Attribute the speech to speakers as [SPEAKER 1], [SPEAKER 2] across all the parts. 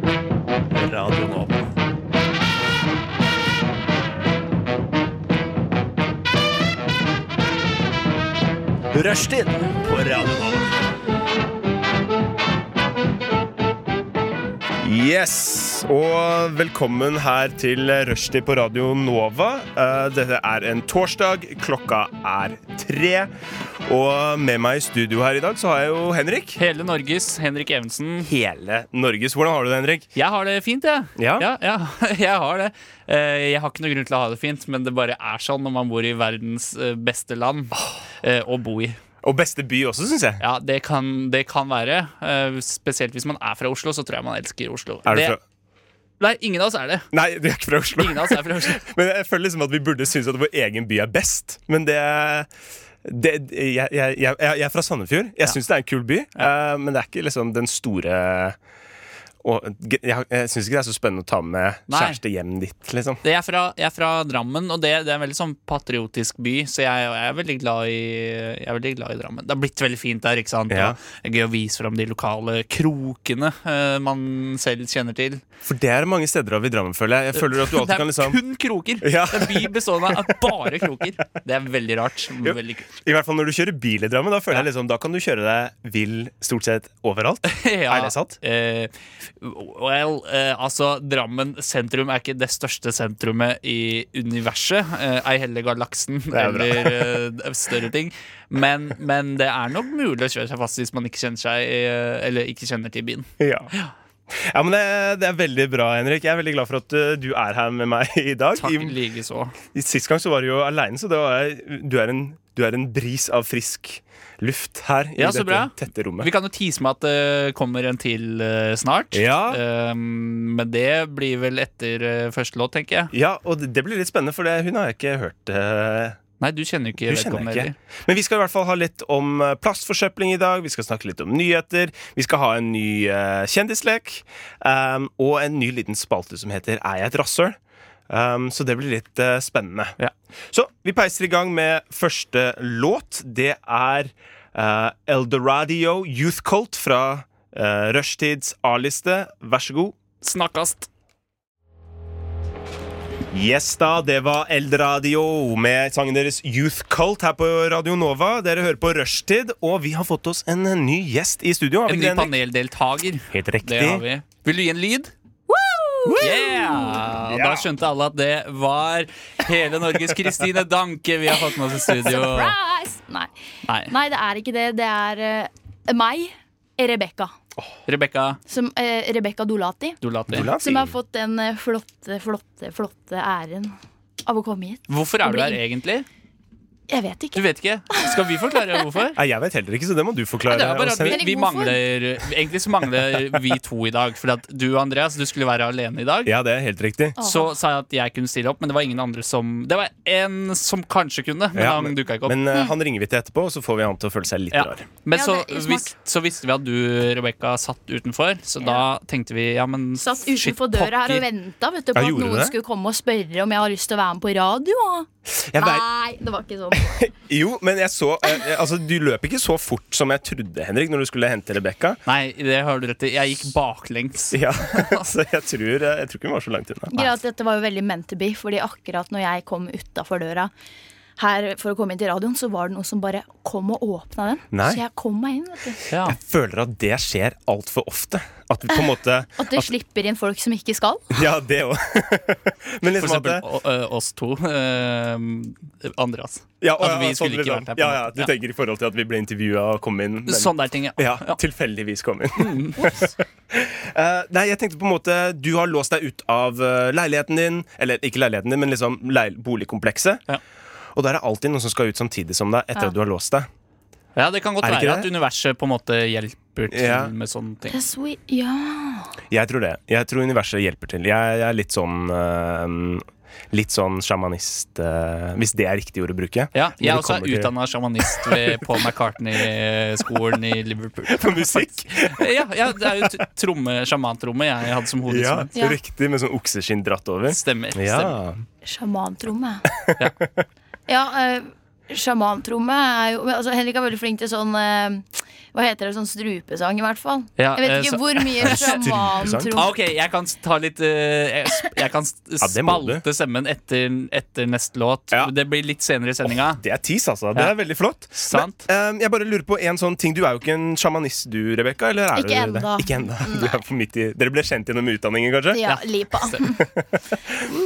[SPEAKER 1] Radio Nova. Rushtid på Radio Nova.
[SPEAKER 2] Yes, og velkommen her til Rushdie på Radio Nova. Eh, Dette er en torsdag, klokka er tre. Og med meg i studio her i dag så har jeg jo Henrik.
[SPEAKER 3] Hele Norges Henrik Evensen.
[SPEAKER 2] Hele Norges. Hvordan har du det, Henrik?
[SPEAKER 3] Jeg har det fint, jeg.
[SPEAKER 2] Ja?
[SPEAKER 3] Ja, jeg har det. Eh, Jeg har ikke noen grunn til å ha det fint, men det bare er sånn når man bor i verdens eh, beste land eh, å bo i.
[SPEAKER 2] Og beste by også, syns jeg.
[SPEAKER 3] Ja, det kan, det kan være. eh, Spesielt hvis man er fra Oslo, så tror jeg man elsker Oslo.
[SPEAKER 2] Er du
[SPEAKER 3] det,
[SPEAKER 2] fra
[SPEAKER 3] Nei, ingen av oss er det.
[SPEAKER 2] Nei, du er ikke fra Oslo.
[SPEAKER 3] Ingen av oss er fra Oslo.
[SPEAKER 2] Men jeg føler liksom at vi burde synes at vår egen by er best. Men det, det jeg, jeg, jeg, jeg er fra Sandefjord. Jeg synes syns det er en kul by, eh, men det er ikke liksom den store og, Jeg, har- jeg syns ikke det er så spennende å ta med
[SPEAKER 3] Nei.
[SPEAKER 2] kjæreste hjem dit, liksom.
[SPEAKER 3] Det jeg, er fra, jeg er fra Drammen, og det, det er en veldig sånn patriotisk by, så jeg, jeg, er veldig glad i, jeg er veldig glad i Drammen. Det har blitt veldig fint der, ikke sant?
[SPEAKER 2] Ja.
[SPEAKER 3] Og det er Gøy å vise fram de lokale krokene eh, man selv kjenner til.
[SPEAKER 2] For det er det mange steder av i Drammen, føler jeg. Jeg føler at du
[SPEAKER 3] Det
[SPEAKER 2] alltid
[SPEAKER 3] er
[SPEAKER 2] kan liksom
[SPEAKER 3] kun kroker!
[SPEAKER 2] Ja.
[SPEAKER 3] Det er en by bestående av bare kroker. Det er veldig rart. men Veldig kult.
[SPEAKER 2] I hvert fall når du kjører bil i Drammen, da føler jeg liksom Da kan du kjøre deg vill stort sett overalt.
[SPEAKER 3] Ja,
[SPEAKER 2] Er det sant?
[SPEAKER 3] eh, well, eh, altså, Drammen sentrum er ikke det største sentrumet i universet. eh, ei heller galaksen
[SPEAKER 2] er bra.
[SPEAKER 3] eller eh, større ting. Men, men det er nok mulig å kjøre seg fast hvis man ikke kjenner seg eh, Eller ikke kjenner til byen.
[SPEAKER 2] Ja. Ja, men det, det er veldig bra, Henrik. Jeg er veldig glad for at eh, du er her med meg i dag.
[SPEAKER 3] Takk
[SPEAKER 2] I
[SPEAKER 3] likeså.
[SPEAKER 2] I Sist gang så var du jo aleine, så det var, du, er en, du er en bris av frisk luft her i
[SPEAKER 3] Ja, så
[SPEAKER 2] dette
[SPEAKER 3] bra.
[SPEAKER 2] tette rommet.
[SPEAKER 3] Vi kan jo tease med at det kommer en til eh, snart.
[SPEAKER 2] Ja.
[SPEAKER 3] Eh, men det blir vel etter eh, første låt, tenker jeg.
[SPEAKER 2] Ja, og det- det blir litt spennende, for det, hun har jeg ikke hørt eh,
[SPEAKER 3] Nei, du kjenner jo ikke
[SPEAKER 2] Hun kjenner
[SPEAKER 3] vedkommende
[SPEAKER 2] jeg
[SPEAKER 3] heller.
[SPEAKER 2] ikke. Men vi skal i hvert fall ha litt om eh, plastforsøpling i dag. Vi skal snakke litt om nyheter. Vi skal ha en ny eh, kjendislek. ehm, og en ny liten spalte som heter Er jeg et rasshøl? Ehm, så det blir litt eh, spennende.
[SPEAKER 3] Ja.
[SPEAKER 2] Så vi peiser i gang med første låt. Det er eh, Eldoradio Youth Colt fra uh, Rushtids A-liste. Vær så god.
[SPEAKER 3] Snakkast.
[SPEAKER 2] Yes da, det var Eldradio med sangen deres Youth Cult her på Radio Nova. Dere hører på Rushtid, og vi har fått oss en ny gjest i studio. har vi
[SPEAKER 3] En
[SPEAKER 2] ikke
[SPEAKER 3] ny
[SPEAKER 2] det, Henrik?
[SPEAKER 3] paneldeltaker.
[SPEAKER 2] Helt riktig.
[SPEAKER 3] Det har vi. Vil du gi en lyd? Yeah! Og Da
[SPEAKER 2] Ja.
[SPEAKER 3] skjønte alle at det var hele Norges Kristine Danke vi har fått med oss i studio.
[SPEAKER 4] Surprise! Nei.
[SPEAKER 3] Nei,
[SPEAKER 4] Nei, det er ikke det. Det er eh, meg, Rebekka.
[SPEAKER 3] Rebekka
[SPEAKER 4] Som, eh, Rebekka Dolati.
[SPEAKER 3] Dolati.
[SPEAKER 2] Olav?
[SPEAKER 4] Som har fått den eh, flotte, flotte, flotte æren av å komme hit.
[SPEAKER 3] Hvorfor er du her egentlig?
[SPEAKER 4] Jeg vet
[SPEAKER 3] Du
[SPEAKER 4] ikke.
[SPEAKER 3] vet ikke. Skal vi forklare hvorfor?
[SPEAKER 2] Nei, jeg vet heller ikke, så det må du forklare.
[SPEAKER 3] Det er bare
[SPEAKER 2] oss,
[SPEAKER 3] at vi,
[SPEAKER 2] Henrik.
[SPEAKER 3] vi
[SPEAKER 4] hvorfor?
[SPEAKER 3] mangler Egentlig så mangler vi to i dag. For at du Andreas, du skulle være alene i dag.
[SPEAKER 2] Ja, det er helt riktig.
[SPEAKER 3] Så sa jeg at jeg kunne stille opp, men det var ingen andre som Det var en som kanskje kunne, men
[SPEAKER 2] Ja,
[SPEAKER 3] han dukka ikke opp.
[SPEAKER 2] Men
[SPEAKER 4] Mm.
[SPEAKER 2] eh, han ringer vi til etterpå, og så får vi han til å føle seg litt
[SPEAKER 3] Ja.
[SPEAKER 2] rar.
[SPEAKER 3] Men
[SPEAKER 4] Ja,
[SPEAKER 3] så,
[SPEAKER 4] det er smart.
[SPEAKER 3] vis, så visste vi at du, Rebekka, satt utenfor, så da tenkte vi ja, men
[SPEAKER 4] Satt
[SPEAKER 3] shit,
[SPEAKER 4] utenfor døra her
[SPEAKER 3] pokker.
[SPEAKER 4] og venta på at
[SPEAKER 2] Ja, gjorde du
[SPEAKER 4] noen
[SPEAKER 2] det?
[SPEAKER 4] skulle komme og spørre om jeg har lyst til å være med på radio. og-
[SPEAKER 2] Jeg vei-
[SPEAKER 4] Nei, det var ikke sånn.
[SPEAKER 2] jo, men jeg så eh, Altså, du løp ikke så fort som jeg trodde, Henrik, når du skulle hente Rebekka.
[SPEAKER 3] Nei, det har du rett i. Jeg gikk baklengs.
[SPEAKER 2] Ja, så jeg tror, eh, jeg tror ikke hun var så langt unna.
[SPEAKER 4] Greia er at dette var jo veldig meant to be, fordi akkurat når jeg kom utafor døra her for å komme inn til radioen, så var det noen som bare kom og åpna den.
[SPEAKER 2] Nei.
[SPEAKER 4] Så jeg kom meg inn, vet du.
[SPEAKER 3] Ja.
[SPEAKER 2] Føler at det skjer altfor ofte. At vi på en måte
[SPEAKER 4] At det slipper inn folk som ikke skal.
[SPEAKER 2] Ja, det òg. Men
[SPEAKER 3] For
[SPEAKER 2] liksom at
[SPEAKER 3] eksempel
[SPEAKER 2] det,
[SPEAKER 3] å- ø, oss to. eh, Andreas.
[SPEAKER 2] ja, og,
[SPEAKER 3] at vi
[SPEAKER 2] ja,
[SPEAKER 3] skulle ikke
[SPEAKER 2] liksom.
[SPEAKER 3] vært der på
[SPEAKER 2] Ja,
[SPEAKER 3] en
[SPEAKER 2] ja,
[SPEAKER 3] måte.
[SPEAKER 2] Du
[SPEAKER 3] Ja.
[SPEAKER 2] tenker i forhold til at vi ble intervjua og kom inn. men-
[SPEAKER 3] Sånn der ting, ja.
[SPEAKER 2] ja,
[SPEAKER 3] ja.
[SPEAKER 2] tilfeldigvis kom inn. Eh, nei, jeg tenkte på en måte Du har låst deg ut av eh, leiligheten din, eller ikke leiligheten din, men liksom leil boligkomplekset.
[SPEAKER 3] Ja.
[SPEAKER 2] Og der er alltid noen som skal ut samtidig som deg etter
[SPEAKER 4] Ja.
[SPEAKER 2] at du har låst deg.
[SPEAKER 3] ja, det kan godt
[SPEAKER 2] Er det ikke
[SPEAKER 3] være
[SPEAKER 2] det?
[SPEAKER 3] at universet på en måte hjelper til
[SPEAKER 2] Ja.
[SPEAKER 3] med sånne ting.
[SPEAKER 4] Yes, we, ja.
[SPEAKER 2] Jeg tror det. Jeg tror universet hjelper til. Jeg, jeg er litt sånn eh, Litt sånn sjamanist, eh, hvis det er riktig ord å bruke.
[SPEAKER 3] Ja,
[SPEAKER 2] Når
[SPEAKER 3] jeg
[SPEAKER 2] det
[SPEAKER 3] er også
[SPEAKER 2] kommer til-
[SPEAKER 3] utdanna sjamanist ved Paul McCartney-skolen i Liverpool.
[SPEAKER 2] På musikk?
[SPEAKER 3] Ja, ja, det er jo t- tromme, sjamantromme jeg hadde som
[SPEAKER 2] Ja,
[SPEAKER 3] hovedinstrument.
[SPEAKER 4] Ja.
[SPEAKER 2] riktig, med sånn okseskinn dratt over.
[SPEAKER 3] Stemmer. stemmer.
[SPEAKER 2] Ja.
[SPEAKER 4] Sjamantromme. ja, eh, sjamantromme er jo men altså, Henrik er veldig flink til sånn eh, Hva heter det? Sånn strupesang, i hvert fall.
[SPEAKER 3] Ja,
[SPEAKER 4] Jeg vet
[SPEAKER 3] eh,
[SPEAKER 4] ikke
[SPEAKER 3] så-
[SPEAKER 4] hvor mye
[SPEAKER 3] Ah,
[SPEAKER 4] sjamantromme
[SPEAKER 3] ok, jeg kan ta litt eh, Jeg, sp- jeg kan s-
[SPEAKER 2] det må du.
[SPEAKER 3] spalte stemmen etter, etter neste låt.
[SPEAKER 2] Ja.
[SPEAKER 3] Det blir litt senere i sendinga.
[SPEAKER 2] Det er tis, altså. Det
[SPEAKER 3] Ja.
[SPEAKER 2] er veldig flott.
[SPEAKER 3] Sant.
[SPEAKER 2] Men, eh, jeg bare lurer på en sånn ting. Du er jo ikke en sjamanist du, Rebekka? Eller er
[SPEAKER 4] Ikke
[SPEAKER 2] du
[SPEAKER 4] enda.
[SPEAKER 2] det? Ikke enda. Du er for midt i Dere ble kjent gjennom utdanningen, kanskje?
[SPEAKER 4] Ja, lipa.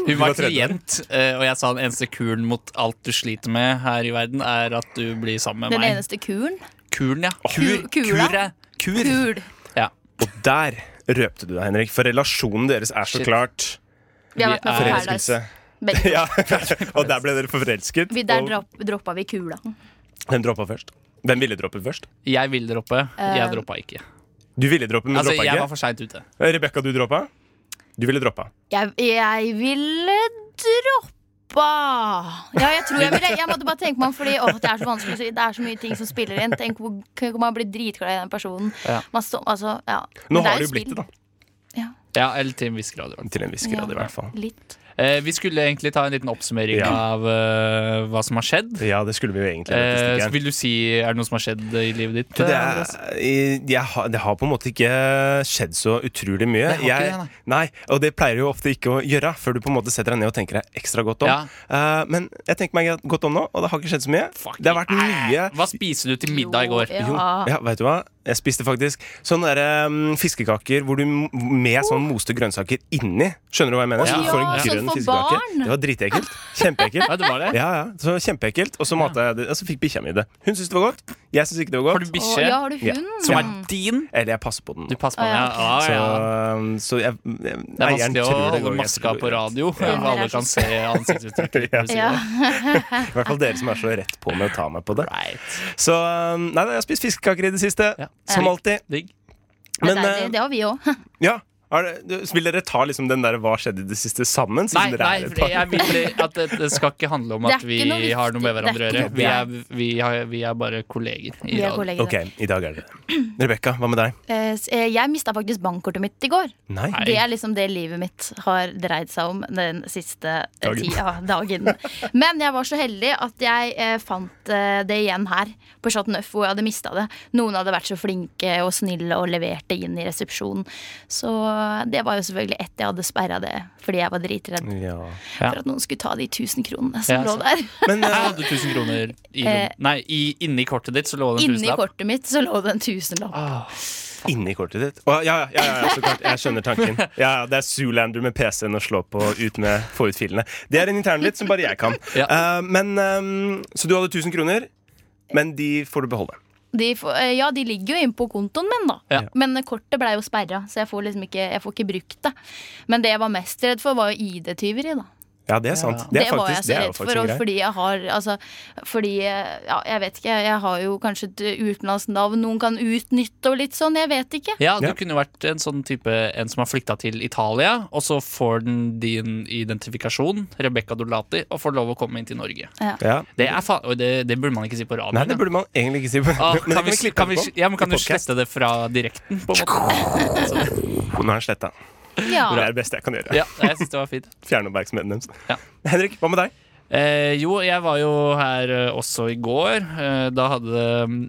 [SPEAKER 3] Hun var
[SPEAKER 2] var tredje.
[SPEAKER 3] klient, eh, og jeg sa den eneste kuren mot alt du sliter med her i verden, er at du blir sammen med
[SPEAKER 4] Den
[SPEAKER 3] meg.
[SPEAKER 4] eneste kuren.
[SPEAKER 3] Kuren, ja.
[SPEAKER 4] Ku- kula.
[SPEAKER 3] Kure. Kur.
[SPEAKER 4] Kul.
[SPEAKER 3] Ja.
[SPEAKER 2] Og der røpte du deg, Henrik. For relasjonen deres er så
[SPEAKER 3] Shit.
[SPEAKER 2] klart
[SPEAKER 4] Vi har
[SPEAKER 3] Vi
[SPEAKER 4] vært med på
[SPEAKER 3] er-
[SPEAKER 4] Paradise.
[SPEAKER 2] forelskelse.
[SPEAKER 4] Begge.
[SPEAKER 2] Ja, Og der ble dere forelsket.
[SPEAKER 4] Vi der
[SPEAKER 2] og
[SPEAKER 4] dropp- droppa vi kula.
[SPEAKER 2] hvem droppa først? Hvem ville droppe først?
[SPEAKER 3] Jeg ville droppe, jeg
[SPEAKER 4] Eh,
[SPEAKER 3] droppa ikke.
[SPEAKER 2] Du ville droppe, men
[SPEAKER 3] Altså,
[SPEAKER 2] droppa
[SPEAKER 3] jeg var
[SPEAKER 2] ikke. Eh,
[SPEAKER 3] for seint ute.
[SPEAKER 2] Rebekka, du droppa? Du ville droppa.
[SPEAKER 4] Jeg, jeg ville droppa Ja, jeg tror jeg ville Jeg måtte bare tenke meg om, fordi åh, det er så vanskelig. så Det er så mye ting som spiller inn. Tenk hvor hvor man blir dritglad i den personen.
[SPEAKER 3] Ja.
[SPEAKER 4] Man står- altså, ja. Men
[SPEAKER 2] Nå
[SPEAKER 4] det er
[SPEAKER 2] har du jo
[SPEAKER 4] spill.
[SPEAKER 2] blitt det, da.
[SPEAKER 3] Ja, eller til en viss grad. i hvert fall.
[SPEAKER 2] Til en viss grad,
[SPEAKER 4] Ja.
[SPEAKER 2] i hvert fall.
[SPEAKER 4] Litt.
[SPEAKER 3] Eh, vi skulle egentlig ta en liten oppsummering
[SPEAKER 2] Ja.
[SPEAKER 3] av eh, hva som har skjedd.
[SPEAKER 2] Ja, det skulle vi jo egentlig.
[SPEAKER 3] Eh,
[SPEAKER 2] faktisk
[SPEAKER 3] så
[SPEAKER 2] ikke.
[SPEAKER 3] vil du si er det noe som har skjedd i livet ditt?
[SPEAKER 2] Du, det,
[SPEAKER 3] eh, Andreas?
[SPEAKER 2] er, i- jeg har, det har på en måte ikke skjedd så utrolig mye.
[SPEAKER 3] Det har ikke
[SPEAKER 2] jeg,
[SPEAKER 3] det,
[SPEAKER 2] nei. og det pleier jo ofte ikke å gjøre, før du på en måte setter deg ned og tenker deg ekstra godt om.
[SPEAKER 3] Ja.
[SPEAKER 2] Eh, men jeg tenker meg godt om nå, og det har ikke skjedd så mye.
[SPEAKER 3] Fuck,
[SPEAKER 2] det har vært mye
[SPEAKER 3] eh, Hva spiste du til middag i går?
[SPEAKER 4] Jo,
[SPEAKER 2] Jo,
[SPEAKER 4] ja.
[SPEAKER 2] ja, vet du hva? Jeg spiste faktisk sånne der, um, fiskekaker hvor du m- med sånn moste grønnsaker inni. Skjønner du hva jeg mener?
[SPEAKER 3] Å,
[SPEAKER 2] Så du
[SPEAKER 3] Oh. ja,
[SPEAKER 2] får en
[SPEAKER 3] sånn
[SPEAKER 2] grønn
[SPEAKER 4] for
[SPEAKER 2] fiskekake.
[SPEAKER 4] barn.
[SPEAKER 2] Det var dritekkelt. Kjempeekkelt.
[SPEAKER 3] Ja, det var det.
[SPEAKER 2] Ja, ja, så kjempeekkelt. Og så matet jeg det, og så fikk bikkja mi det. Hun syntes det var godt. Jeg syns ikke det var
[SPEAKER 3] Har du
[SPEAKER 2] godt.
[SPEAKER 4] Å,
[SPEAKER 3] bikkje
[SPEAKER 4] ja, har du
[SPEAKER 2] Ja.
[SPEAKER 4] hund?
[SPEAKER 3] som er din?
[SPEAKER 2] Eller jeg passer på den. nå.
[SPEAKER 3] Du passer på
[SPEAKER 4] Å,
[SPEAKER 3] den,
[SPEAKER 4] ja,
[SPEAKER 3] ja. Ah,
[SPEAKER 2] Så,
[SPEAKER 3] ja.
[SPEAKER 2] um, så jeg, jeg,
[SPEAKER 3] Det er
[SPEAKER 2] eieren
[SPEAKER 3] vanskelig å
[SPEAKER 2] tror det
[SPEAKER 3] holde
[SPEAKER 2] går, jeg
[SPEAKER 3] maska
[SPEAKER 2] tror det
[SPEAKER 3] på
[SPEAKER 2] går.
[SPEAKER 3] radio.
[SPEAKER 4] Ja.
[SPEAKER 3] Hvor alle kan se ansiktsuttrykket.
[SPEAKER 2] Ja.
[SPEAKER 3] ditt.
[SPEAKER 4] Ja.
[SPEAKER 2] I hvert fall dere som er så rett på med å ta meg på det.
[SPEAKER 3] Right.
[SPEAKER 2] Så um, nei, jeg har spist fiskekaker i det siste.
[SPEAKER 3] Ja.
[SPEAKER 2] Som alltid.
[SPEAKER 3] Digg.
[SPEAKER 4] Det er
[SPEAKER 2] Men,
[SPEAKER 4] deilig.
[SPEAKER 2] eh,
[SPEAKER 4] Det har vi òg.
[SPEAKER 2] Ja er det, du- vil dere ta liksom den der 'hva skjedde i det siste' sammen?
[SPEAKER 3] Nei,
[SPEAKER 2] siden dere
[SPEAKER 3] nei
[SPEAKER 2] er et
[SPEAKER 3] for
[SPEAKER 2] par?
[SPEAKER 3] jeg vil fordi at det, det skal ikke handle om
[SPEAKER 4] Det er
[SPEAKER 3] at vi
[SPEAKER 4] ikke noe viktig-
[SPEAKER 3] har noe med hverandre å
[SPEAKER 4] det er
[SPEAKER 3] gjøre.
[SPEAKER 4] ikke
[SPEAKER 3] Vi
[SPEAKER 4] noe-
[SPEAKER 3] er, vi, har, vi er bare kolleger. I
[SPEAKER 4] Vi er
[SPEAKER 3] radio.
[SPEAKER 4] kolleger.
[SPEAKER 2] Ok, i dag er det det. Rebekka, hva med deg?
[SPEAKER 4] Eh, s- eh, Jeg mista faktisk bankkortet mitt i går.
[SPEAKER 2] Nei.
[SPEAKER 3] Nei.
[SPEAKER 4] Det er liksom det livet mitt har dreid seg om den siste
[SPEAKER 2] Dagen.
[SPEAKER 4] dagen. tida dagen. Men jeg var så heldig at jeg eh, fant eh, det igjen her på Chateau Neuf, hvor jeg hadde mista det. Noen hadde vært så flinke og snille og levert det inn i resepsjonen. Så eh, det var jo selvfølgelig ett jeg hadde sperra det fordi jeg var dritredd
[SPEAKER 2] Ja.
[SPEAKER 3] Ja.
[SPEAKER 4] for at noen skulle ta de 1000 kronene som
[SPEAKER 3] Ja,
[SPEAKER 4] lå
[SPEAKER 3] sant.
[SPEAKER 4] der.
[SPEAKER 2] Men
[SPEAKER 3] Jeg
[SPEAKER 2] eh,
[SPEAKER 3] hadde 1000 kroner i,
[SPEAKER 4] Eh.
[SPEAKER 3] Nei, i, inni kortet ditt så lå det en
[SPEAKER 4] Inni
[SPEAKER 3] tusenlapp. Ah.
[SPEAKER 4] kortet mitt så lå det en tusenlapp.
[SPEAKER 2] inni kortet ditt Å, ja, ja, ja, ja, så klart. Jeg skjønner tanken. Ja, ja, Det er Zoolander med PC-en å slå på ut med få ut filene. Det er en internlytt som bare jeg kan.
[SPEAKER 3] Ja.
[SPEAKER 2] Eh, men ehm, Så du hadde 1000 kroner, men de får du beholde.
[SPEAKER 4] De får, eh, ja, de ligger jo inne på kontoen min, da.
[SPEAKER 3] Ja.
[SPEAKER 4] Men kortet blei jo sperra, så jeg får liksom ikke, jeg får ikke brukt det. Men det jeg var mest redd for, var jo ID-tyveri, da.
[SPEAKER 2] Ja, det er sant.
[SPEAKER 3] Ja.
[SPEAKER 2] Det,
[SPEAKER 4] Det,
[SPEAKER 2] er
[SPEAKER 4] var jeg
[SPEAKER 2] faktisk,
[SPEAKER 4] så
[SPEAKER 2] det er jo
[SPEAKER 4] redd for,
[SPEAKER 2] faktisk en
[SPEAKER 4] og
[SPEAKER 2] greie.
[SPEAKER 4] fordi jeg har altså, Fordi, ja, jeg vet ikke Jeg har jo kanskje et utenlandsk navn noen kan utnytte og litt sånn, jeg vet ikke.
[SPEAKER 3] Ja, du
[SPEAKER 2] Ja.
[SPEAKER 3] kunne jo vært en sånn type En som har flykta til Italia, og så får den din identifikasjon, Rebekka Dolati, og får lov å komme inn til Norge.
[SPEAKER 2] Ja.
[SPEAKER 3] Det, er fa og det, det burde man ikke si på radioen.
[SPEAKER 2] Nei, det burde man egentlig ikke si. Men,
[SPEAKER 3] Ah,
[SPEAKER 2] men det
[SPEAKER 3] kan, vi,
[SPEAKER 2] klippe
[SPEAKER 3] kan, vi,
[SPEAKER 2] etterpå.
[SPEAKER 3] ja, men kan
[SPEAKER 2] I
[SPEAKER 3] du
[SPEAKER 2] podcast.
[SPEAKER 3] slette det fra direkten, på en måte?
[SPEAKER 2] Nå er den sletta.
[SPEAKER 4] Ja.
[SPEAKER 2] Det er det beste jeg kan gjøre.
[SPEAKER 3] Ja, jeg synes det var fint.
[SPEAKER 2] Fjerne oppmerksomheten deres.
[SPEAKER 3] Ja.
[SPEAKER 2] Henrik, hva med deg?
[SPEAKER 3] Eh, jo, jeg var jo her eh, også i går. Eh, da hadde det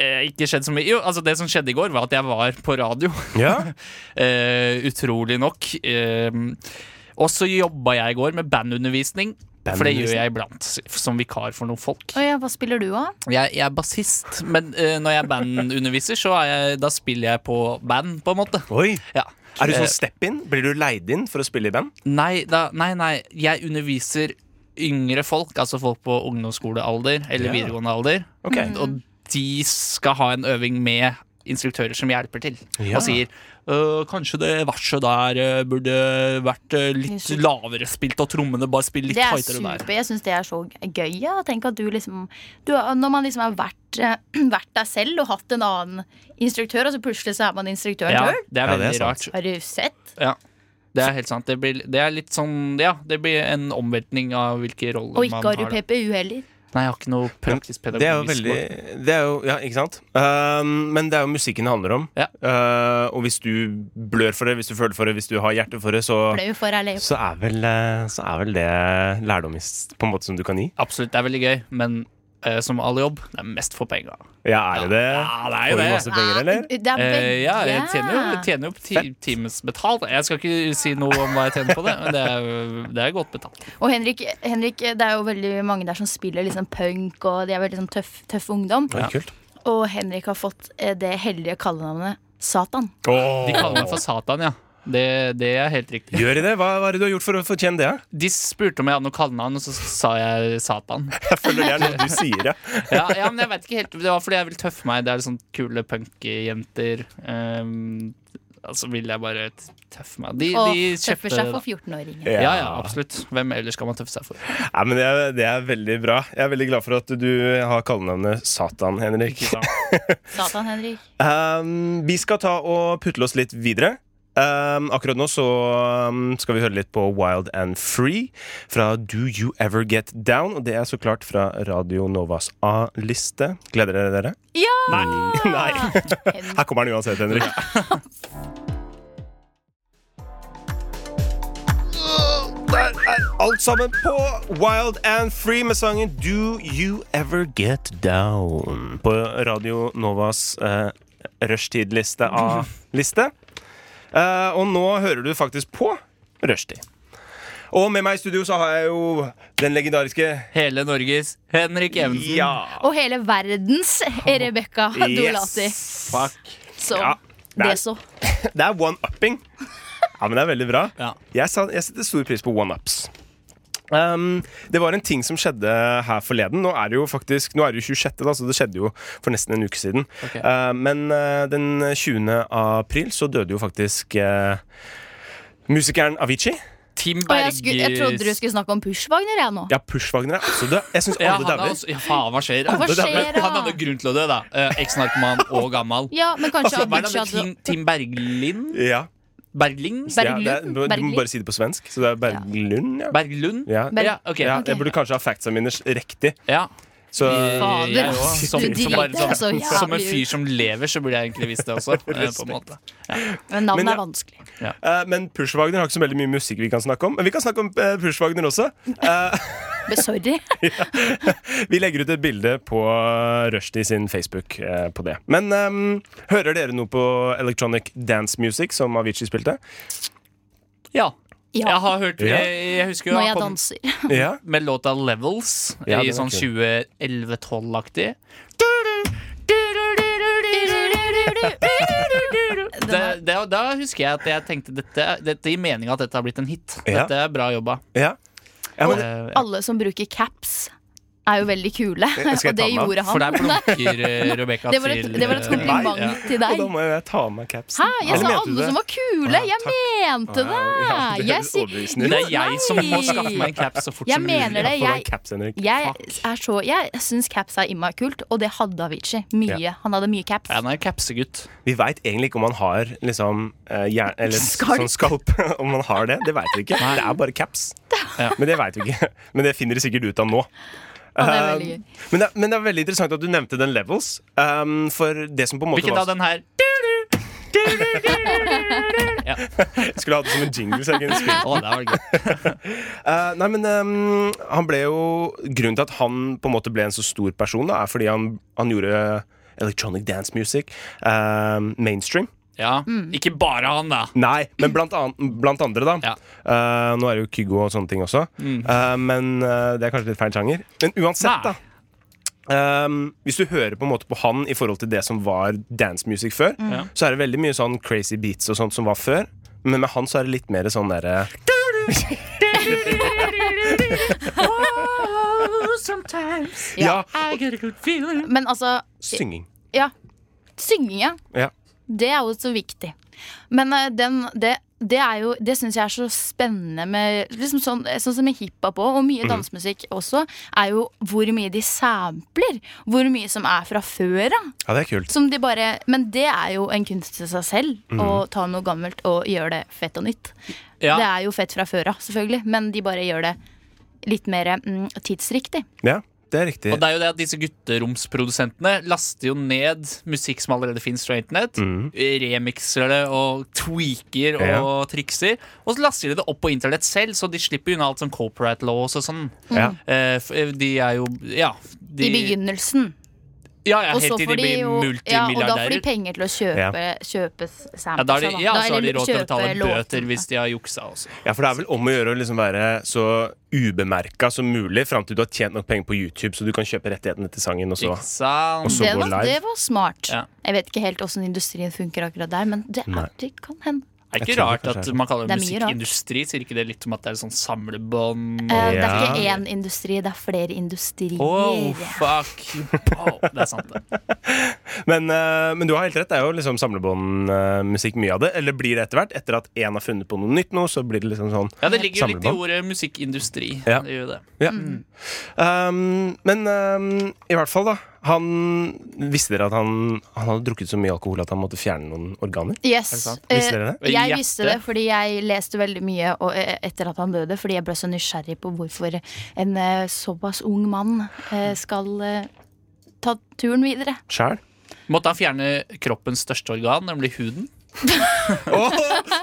[SPEAKER 3] eh, ikke skjedd så mye. Jo, altså det som skjedde i går, var at jeg var på radio.
[SPEAKER 2] Ja,
[SPEAKER 3] Eh, utrolig nok. Eh, og så jobba jeg i går med bandundervisning. For det gjør jeg iblant, som vikar for noen folk.
[SPEAKER 4] Å ja, hva spiller du av?
[SPEAKER 3] Jeg, jeg er bassist, men eh, når jeg er bandunderviser, så er jeg, da spiller jeg på band, på en måte.
[SPEAKER 2] Oi.
[SPEAKER 3] Ja.
[SPEAKER 2] Er du
[SPEAKER 3] Eh,
[SPEAKER 2] sånn step-in? Blir du leid inn for å spille i band?
[SPEAKER 3] Nei, da, nei, nei, jeg underviser yngre folk, altså folk på ungdomsskolealder eller
[SPEAKER 2] Ja.
[SPEAKER 3] videregående alder.
[SPEAKER 2] Ok.
[SPEAKER 3] Og de skal ha en øving med instruktører som hjelper til,
[SPEAKER 2] Ja.
[SPEAKER 3] og sier «Øh, kanskje det verset der øh, burde vært øh, litt
[SPEAKER 4] Yes.
[SPEAKER 3] lavere spilt, og trommene bare spille litt
[SPEAKER 4] Det er
[SPEAKER 3] tightere der.
[SPEAKER 4] super. Jeg syns det er så gøy. Ja. Tenk at du liksom du, har- Når man liksom har vært, eh, vært deg selv og hatt en annen instruktør, og så plutselig så er man instruktøren
[SPEAKER 3] Ja,
[SPEAKER 4] sjøl.
[SPEAKER 2] Ja,
[SPEAKER 3] det er
[SPEAKER 2] det er
[SPEAKER 3] veldig
[SPEAKER 2] sant.
[SPEAKER 3] rart.
[SPEAKER 4] Har du sett?
[SPEAKER 3] Ja. Det er helt sant. Det, blir, det er litt sånn Ja, det blir en omveltning av hvilke roller
[SPEAKER 4] Og
[SPEAKER 3] man
[SPEAKER 4] ikke
[SPEAKER 3] har.
[SPEAKER 4] har du
[SPEAKER 3] da.
[SPEAKER 4] PPU heller.
[SPEAKER 3] Nei, jeg har ikke noe praktisk
[SPEAKER 2] Det er jo
[SPEAKER 3] pedagogisk
[SPEAKER 2] veldig det er jo, Ja, ikke sant? Ehm, men det er jo musikken det handler om.
[SPEAKER 3] Ja.
[SPEAKER 2] Eh, og hvis du blør for det, hvis du føler for det, hvis du har hjerte for det, så,
[SPEAKER 3] Ah.
[SPEAKER 4] Ble jo for ærlig.
[SPEAKER 2] så, er, vel, eh, så er vel det lærdom i s- på en måte som du kan gi.
[SPEAKER 3] Absolutt, det er veldig gøy, men eh, som all jobb, det er mest for penga.
[SPEAKER 2] Ja, er det det?
[SPEAKER 3] Ja, det er jo
[SPEAKER 2] Får du
[SPEAKER 3] det.
[SPEAKER 2] masse penger, eller?
[SPEAKER 4] Det er begge.
[SPEAKER 3] Eh, ja, jeg tjener jo, jeg tjener jo på ti, timesbetalt. Jeg skal ikke si noe om hva jeg tjener på det, men det er, det er godt betalt.
[SPEAKER 4] Og Henrik, Henrik, det er jo veldig mange der som spiller liksom punk, og de er veldig sånn tøff, tøff ungdom.
[SPEAKER 2] Oi, kult.
[SPEAKER 4] Og Henrik har fått eh, det heldige kallenavnet Satan.
[SPEAKER 2] Åh.
[SPEAKER 3] De kaller meg for Satan, ja. Det, det er helt riktig.
[SPEAKER 2] Gjør de det? Hva, hva er det du har gjort for å fortjene det?
[SPEAKER 3] De spurte om jeg hadde noe kallenavn, og så sa jeg Satan.
[SPEAKER 2] Jeg føler det er noe du sier, ja.
[SPEAKER 3] Ja, ja, men jeg vet ikke helt Det var fordi jeg vil tøffe meg. Det er sånn kule punkjenter. Um, altså vil jeg bare t- tøffe meg. De,
[SPEAKER 4] Og
[SPEAKER 3] de kjøpte
[SPEAKER 4] tøffer seg
[SPEAKER 3] det. da.
[SPEAKER 4] for 14-åringen.
[SPEAKER 3] Ja, ja, absolutt. Hvem ellers skal man tøffe seg for?
[SPEAKER 2] Nei, men det er, det er veldig bra. Jeg er veldig glad for at du har kallenavnet Satan, Henrik.
[SPEAKER 3] Ikke sant?
[SPEAKER 4] Satan, Henrik.
[SPEAKER 2] Um, vi skal ta og putle oss litt videre. Um, akkurat nå så um, skal vi høre litt på Wild and Free fra Do You Ever Get Down. Og det er så klart fra Radio Novas A-liste. Gleder dere dere?
[SPEAKER 4] Ja!
[SPEAKER 3] Mm.
[SPEAKER 2] Nei.
[SPEAKER 4] Henrik.
[SPEAKER 2] Her kommer den uansett, Henrik. Der er alt sammen på Wild and Free med sangen Do You Ever Get Down. På Radio Novas uh, rushtidliste A-liste. Eh, og nå hører du faktisk på rushtid. Og med meg i studio så har jeg jo den legendariske
[SPEAKER 3] Hele Norges Henrik Evensen.
[SPEAKER 2] Ja.
[SPEAKER 4] Og hele verdens Rebekka Dolati.
[SPEAKER 2] Yes.
[SPEAKER 3] Fuck.
[SPEAKER 4] Så
[SPEAKER 2] Ja.
[SPEAKER 4] det
[SPEAKER 2] Nei.
[SPEAKER 4] så.
[SPEAKER 2] Det er one-upping. Ja, men det er veldig bra.
[SPEAKER 3] Ja.
[SPEAKER 2] Jeg, sa, jeg setter stor pris på one-ups. Um, det var en ting som skjedde her forleden. Nå er det jo faktisk Nå er det jo 26., da, så det skjedde jo for nesten en uke siden.
[SPEAKER 3] Ok.
[SPEAKER 2] Uh, men uh, den 20. april så døde jo faktisk uh, musikeren Avicii.
[SPEAKER 3] Team
[SPEAKER 4] Og jeg,
[SPEAKER 3] Bergis
[SPEAKER 4] skulle, jeg trodde du skulle snakke om Pushwagner, jeg nå.
[SPEAKER 2] Ja, Pushwagner er også død. Jeg syns
[SPEAKER 3] ja,
[SPEAKER 2] alle
[SPEAKER 3] han er
[SPEAKER 2] dauer.
[SPEAKER 3] også, ja, faen, hva skjer?
[SPEAKER 4] Hva
[SPEAKER 2] det er
[SPEAKER 4] skjer
[SPEAKER 3] Men han
[SPEAKER 4] da?
[SPEAKER 3] hadde grunn til å dø, da. Eh, Eks-narkoman og gammal.
[SPEAKER 4] Ja, men kanskje
[SPEAKER 3] Altså, Hva er det
[SPEAKER 4] Avicii
[SPEAKER 3] med
[SPEAKER 4] hadde
[SPEAKER 3] Team, team Berglin?
[SPEAKER 2] Ja,
[SPEAKER 3] Bergling?
[SPEAKER 2] ja, det er,
[SPEAKER 4] Berglund?
[SPEAKER 2] du må
[SPEAKER 4] Berglund?
[SPEAKER 2] bare si det på svensk. Så det er Berglund, ja.
[SPEAKER 3] Berglund?
[SPEAKER 2] Ja,
[SPEAKER 4] Berg-
[SPEAKER 3] Ja, ok.
[SPEAKER 2] ja,
[SPEAKER 4] ok.
[SPEAKER 2] jeg burde kanskje ha factsa mine riktig.
[SPEAKER 3] Ja. Eh,
[SPEAKER 2] Så
[SPEAKER 4] Fader,
[SPEAKER 3] Jeg
[SPEAKER 4] ass.
[SPEAKER 3] også. Som,
[SPEAKER 4] Du
[SPEAKER 3] som,
[SPEAKER 4] driter
[SPEAKER 3] bare,
[SPEAKER 4] deg så
[SPEAKER 3] som, som en
[SPEAKER 4] jævlig
[SPEAKER 3] fyr
[SPEAKER 4] ut.
[SPEAKER 3] som lever, så burde jeg egentlig visst det også. eh, på en måte.
[SPEAKER 4] Men navnet
[SPEAKER 2] Men
[SPEAKER 4] er
[SPEAKER 2] ja.
[SPEAKER 4] vanskelig.
[SPEAKER 2] Eh, Men Pushwagner har ikke så veldig mye musikk vi kan snakke om. Men vi kan snakke om eh, Pushwagner også.
[SPEAKER 4] Men sorry.
[SPEAKER 2] Vi legger ut et bilde på eh, Rushdie sin Facebook eh, på det. Men ehm, hører dere noe på electronic dance music, som Avicii spilte?
[SPEAKER 3] Ja.
[SPEAKER 4] Ja.
[SPEAKER 3] Jeg har hørt
[SPEAKER 2] Ja.
[SPEAKER 3] Jeg, jeg husker jo
[SPEAKER 4] Når
[SPEAKER 3] han
[SPEAKER 4] jeg
[SPEAKER 3] kom
[SPEAKER 4] danser.
[SPEAKER 2] Ja.
[SPEAKER 3] med låta 'Levels'
[SPEAKER 2] Ja,
[SPEAKER 3] i
[SPEAKER 2] den var
[SPEAKER 3] sånn
[SPEAKER 2] kul.
[SPEAKER 3] 2011-12-aktig. Det, det, da husker jeg at jeg tenkte dette, dette gir mening at dette har blitt en hit.
[SPEAKER 2] Ja.
[SPEAKER 3] Dette er bra jobba.
[SPEAKER 2] ja. ja men,
[SPEAKER 3] Eh,
[SPEAKER 4] Alle som bruker caps, er jo veldig kule.
[SPEAKER 2] Eh, skal
[SPEAKER 4] Og
[SPEAKER 2] jeg ta
[SPEAKER 4] det
[SPEAKER 2] med?
[SPEAKER 4] gjorde
[SPEAKER 3] for der
[SPEAKER 4] han.
[SPEAKER 3] blunker eh, Rebekka
[SPEAKER 4] Det var
[SPEAKER 3] til
[SPEAKER 4] et, det var et
[SPEAKER 3] eh,
[SPEAKER 4] kompliment
[SPEAKER 3] ja.
[SPEAKER 4] til
[SPEAKER 2] og
[SPEAKER 4] deg.
[SPEAKER 2] da må jeg ta av meg capsen.
[SPEAKER 4] Hæ? Jeg
[SPEAKER 2] Eller
[SPEAKER 4] sa
[SPEAKER 2] mente du
[SPEAKER 4] alle
[SPEAKER 2] det?
[SPEAKER 4] som var kule!
[SPEAKER 2] Å ja,
[SPEAKER 4] Jeg
[SPEAKER 2] takk.
[SPEAKER 4] mente det!
[SPEAKER 2] Ja, det
[SPEAKER 4] Jeg
[SPEAKER 2] høres
[SPEAKER 4] sier-
[SPEAKER 2] overbevisende ut.
[SPEAKER 3] Det er jeg som må
[SPEAKER 4] Nei.
[SPEAKER 3] skaffe meg en cap så fort
[SPEAKER 4] Jeg
[SPEAKER 3] som mulig.
[SPEAKER 4] mener det.
[SPEAKER 2] Få deg
[SPEAKER 4] jeg-
[SPEAKER 2] caps, Henrik.
[SPEAKER 4] Jeg
[SPEAKER 3] Fuck.
[SPEAKER 4] er så Jeg syns caps er immakult, og det hadde Avicii. Mye. Han hadde mye caps.
[SPEAKER 3] Han er en capsegutt.
[SPEAKER 2] Vi veit egentlig ikke om han har liksom eh, jern, eller,
[SPEAKER 4] Skalp.
[SPEAKER 2] skalp. Sånn skalp. om han har det, det veit vi ikke. Det er bare caps.
[SPEAKER 3] Ja.
[SPEAKER 2] Men det veit vi ikke. Men det finner de sikkert ut av nå.
[SPEAKER 4] Ja, det er veldig gøy.
[SPEAKER 2] Um, men, det, er- men det er veldig interessant at du nevnte den levels. Um, for det som på en måte
[SPEAKER 3] Hvilken
[SPEAKER 2] var
[SPEAKER 3] av den her?
[SPEAKER 2] Jeg skulle ha det som en jingle. Så jeg kunne spille.
[SPEAKER 3] Å, det var gøy.
[SPEAKER 2] Eh, nei, men um, han ble jo Grunnen til at han på en måte ble en så stor person, da, er fordi han, han gjorde electronic dance music um, mainstream.
[SPEAKER 3] Ja.
[SPEAKER 4] Mm.
[SPEAKER 3] Ikke bare han, da.
[SPEAKER 2] Nei, men blant, an blant andre, da.
[SPEAKER 3] Ja. Mm.
[SPEAKER 2] Eh, nå er det jo Kygo og sånne ting også. Eh, men eh, det er kanskje litt feil sjanger. Men uansett, da.
[SPEAKER 3] Nei.
[SPEAKER 2] ehm, hvis du hører på en måte på han i forhold til det som var dance music før,
[SPEAKER 3] Mm. Ja.
[SPEAKER 2] så er det veldig mye sånn crazy beats og sånt som var før. Men med han så er det litt mer sånn derre Ja,
[SPEAKER 4] Men altså
[SPEAKER 2] synging.
[SPEAKER 4] Ja. Synginga.
[SPEAKER 2] Ja.
[SPEAKER 4] Det er jo så viktig. Men eh, den, det det, er jo- det syns jeg er så spennende med liksom sånn, sånn som med hiphop òg, og
[SPEAKER 3] Mhm.
[SPEAKER 4] mye dansemusikk også, er jo hvor mye de sampler. Hvor mye som er fra før av.
[SPEAKER 2] Ja, det er kult.
[SPEAKER 4] Som de bare, men det er jo en kunst i seg selv, å ta noe gammelt og gjøre det fett og nytt.
[SPEAKER 3] Mhm. Ja.
[SPEAKER 4] Det er jo fett fra før av, selvfølgelig, men de bare gjør det litt mer mm, tidsriktig.
[SPEAKER 2] Ja, det er riktig.
[SPEAKER 3] Og det er jo det at disse gutteromsprodusentene laster jo ned musikk som allerede fins fra internett. Remixer det og tweaker og
[SPEAKER 2] Mm. Ja.
[SPEAKER 3] trikser. Og så laster de det opp på internett selv, så de slipper unna alt som corporate laws og sånn.
[SPEAKER 2] ja.
[SPEAKER 3] Eh, f- eh, de er jo Ja. De,
[SPEAKER 4] I begynnelsen.
[SPEAKER 3] Ja, ja,
[SPEAKER 4] Og
[SPEAKER 3] helt
[SPEAKER 4] så
[SPEAKER 3] til
[SPEAKER 4] får
[SPEAKER 3] de
[SPEAKER 4] de
[SPEAKER 3] blir
[SPEAKER 4] jo ja, Og da får de
[SPEAKER 3] multimilliardærer.
[SPEAKER 4] penger til å kjøpe, kjøpe
[SPEAKER 3] Ja, da er de,
[SPEAKER 4] samples.
[SPEAKER 3] ja,
[SPEAKER 4] da,
[SPEAKER 3] så har de
[SPEAKER 4] eller
[SPEAKER 3] råd til å
[SPEAKER 4] kjøpe
[SPEAKER 3] betale
[SPEAKER 4] låten.
[SPEAKER 3] bøter hvis de har juksa også.
[SPEAKER 2] Ja, for det er vel om å gjøre å liksom være så ubemerka som mulig fram til du har tjent nok penger på YouTube, så du kan kjøpe rettighetene til sangen. Og så.
[SPEAKER 3] Ikke sant?
[SPEAKER 2] Og så-
[SPEAKER 4] det,
[SPEAKER 2] går
[SPEAKER 4] var,
[SPEAKER 2] live.
[SPEAKER 4] det var smart.
[SPEAKER 3] Ja.
[SPEAKER 4] Jeg vet ikke helt åssen industrien funker akkurat der, men det,
[SPEAKER 2] Nei.
[SPEAKER 4] er, det kan hende.
[SPEAKER 3] Det er
[SPEAKER 2] Jeg tror
[SPEAKER 3] ikke
[SPEAKER 2] det
[SPEAKER 3] rart
[SPEAKER 2] kanskje
[SPEAKER 3] at
[SPEAKER 2] er det.
[SPEAKER 3] man kaller det
[SPEAKER 4] Det er mye rart.
[SPEAKER 3] musikkindustri. Sier ikke det litt om at det er sånn samlebånd?
[SPEAKER 4] Eh,
[SPEAKER 3] og-
[SPEAKER 4] Det er ikke
[SPEAKER 2] Ja.
[SPEAKER 4] én industri, det er flere industrier.
[SPEAKER 3] Oh, fuck you. Wow, det er sant, det.
[SPEAKER 2] Men, eh, men du har helt rett, det er jo liksom samlebåndmusikk mye av det. Eller blir det etter hvert? Etter at én har funnet på noe nytt nå, så blir det liksom sånn.
[SPEAKER 3] Ja, det ligger jo litt i
[SPEAKER 2] Samlebånd.
[SPEAKER 3] ordet musikkindustri.
[SPEAKER 2] Ja.
[SPEAKER 3] Det gjør jo det.
[SPEAKER 2] Ja. Um, men um, i hvert fall, da. Han Visste dere at han, han hadde drukket så mye alkohol at han måtte fjerne noen organer?
[SPEAKER 4] Yes.
[SPEAKER 3] Er det sant?
[SPEAKER 4] Eh,
[SPEAKER 2] Visste dere det?
[SPEAKER 4] Jeg
[SPEAKER 3] Hjertet.
[SPEAKER 4] visste det fordi jeg leste veldig mye og, eh, etter at han døde, fordi jeg ble så nysgjerrig på hvorfor en eh, såpass ung mann eh, skal eh, ta turen videre.
[SPEAKER 2] Sjæl?
[SPEAKER 3] Måtte han fjerne kroppens største organ, nemlig huden?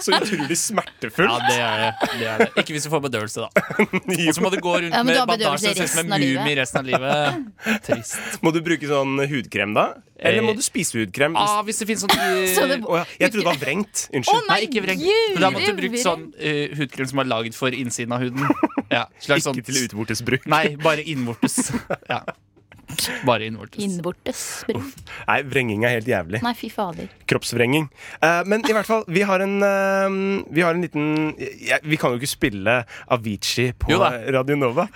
[SPEAKER 2] så utrolig
[SPEAKER 3] Ja,
[SPEAKER 2] smertefullt!
[SPEAKER 3] det er det. det, er det. Ikke hvis du får bedøvelse, da. Og så må du gå rundt
[SPEAKER 4] Ja, men
[SPEAKER 3] med
[SPEAKER 4] du har bedøvelse
[SPEAKER 3] bandasje og se ut som
[SPEAKER 4] resten
[SPEAKER 3] en
[SPEAKER 4] av livet.
[SPEAKER 3] mumie resten av livet. Trist.
[SPEAKER 2] Må du bruke sånn hudkrem, da? Eller må du spise hudkrem?
[SPEAKER 3] Eh, Ah, hvis det finnes sånn
[SPEAKER 4] Så det-
[SPEAKER 3] eh,
[SPEAKER 2] Å ja. Jeg trodde det var vrengt. Unnskyld.
[SPEAKER 3] Nei, ikke vreng.
[SPEAKER 4] Gud,
[SPEAKER 3] Men da måtte du brukt
[SPEAKER 4] vreng.
[SPEAKER 3] sånn eh, hudkrem som er laget for innsiden av huden. Ja, slags sånn
[SPEAKER 2] Ikke til utvortes bruk.
[SPEAKER 3] Nei, bare innvortes. Ja. Bare innvortes.
[SPEAKER 4] Innvortes bruk.
[SPEAKER 2] Nei, vrenging er helt jævlig.
[SPEAKER 4] Nei, fy fader.
[SPEAKER 2] Kroppsvrenging. Eh, men i hvert fall, vi har en, eh, vi har en liten jeg- Vi kan jo ikke spille Avicii på
[SPEAKER 3] Jo da.
[SPEAKER 2] Radio Nova.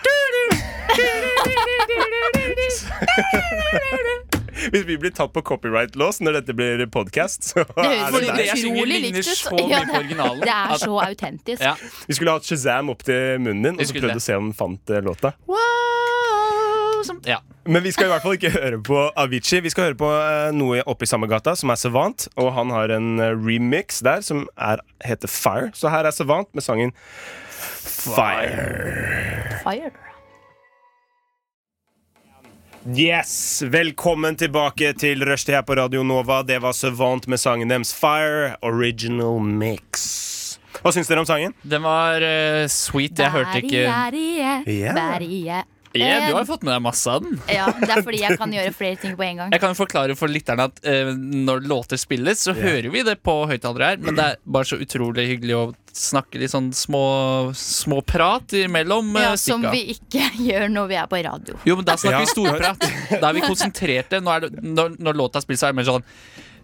[SPEAKER 2] Hvis vi blir tatt på copyright-lås når dette blir podkast, så er
[SPEAKER 4] høres
[SPEAKER 2] det
[SPEAKER 3] Fordi
[SPEAKER 4] jo
[SPEAKER 2] der.
[SPEAKER 3] det jeg synger
[SPEAKER 4] utrolig
[SPEAKER 3] ligner
[SPEAKER 4] likt ut.
[SPEAKER 3] så mye
[SPEAKER 4] Ja,
[SPEAKER 3] på originalen.
[SPEAKER 4] Det er
[SPEAKER 3] at-
[SPEAKER 4] så autentisk.
[SPEAKER 3] Ja.
[SPEAKER 2] Vi skulle hatt Shazam opp til munnen din og
[SPEAKER 3] Vi
[SPEAKER 2] så
[SPEAKER 3] skulle
[SPEAKER 2] prøvd
[SPEAKER 3] det.
[SPEAKER 2] å se om den fant eh, låta.
[SPEAKER 3] Wow, som, ja.
[SPEAKER 2] Men vi skal i hvert fall ikke høre på Avicii. Vi skal høre på eh, noe oppe i samme gata, som er Savant. Og han har en eh, remix der som er, heter Fire. Så her er Savant med sangen Fire.
[SPEAKER 4] Fire.
[SPEAKER 2] Yes! Velkommen tilbake til Rushtid her på Radio Nova. Det var Savant med sangen deres Fire. Original mix. Hva syns dere om sangen?
[SPEAKER 3] Den var eh, sweet. Jeg hørte ikke
[SPEAKER 2] Ja.
[SPEAKER 4] Bærie, bærie. Eh,
[SPEAKER 3] Ja, Du har jo fått med deg masse av den.
[SPEAKER 4] e. Ja, det er fordi jeg kan gjøre flere ting på en gang.
[SPEAKER 3] Jeg kan jo forklare for lytterne at eh, når låter spilles, så hører vi det på høyttalere her, men det er bare så utrolig hyggelig å snakke litt sånn små, små prat imellom eh,
[SPEAKER 4] Ja, som
[SPEAKER 3] stikka.
[SPEAKER 4] vi ikke gjør når vi er på radio.
[SPEAKER 3] Jo, men da snakker
[SPEAKER 2] Ja.
[SPEAKER 3] vi storprat. Da er vi konsentrerte. Nå er det, når, når låta spilles, så er det mer sånn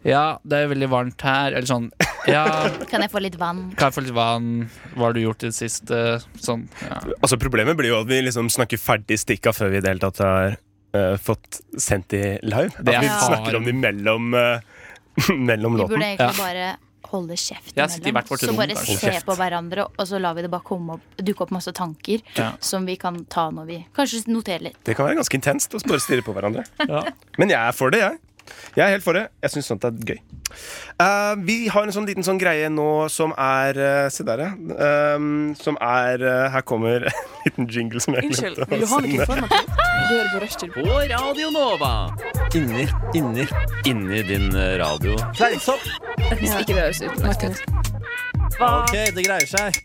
[SPEAKER 3] Ja, det er veldig varmt her. Eller sånn Ja,
[SPEAKER 4] Kan jeg få litt vann?
[SPEAKER 3] kan jeg få litt vann? Hva har du gjort i det siste? Sånn. Ja.
[SPEAKER 2] Altså Problemet blir jo at vi liksom snakker ferdig stikka før vi i det hele tatt har eh, fått sendt de live.
[SPEAKER 3] Det
[SPEAKER 2] At vi
[SPEAKER 3] er
[SPEAKER 2] snakker
[SPEAKER 3] faren.
[SPEAKER 2] om de mellom, eh, mellom
[SPEAKER 4] Vi
[SPEAKER 2] låten.
[SPEAKER 4] burde egentlig bare holde kjeft
[SPEAKER 3] Ja, sitte i hvert
[SPEAKER 4] imellom.
[SPEAKER 3] vårt
[SPEAKER 4] Så
[SPEAKER 3] rom,
[SPEAKER 4] bare
[SPEAKER 3] kanskje.
[SPEAKER 4] se
[SPEAKER 2] Kjeft.
[SPEAKER 4] på hverandre, og så lar vi det bare komme opp, dukke opp masse tanker
[SPEAKER 3] Ja.
[SPEAKER 4] som vi kan ta når vi Kanskje notere litt.
[SPEAKER 2] Det kan være ganske intenst å bare stirre på hverandre. Men jeg er for det, jeg. Jeg er helt for det. Jeg syns sånt er gøy. Eh, vi har en sånn liten sånn greie nå som er eh, Se der, ja. Eh, som er eh, Her kommer en liten jingle som jeg
[SPEAKER 5] Unnskyld,
[SPEAKER 2] glemte
[SPEAKER 5] vil du
[SPEAKER 2] å
[SPEAKER 5] ha noe
[SPEAKER 2] sende.
[SPEAKER 5] informativt? Du hører på Rushtid.
[SPEAKER 6] på Radio Nova. Inni, inni, inni din eh, radio. Fleinsopp!
[SPEAKER 5] Hvis ikke det høres ut. Martin.
[SPEAKER 6] Ok, det greier seg.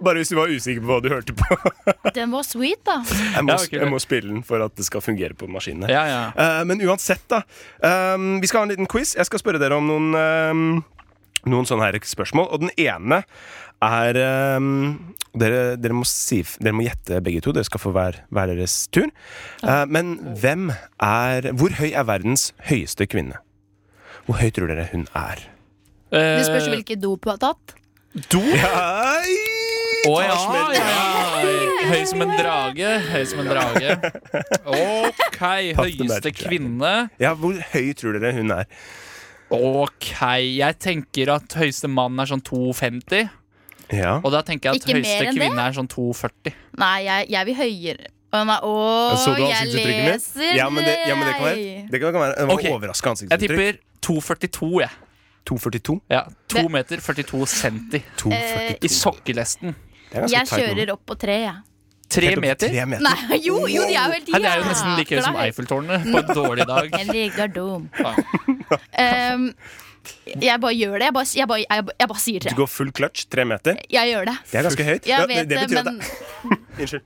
[SPEAKER 2] Bare hvis du var usikker på hva du hørte på.
[SPEAKER 4] Den var sweet, da.
[SPEAKER 2] Jeg må,
[SPEAKER 3] Ja, ok,
[SPEAKER 2] jeg må spille den for at det skal fungere på maskinene.
[SPEAKER 3] Ja, ja.
[SPEAKER 2] Eh, men uansett, da. ehm, vi skal ha en liten quiz. Jeg skal spørre dere om noen, ehm, noen sånne her spørsmål. Og den ene er ehm, dere, dere, må si, f- dere må gjette begge to. Dere skal få hver, hver deres tur. Eh, men hvem er Hvor høy er verdens høyeste kvinne? Hvor høy tror dere hun er? Eh,
[SPEAKER 4] Det spørs hvilket dop du har tatt.
[SPEAKER 3] Eh, do.
[SPEAKER 2] Hei!
[SPEAKER 3] Å
[SPEAKER 2] Ta
[SPEAKER 3] ja,
[SPEAKER 2] smell.
[SPEAKER 3] ja. Høy som en drage. Høy som en drage. OK, høyeste kvinne.
[SPEAKER 2] ja, hvor høy tror dere hun er?
[SPEAKER 3] OK, jeg tenker at høyeste mann er sånn 2,50.
[SPEAKER 2] Ja.
[SPEAKER 3] Og da tenker jeg at
[SPEAKER 4] Ikke mer
[SPEAKER 3] høyeste
[SPEAKER 4] enn det?
[SPEAKER 3] kvinne er sånn 2,40.
[SPEAKER 4] Nei, jeg, jeg vil høyere. Å, nei, å,
[SPEAKER 2] Så du
[SPEAKER 4] jeg
[SPEAKER 2] ansiktsuttrykket mitt?
[SPEAKER 4] leser
[SPEAKER 2] Ja, men det, ja, men det kan være Det kan være
[SPEAKER 3] Ok.
[SPEAKER 2] okay. overraskende
[SPEAKER 3] Jeg
[SPEAKER 2] ansiktsuttrykk.
[SPEAKER 3] tipper 2,42, jeg.
[SPEAKER 2] 2,42.
[SPEAKER 3] Ja, 2
[SPEAKER 4] Det-
[SPEAKER 3] meter 42 centi.
[SPEAKER 2] 2,42.
[SPEAKER 3] I sokkelesten.
[SPEAKER 2] Det er ganske
[SPEAKER 4] Eh, Jeg
[SPEAKER 2] tight nummer.
[SPEAKER 4] kjører opp på tre, jeg.
[SPEAKER 3] Tre
[SPEAKER 2] Helt opp til
[SPEAKER 3] meter?
[SPEAKER 2] Tre meter.
[SPEAKER 4] Nei, jo, jo, de er jo helt
[SPEAKER 3] Her, det er jo nesten like høye som
[SPEAKER 4] jækla høye.
[SPEAKER 3] Eiffeltårnet på en dårlig dag.
[SPEAKER 4] Jeg liker dum. Ehm, jeg bare gjør det. Jeg bare, jeg bare, jeg bare, jeg bare sier
[SPEAKER 2] Du
[SPEAKER 4] tre.
[SPEAKER 2] går full clutch, tre meter.
[SPEAKER 4] Jeg gjør det.
[SPEAKER 2] Det er ganske høyt.
[SPEAKER 4] Jeg
[SPEAKER 2] Ja,
[SPEAKER 4] vet
[SPEAKER 2] det, det
[SPEAKER 4] det,
[SPEAKER 2] betyr
[SPEAKER 4] men
[SPEAKER 2] at det, Unnskyld.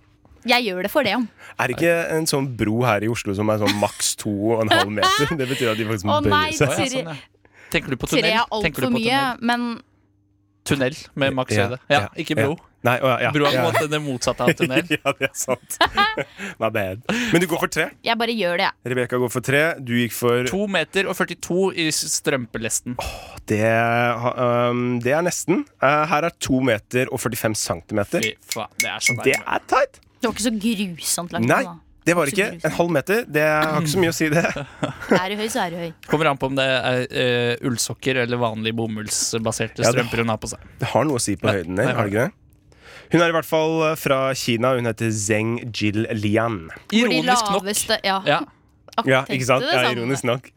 [SPEAKER 4] jeg gjør det for det, om.
[SPEAKER 2] Er det ikke en sånn bro her i Oslo som er sånn maks 2,5 meter? Det betyr at de faktisk må
[SPEAKER 4] Å nei,
[SPEAKER 2] bøye
[SPEAKER 3] Å,
[SPEAKER 2] seg.
[SPEAKER 3] ja, sånn, ja. Tenker du på
[SPEAKER 4] Tre
[SPEAKER 3] tunnel?
[SPEAKER 4] er altfor
[SPEAKER 3] Tenker du på
[SPEAKER 4] mye,
[SPEAKER 3] tunnel?
[SPEAKER 4] men
[SPEAKER 3] Tunnel med maks
[SPEAKER 2] Ja,
[SPEAKER 3] høyde.
[SPEAKER 2] ja,
[SPEAKER 3] Ja, ikke bro.
[SPEAKER 2] Nei, å, ja, ja.
[SPEAKER 3] Bro er på en
[SPEAKER 2] ja.
[SPEAKER 3] måte det motsatte av tunnel.
[SPEAKER 2] Ja, det er sant. My bad. Men du går for tre.
[SPEAKER 4] jeg bare gjør det, jeg.
[SPEAKER 2] Rebekka går for tre. Du gikk for
[SPEAKER 3] 2 meter og 42 i strømpelesten.
[SPEAKER 2] Det, ha- um, det er nesten. Eh, her er to meter og 45 centimeter.
[SPEAKER 3] Fy faen, det er så
[SPEAKER 2] Det
[SPEAKER 3] nærme.
[SPEAKER 2] er tight.
[SPEAKER 4] Det var ikke så grusomt langt.
[SPEAKER 2] Nei,
[SPEAKER 4] da.
[SPEAKER 2] det var ikke en halv meter. Det har ikke så mye å si, det.
[SPEAKER 4] Er du høy, så er du høy.
[SPEAKER 3] Kommer an på om det er eh, ullsokker eller vanlige bomullsbaserte
[SPEAKER 2] Ja, det-
[SPEAKER 3] strømper hun har på seg.
[SPEAKER 2] Det har noe å si på
[SPEAKER 3] Ja,
[SPEAKER 2] høyden din,
[SPEAKER 3] det har
[SPEAKER 2] har det ikke det? Hun er i hvert fall eh, fra Kina. Hun heter Zeng Jill Lian.
[SPEAKER 4] For de
[SPEAKER 3] Ironisk nok.
[SPEAKER 4] laveste, ja.
[SPEAKER 3] Ja,
[SPEAKER 4] Ak-
[SPEAKER 2] Ja,
[SPEAKER 4] tenkte
[SPEAKER 2] ikke sant?
[SPEAKER 4] det
[SPEAKER 2] Ja,
[SPEAKER 4] samme.
[SPEAKER 2] ironisk nok.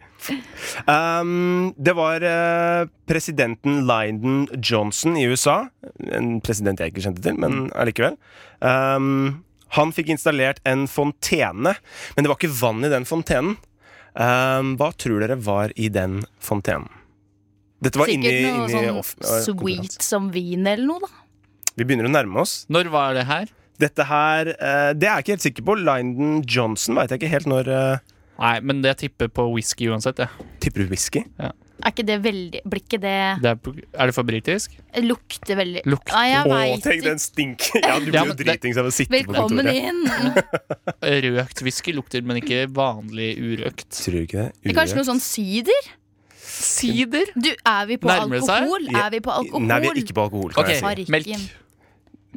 [SPEAKER 2] Um, det var eh, presidenten Lyndon Johnson i USA. En president jeg ikke kjente til, men allikevel. Um, han fikk installert en fontene, men det var ikke vann i den fontenen. Um, hva tror dere var i den fontenen? Dette var inni,
[SPEAKER 4] Sikkert noe
[SPEAKER 2] inni
[SPEAKER 4] sånn
[SPEAKER 2] off- eh, konferanse.
[SPEAKER 4] sweet som vin eller noe, da.
[SPEAKER 2] Vi begynner å nærme oss.
[SPEAKER 3] Når var det her?
[SPEAKER 2] Dette her eh, Det er jeg ikke helt sikker på. Lyndon Johnson veit jeg ikke helt når eh,
[SPEAKER 3] Nei, men det tipper på whisky uansett. Ja.
[SPEAKER 2] Tipper du whisky?
[SPEAKER 4] Er ikke det veldig Blir ikke det
[SPEAKER 3] Det er, på, er det for britisk?
[SPEAKER 4] Lukter veldig
[SPEAKER 3] Lukter.
[SPEAKER 4] Nei, jeg
[SPEAKER 2] Å,
[SPEAKER 4] vet
[SPEAKER 2] tenk
[SPEAKER 4] ikke.
[SPEAKER 2] den stinken! Ja, du
[SPEAKER 3] Ja,
[SPEAKER 2] blir jo
[SPEAKER 3] men det-
[SPEAKER 2] dritings av å sitte på
[SPEAKER 4] Velkommen
[SPEAKER 2] kontoret.
[SPEAKER 4] inn!
[SPEAKER 3] Røkt whisky lukter, men ikke vanlig urøkt.
[SPEAKER 2] Tror du ikke det?
[SPEAKER 4] Det er Kanskje noe sånn sider?
[SPEAKER 3] Sider?
[SPEAKER 4] Du, er vi på
[SPEAKER 3] Nærmer det seg?
[SPEAKER 4] alkohol?
[SPEAKER 2] Ja.
[SPEAKER 4] er vi på alkohol?
[SPEAKER 2] Nei, vi er ikke på alkohol. Kan
[SPEAKER 3] Ok,
[SPEAKER 2] jeg si.
[SPEAKER 4] Farriken.
[SPEAKER 3] melk.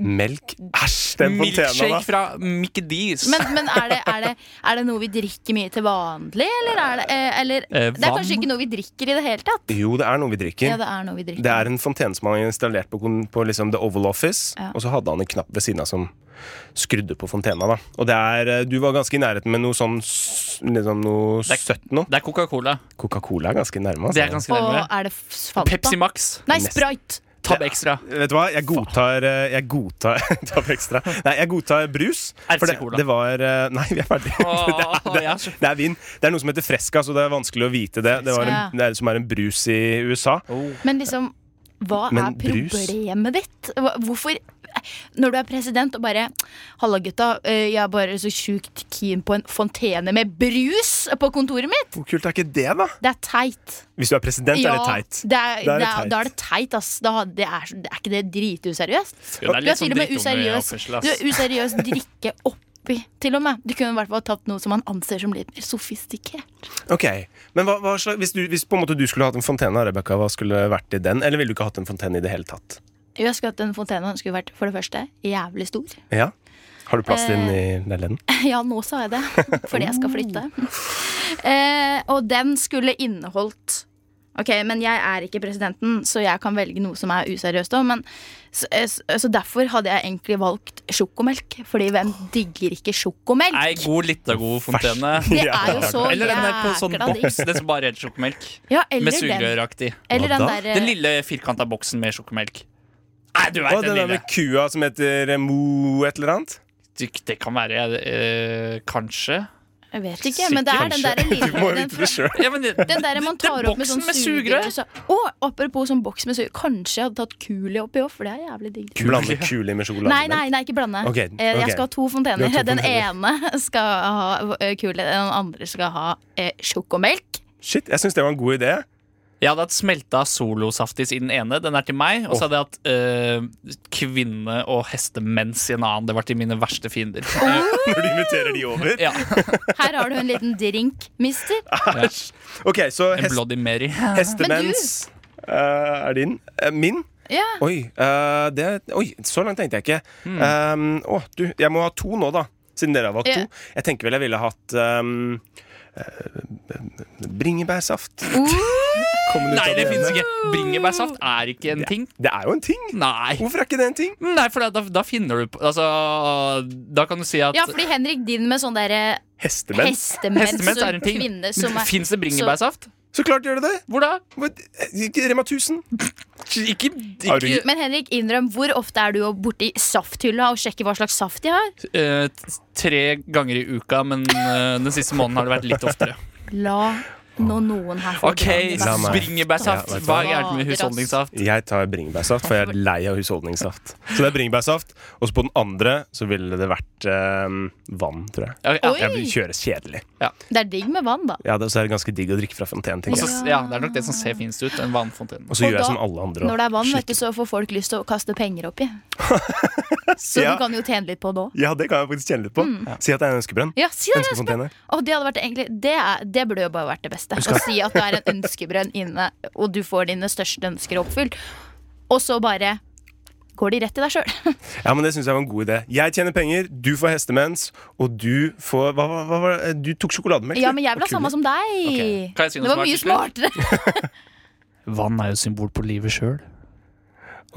[SPEAKER 2] Melk? Æsj, den fontena,
[SPEAKER 3] Milkshake
[SPEAKER 2] da!
[SPEAKER 3] fra Mickey D's.
[SPEAKER 4] Men, men er, det, er, det, er det noe vi drikker mye til vanlig, eller er det eh, eller,
[SPEAKER 3] Eh,
[SPEAKER 4] Det er
[SPEAKER 3] vann.
[SPEAKER 4] kanskje ikke noe vi drikker i det hele tatt?
[SPEAKER 2] Jo, det er noe vi drikker.
[SPEAKER 4] Ja, det er noe vi drikker.
[SPEAKER 2] det er en fontene som han har installert på, kon- på liksom The Oval Office.
[SPEAKER 4] Ja.
[SPEAKER 2] Og så hadde han en knapp ved siden av som skrudde på fontena. da Og det er, eh, Du var ganske i nærheten med noe sånn s- liksom noe
[SPEAKER 3] Det er-
[SPEAKER 2] søtt nå.
[SPEAKER 3] Det er Coca-Cola.
[SPEAKER 2] Coca-Cola er ganske nærme. altså.
[SPEAKER 3] Det er ganske
[SPEAKER 4] Og
[SPEAKER 3] nærme.
[SPEAKER 4] er det f- Fanta?
[SPEAKER 3] Pepsi Max.
[SPEAKER 4] Nei,
[SPEAKER 2] Nesten.
[SPEAKER 4] Sprite!
[SPEAKER 3] Tab Extra.
[SPEAKER 2] Vet du hva, jeg godtar eh, Jeg godtar, ta på ekstra. Nei, jeg godtar brus. For det,
[SPEAKER 3] RC-cola.
[SPEAKER 2] det var eh, Nei, vi er ferdige. det, er,
[SPEAKER 3] Åh,
[SPEAKER 2] det,
[SPEAKER 3] jeg er
[SPEAKER 2] er,
[SPEAKER 3] så-
[SPEAKER 2] det er vin. Det er noe som heter Fresca, så det er vanskelig å vite det. Det, var en, det er, som er en brus i USA.
[SPEAKER 3] Oh.
[SPEAKER 4] Men liksom, hva
[SPEAKER 2] Men
[SPEAKER 4] er
[SPEAKER 2] brus?
[SPEAKER 4] problemet ditt? Hva- Hvorfor når du er president og bare 'Halla, gutta. eh, Jeg er bare så sjukt keen på en fontene med brus på kontoret mitt.'
[SPEAKER 2] Hvor kult er ikke det, da?
[SPEAKER 4] Det er teit.
[SPEAKER 2] Hvis du er president, er det teit.
[SPEAKER 4] Det er,
[SPEAKER 2] Da er det
[SPEAKER 4] det er,
[SPEAKER 2] teit.
[SPEAKER 4] da er det teit, ass. Da, har- det er, så- det er ikke det drituseriøst?
[SPEAKER 3] Jo, det er
[SPEAKER 4] Du er til
[SPEAKER 3] litt sånn
[SPEAKER 4] og med
[SPEAKER 3] drittungeoppførsel,
[SPEAKER 4] useriøs. Du
[SPEAKER 3] ass.
[SPEAKER 4] er useriøs drikke oppi, til og med. Du kunne i hvert fall tatt noe som man anser som litt mer sofistikert.
[SPEAKER 2] Ok, Men hva, hva slags, hvis, du, hvis på en måte du skulle hatt en fontene, Rebekka, hva skulle vært i den? Eller ville du ikke hatt en fontene i det hele tatt?
[SPEAKER 4] Jo, Jeg skulle hatt en fontene. Den skulle vært for det første jævlig stor.
[SPEAKER 2] Ja Har du plass til den i
[SPEAKER 4] Eh.
[SPEAKER 2] leiligheten?
[SPEAKER 4] Ja, nå sa jeg det, fordi jeg skal flytte. Eh, og den skulle inneholdt Ok, men jeg er ikke presidenten, så jeg kan velge noe som er useriøst òg. Så, eh, s- så derfor hadde jeg egentlig valgt sjokomelk, fordi hvem digger ikke sjokomelk?
[SPEAKER 3] Nei, god Littagod fontene.
[SPEAKER 4] Det er jo så
[SPEAKER 3] Eller den der på sånn
[SPEAKER 4] jækla
[SPEAKER 3] boks,
[SPEAKER 4] digg.
[SPEAKER 3] det som bare heter sjokomelk.
[SPEAKER 4] Ja, eller
[SPEAKER 3] Med
[SPEAKER 4] den, Eh.
[SPEAKER 3] sugerøraktig.
[SPEAKER 4] eller den
[SPEAKER 2] Hva da?
[SPEAKER 4] derre
[SPEAKER 3] Den lille firkanta boksen med sjokomelk. Nei, du
[SPEAKER 2] Og den
[SPEAKER 3] veit den
[SPEAKER 2] der
[SPEAKER 3] lille.
[SPEAKER 2] med kua som heter eh, Mo et eller annet?
[SPEAKER 3] Du, Det kan være eh, kanskje.
[SPEAKER 4] Jeg vet ikke, men det er den derre
[SPEAKER 2] Sikkert, Du må
[SPEAKER 4] lille den
[SPEAKER 2] jo vite det
[SPEAKER 4] fra-
[SPEAKER 2] sjøl.
[SPEAKER 3] Ja, men det,
[SPEAKER 4] den der man
[SPEAKER 3] den
[SPEAKER 4] tar opp med sånn
[SPEAKER 3] boksen med
[SPEAKER 4] sugerør.
[SPEAKER 3] sugerør.
[SPEAKER 4] så- Å, apropos sånn boks med sugerør. Kanskje jeg hadde tatt Coolio oppi òg, for det er jævlig digg.
[SPEAKER 2] Blande kuli med sjokolade.
[SPEAKER 4] Nei, nei, nei, ikke blande.
[SPEAKER 2] Ok,
[SPEAKER 4] Eh,
[SPEAKER 2] ok.
[SPEAKER 4] Jeg skal ha to
[SPEAKER 2] Du
[SPEAKER 4] fontener.
[SPEAKER 2] har to
[SPEAKER 4] den
[SPEAKER 2] fontener.
[SPEAKER 4] ene skal ha eh, kule, den andre skal ha eh, sjokomelk.
[SPEAKER 2] Shit, jeg syns det var en god idé.
[SPEAKER 3] Jeg hadde hatt smelta solosaftis i den ene, den er til meg. Og så hadde jeg hatt eh, kvinne- og hestemens i en annen. Det var til mine verste fiender.
[SPEAKER 2] Når du inviterer de over.
[SPEAKER 3] Ja,
[SPEAKER 4] Her har du en liten drink, mister.
[SPEAKER 2] Ah. Æsj. Ok, så
[SPEAKER 3] En
[SPEAKER 2] hest,
[SPEAKER 3] Bloody Mary.
[SPEAKER 2] hestemens eh, er din. Eh, min?
[SPEAKER 4] Ja.
[SPEAKER 2] Oi, eh, det, oi, så langt tenkte jeg ikke.
[SPEAKER 3] Hmm.
[SPEAKER 2] Eh, Um, å, du, jeg må ha to nå, da. Siden dere har valgt
[SPEAKER 4] Ja.
[SPEAKER 2] to. Jeg tenker vel jeg ville hatt um, eh, bringebærsaft. Kommer ut
[SPEAKER 3] Nei,
[SPEAKER 2] av
[SPEAKER 3] det
[SPEAKER 2] ene.
[SPEAKER 3] fins ikke. Bringebærsaft er ikke en ting.
[SPEAKER 2] Det er jo en ting!
[SPEAKER 3] Nei.
[SPEAKER 2] Hvorfor er ikke det en ting?
[SPEAKER 3] Nei, for da, da finner du på Altså, da kan du si at
[SPEAKER 4] Ja, fordi Henrik, din med sånn derre
[SPEAKER 2] Hestemens.
[SPEAKER 4] hestemens
[SPEAKER 3] Hestemens er en
[SPEAKER 4] og
[SPEAKER 3] ting.
[SPEAKER 4] kvinne som er
[SPEAKER 3] Fins det bringebærsaft?
[SPEAKER 2] Så klart gjør det det!
[SPEAKER 3] Hvor da?
[SPEAKER 2] Hva- eh, Rema 1000.
[SPEAKER 3] Ikke,
[SPEAKER 2] Har du-
[SPEAKER 3] ikke
[SPEAKER 4] Men Henrik, innrøm, hvor ofte er du jo borti safthylla og sjekker hva slags saft de har?
[SPEAKER 3] eh, tre ganger i uka, men eh, den siste måneden har det vært litt oftere.
[SPEAKER 4] La nå noen her få
[SPEAKER 3] OK,
[SPEAKER 2] La meg-
[SPEAKER 3] bringebærsaft.
[SPEAKER 2] Ja, vet du
[SPEAKER 3] Hva
[SPEAKER 2] hva?
[SPEAKER 3] er gærent med husholdningssaft?
[SPEAKER 2] Jeg tar bringebærsaft, for jeg er lei av husholdningssaft. Så det er bringebærsaft. Og så på den andre så ville det vært eh, vann, tror jeg.
[SPEAKER 3] Ja, ja.
[SPEAKER 4] Oi.
[SPEAKER 2] Jeg vil kjøre kjedelig.
[SPEAKER 4] Det er digg med vann, da.
[SPEAKER 2] Ja, det, så er det ganske digg å drikke fra fontenen,
[SPEAKER 3] Og
[SPEAKER 2] tenker
[SPEAKER 3] så,
[SPEAKER 2] jeg.
[SPEAKER 3] ja, det er nok det som ser finest ut. En vannfontene.
[SPEAKER 2] Og så
[SPEAKER 4] Og
[SPEAKER 2] gjør jeg
[SPEAKER 4] da-
[SPEAKER 2] som alle andre. og
[SPEAKER 4] Når det er vann,
[SPEAKER 2] slikker.
[SPEAKER 4] vet du, så får folk lyst til å kaste penger oppi. Så du
[SPEAKER 2] Ja.
[SPEAKER 4] kan jo tjene litt på det òg.
[SPEAKER 2] Ja, det kan jeg faktisk kjenne litt på. Si at det er en ønskebrønn.
[SPEAKER 4] Ja, si det, Espen.
[SPEAKER 2] Ønskefontene.
[SPEAKER 4] Å, det, hadde vært egentlig, det, er, det burde jo bare vært det beste. Å si at du er en ønskebrønn inne, og du får dine største ønsker oppfylt, og så bare går de rett til deg sjøl.
[SPEAKER 2] Ja, men det syns jeg var en god idé. Jeg tjener penger, du får hestemens, og du får Hva, hva, hva var det? Du tok sjokolademelk?
[SPEAKER 4] Ja, men jeg vil
[SPEAKER 2] Og
[SPEAKER 4] ha samme
[SPEAKER 2] kuler.
[SPEAKER 4] som deg.
[SPEAKER 3] Ok. Kan jeg si noe
[SPEAKER 4] Det var
[SPEAKER 3] som er
[SPEAKER 4] mye
[SPEAKER 3] skikkelig?
[SPEAKER 4] smartere.
[SPEAKER 3] Vann er jo et symbol på livet sjøl.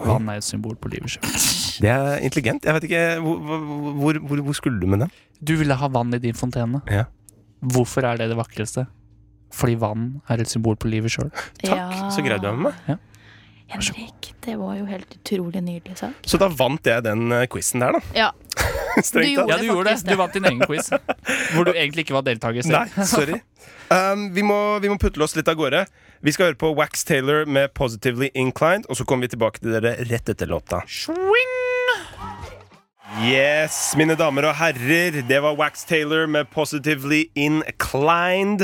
[SPEAKER 3] Vann er jo et symbol på livet sjøl.
[SPEAKER 2] Det er intelligent. Jeg vet ikke Hvor, hvor- hvor, hvor, hvor skulle du med den?
[SPEAKER 3] Du ville ha vann i din fontene.
[SPEAKER 2] Ja.
[SPEAKER 3] Hvorfor er det det vakreste? Fordi vann er et symbol på livet sjøl.
[SPEAKER 2] Takk, så greide du meg med meg.
[SPEAKER 4] Henrik, det var jo helt utrolig nydelig sagt.
[SPEAKER 2] Så da vant jeg den eh, quizen der, da.
[SPEAKER 4] Ja.
[SPEAKER 2] Strengt
[SPEAKER 4] Du
[SPEAKER 2] tatt.
[SPEAKER 3] Ja,
[SPEAKER 4] Det
[SPEAKER 3] du
[SPEAKER 4] er
[SPEAKER 3] gjorde
[SPEAKER 4] faktisk
[SPEAKER 3] det. Du vant din egen quiz. Hvor du egentlig ikke var deltaker selv.
[SPEAKER 2] Nei, sorry. Um, vi, må, vi må putle oss litt av gårde. Vi skal høre på Wax Taylor med 'Positively Inclined', og så kommer vi tilbake til dere rett etter låta. Yes, mine damer og herrer. Det var Wax Taylor med 'Positively Inclined'.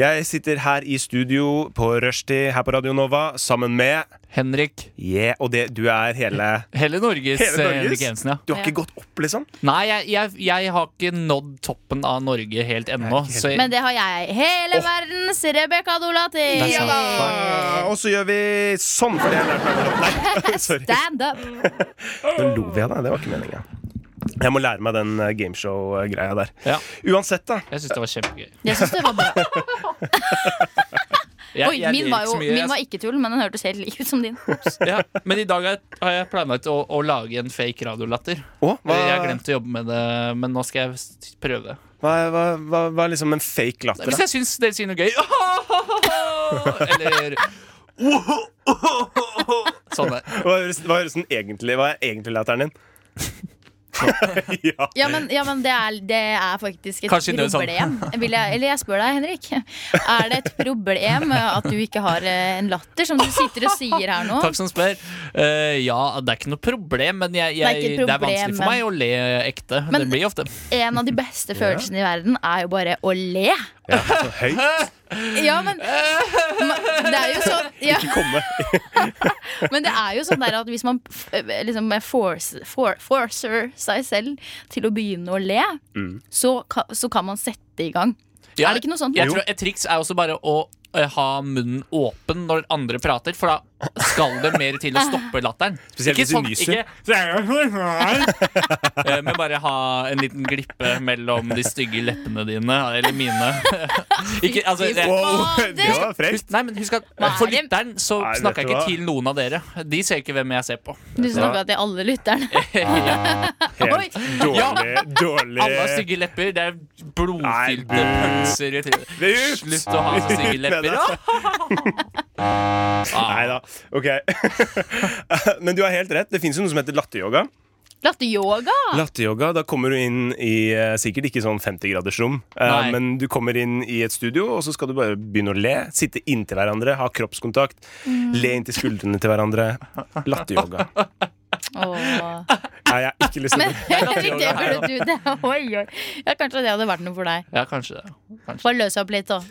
[SPEAKER 2] Jeg sitter her i studio på rushtid her på Radio Nova sammen med
[SPEAKER 3] Henrik.
[SPEAKER 2] Yeah, og det, du er hele
[SPEAKER 3] Hele Norges,
[SPEAKER 2] Hele Norges?
[SPEAKER 3] eh, Henrik Jensen, ja.
[SPEAKER 2] Du har ikke gått opp, liksom?
[SPEAKER 3] Nei, jeg, jeg, jeg har ikke nådd toppen av Norge helt ennå.
[SPEAKER 2] helt-
[SPEAKER 3] Så jeg,
[SPEAKER 4] Men det har jeg. Hele verdens Rebekka Dolati!
[SPEAKER 3] Det er sant.
[SPEAKER 2] Ja, Uh, og så gjør vi sånn, for det har jeg lært meg. å gjøre. Nei, sorry.
[SPEAKER 4] Stand up!
[SPEAKER 2] Nå lo vi av deg, det var ikke meninga. Jeg må lære meg den eh, gameshow-greia der.
[SPEAKER 3] ja,
[SPEAKER 2] Uansett, da.
[SPEAKER 3] jeg syns det var kjempegøy.
[SPEAKER 4] Jeg syns det var bra.
[SPEAKER 3] Jeg,
[SPEAKER 4] Oi,
[SPEAKER 3] jeg
[SPEAKER 4] min
[SPEAKER 3] ler
[SPEAKER 4] var
[SPEAKER 3] ikke
[SPEAKER 4] jo
[SPEAKER 3] så mye,
[SPEAKER 4] min var
[SPEAKER 3] jeg-
[SPEAKER 4] ikke tull, men den hørtes helt lik ut som din.
[SPEAKER 3] ja, Men i dag har jeg- har jeg planlagt å, å lage en fake radiolatter.
[SPEAKER 2] Å, hva,
[SPEAKER 3] Jeg har glemt å jobbe med det, men nå skal jeg s- prøve.
[SPEAKER 2] hva, hva, hva, hva er liksom en fake latter?
[SPEAKER 3] Hvis
[SPEAKER 2] da?
[SPEAKER 3] jeg syns dere sier noe gøy Eller Sånn der.
[SPEAKER 2] Hva høres, hva høres den egentlig Hva er egentlig latteren din? ja.
[SPEAKER 4] Ja, men, ja, men det, er, det er faktisk et
[SPEAKER 3] Kanskje det er sånn.
[SPEAKER 4] problem. Vil jeg, eller jeg spør deg, Henrik. Er det et problem at du ikke har eh, en latter, som du sitter og sier her nå?
[SPEAKER 3] Takk som spør. Eh, ja, det er ikke noe problem, men jeg,
[SPEAKER 4] er
[SPEAKER 3] jeg,
[SPEAKER 4] ikke et
[SPEAKER 3] det, er vanskelig
[SPEAKER 4] problem,
[SPEAKER 3] for meg å le ekte.
[SPEAKER 4] Men-
[SPEAKER 3] det blir ofte.
[SPEAKER 4] En av de beste følelsene i verden er jo bare å le.
[SPEAKER 2] ja, så høy
[SPEAKER 4] Ja, men ma- Det er jo sånn ja,
[SPEAKER 2] komme.
[SPEAKER 4] Men det er jo sånn der at hvis man f- liksom force, for, forcer seg selv til å begynne å le, så, ka, så kan man sette i gang.
[SPEAKER 3] Ja,
[SPEAKER 4] Er det ikke noe sånt?
[SPEAKER 3] Jeg
[SPEAKER 4] Jo.
[SPEAKER 3] tror Et triks er også bare å eh, ha munnen åpen når andre prater, for da skal det mer til å stoppe latteren. sånn,
[SPEAKER 2] Spesielt hvis de nyser.
[SPEAKER 3] ikke- Eh, Men bare ha en liten glippe mellom de stygge leppene dine, eller mine. Ikke, altså,
[SPEAKER 4] Fy
[SPEAKER 3] det-
[SPEAKER 2] Wow,
[SPEAKER 4] Fader!
[SPEAKER 2] det var frekt.
[SPEAKER 3] Husk, nei, men husk at
[SPEAKER 4] Hva er
[SPEAKER 3] For
[SPEAKER 4] det?
[SPEAKER 3] lytteren så
[SPEAKER 2] Nei, vet
[SPEAKER 3] snakker jeg
[SPEAKER 2] du
[SPEAKER 3] ikke
[SPEAKER 2] hva?
[SPEAKER 3] til noen av dere. De ser ikke hvem jeg ser på.
[SPEAKER 4] Du snakka til alle lytterne. Oi.
[SPEAKER 2] Helt dårlig, dårlig
[SPEAKER 3] Alle har stygge lepper. Det er
[SPEAKER 2] Nei,
[SPEAKER 3] blodfylte pølser i trynet.
[SPEAKER 2] Ut!
[SPEAKER 3] Slutt å ha så stygge
[SPEAKER 2] Ut med
[SPEAKER 3] lepper. Ah.
[SPEAKER 2] det. Nei da. Ok. Men du har helt rett. Det fins jo noe som heter latteryoga.
[SPEAKER 4] Latteryoga!
[SPEAKER 2] Latteryoga, da kommer du inn i eh, sikkert ikke sånn 50-gradersrom, eh,
[SPEAKER 3] Nei.
[SPEAKER 2] men du kommer inn i et studio, og så skal du bare begynne å le. Sitte inntil hverandre, ha kroppskontakt, le inntil skuldrene til hverandre. Latteryoga.
[SPEAKER 4] Åh.
[SPEAKER 2] Nei, jeg er ikke lyst til
[SPEAKER 4] Men
[SPEAKER 2] det.
[SPEAKER 4] Henrik, det burde du det. Oi, oi. Ja, kanskje det hadde vært noe for deg.
[SPEAKER 3] Ja, kanskje det. Kanskje.
[SPEAKER 4] Bare løs opp litt, da.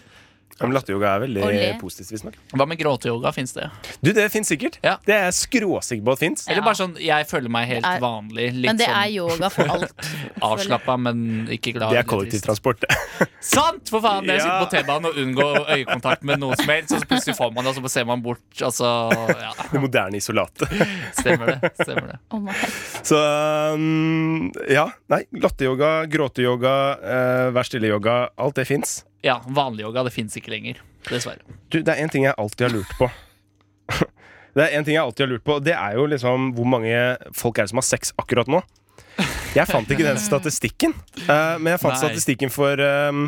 [SPEAKER 2] Men latteryoga er veldig
[SPEAKER 4] Å le.
[SPEAKER 2] positivt, visstnok.
[SPEAKER 3] Hva med gråteyoga? Fins det?
[SPEAKER 2] Du, det fins sikkert.
[SPEAKER 3] Ja.
[SPEAKER 2] Det er jeg skråsikker på at fins.
[SPEAKER 3] Eller bare sånn jeg føler meg helt
[SPEAKER 4] Det er-
[SPEAKER 3] vanlig.
[SPEAKER 4] Men
[SPEAKER 3] Litt
[SPEAKER 4] det er
[SPEAKER 3] sånn
[SPEAKER 4] yoga for alt.
[SPEAKER 3] avslappa, men ikke
[SPEAKER 2] Det
[SPEAKER 3] glad. eller
[SPEAKER 2] er
[SPEAKER 3] trist.
[SPEAKER 2] kollektivtransport.
[SPEAKER 3] Sant! For faen, dere sitter
[SPEAKER 2] Ja.
[SPEAKER 3] på T-banen og unngår øyekontakt med noen som helst, og så plutselig får man det, og så ser man bort. Altså, ja,
[SPEAKER 2] Det moderne isolatet.
[SPEAKER 3] stemmer det. Stemmer det.
[SPEAKER 4] Å, nei.
[SPEAKER 2] Så mm, um, ja. Nei. Latteryoga, gråteyoga, eh, vær stille-yoga. Alt det fins.
[SPEAKER 3] Ja, vanlig yoga. Det fins ikke lenger. Dessverre.
[SPEAKER 2] Du, det er en ting jeg alltid har lurt på. Det er en ting jeg alltid har lurt på, og det er jo liksom hvor mange folk er det som har sex akkurat nå. Jeg fant ikke den statistikken, eh, men jeg fant
[SPEAKER 3] Nei.
[SPEAKER 2] statistikken for, eh,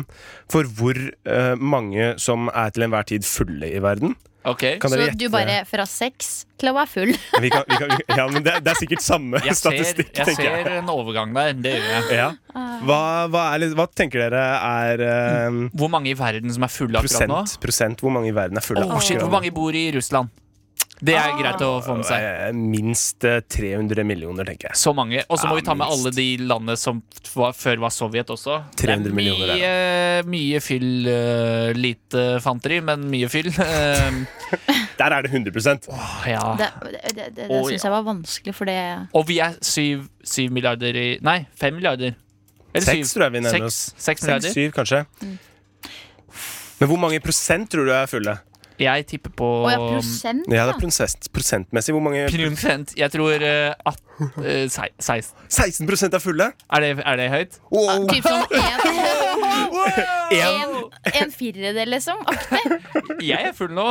[SPEAKER 2] for hvor eh, mange som er til enhver tid fulle i verden.
[SPEAKER 3] Ok,
[SPEAKER 2] Kan
[SPEAKER 4] Så
[SPEAKER 2] dere gjette?
[SPEAKER 4] du bare fra sex til å være full.
[SPEAKER 2] vi kan, vi kan, vi- Ja, men det, er- det er sikkert samme
[SPEAKER 3] jeg ser,
[SPEAKER 2] statistikk,
[SPEAKER 3] jeg
[SPEAKER 2] tenker jeg.
[SPEAKER 3] ser en overgang der. Det gjør jeg.
[SPEAKER 2] Ja.
[SPEAKER 4] Ah.
[SPEAKER 2] Hva, hva, er, litt- hva tenker dere er eh,
[SPEAKER 3] Hvor mange i verden som er fulle akkurat nå?
[SPEAKER 2] prosent, prosent? Hvor mange i verden er fulle?
[SPEAKER 3] Oh, shit, hvor mange bor i Russland? Det
[SPEAKER 4] Ah.
[SPEAKER 3] er greit å få med seg.
[SPEAKER 2] Eh, Minst eh, 300 millioner, tenker jeg.
[SPEAKER 3] Så mange. Og så må
[SPEAKER 2] Ja,
[SPEAKER 3] vi ta med alle
[SPEAKER 2] minst.
[SPEAKER 3] de landene som var, før var Sovjet også.
[SPEAKER 2] 300
[SPEAKER 3] det
[SPEAKER 2] millioner
[SPEAKER 3] er mye, mye fyll. eh, lite fanteri, men mye fyll. Eh,
[SPEAKER 2] Der er det 100 Ah.
[SPEAKER 3] ja.
[SPEAKER 4] Det, det, det, det,
[SPEAKER 3] Å,
[SPEAKER 4] syns jeg var vanskelig, for det
[SPEAKER 3] Og vi er syv, syv milliarder i Nei, fem milliarder.
[SPEAKER 2] Seks, tror jeg vi nærmer
[SPEAKER 3] seks,
[SPEAKER 2] oss.
[SPEAKER 3] seks milliarder.
[SPEAKER 2] Seks-syv, kanskje.
[SPEAKER 4] Mm.
[SPEAKER 2] Men hvor mange prosent tror du er fulle?
[SPEAKER 3] Jeg tipper på
[SPEAKER 4] Å ja, prosent,
[SPEAKER 2] Ja,
[SPEAKER 4] ja.
[SPEAKER 2] det er prosent, prosentmessig. Hvor mange
[SPEAKER 3] Prosent. Jeg tror eh, at, eh, sei- 16.
[SPEAKER 2] 16 prosent er fulle!
[SPEAKER 3] Er det, er det høyt?
[SPEAKER 2] Wow.
[SPEAKER 4] Typ sånn en,
[SPEAKER 2] En,
[SPEAKER 4] en, en firerdel, liksom. Aktig.
[SPEAKER 3] Jeg er full nå.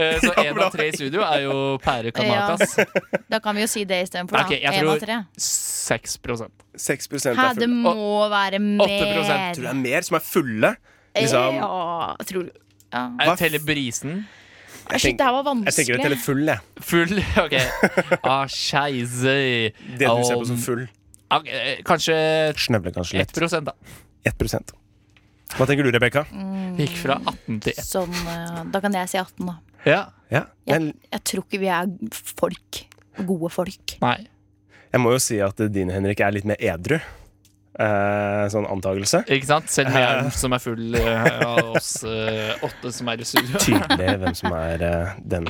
[SPEAKER 3] Eh, så én
[SPEAKER 2] bra.
[SPEAKER 3] av tre i studio er jo pære
[SPEAKER 4] Ja.
[SPEAKER 3] kanakas.
[SPEAKER 4] Da kan vi jo si det istedenfor, da.
[SPEAKER 3] Ok, jeg
[SPEAKER 4] en
[SPEAKER 3] tror-
[SPEAKER 4] av tre.
[SPEAKER 3] 6
[SPEAKER 2] 6 prosent
[SPEAKER 4] Hæ,
[SPEAKER 2] er
[SPEAKER 4] det
[SPEAKER 2] fulle.
[SPEAKER 4] må være mer.
[SPEAKER 3] prosent,
[SPEAKER 2] Tror du det er mer som er fulle? Liksom,
[SPEAKER 4] Eh, Ja, tror du ja.
[SPEAKER 2] Hva
[SPEAKER 3] Jeg teller brisen.
[SPEAKER 2] jeg,
[SPEAKER 4] Shit, det
[SPEAKER 2] tenker,
[SPEAKER 4] her var
[SPEAKER 2] jeg tenker det
[SPEAKER 4] vanskelig.
[SPEAKER 2] teller full, jeg.
[SPEAKER 3] Full, OK. Ah, Skeise.
[SPEAKER 2] Det du ser på som full.
[SPEAKER 3] Ok, eh, Kanskje
[SPEAKER 2] Snøvler kanskje
[SPEAKER 3] 1
[SPEAKER 2] litt.
[SPEAKER 3] da.
[SPEAKER 2] 1 Hva tenker du, Rebekka?
[SPEAKER 4] Mm.
[SPEAKER 3] Gikk fra 18 til 1.
[SPEAKER 4] Sånn, eh, da kan jeg si 18, da.
[SPEAKER 3] Ja.
[SPEAKER 2] Ja. Jeg,
[SPEAKER 4] Jeg tror ikke vi er folk. Gode folk.
[SPEAKER 3] Nei.
[SPEAKER 2] jeg må jo si at din, Henrik, er litt mer edru. Eh, sånn antakelse.
[SPEAKER 3] Ikke sant? Selv om jeg er den som er full eh, av oss eh, åtte som er i studio.
[SPEAKER 2] tydelig hvem som er eh, den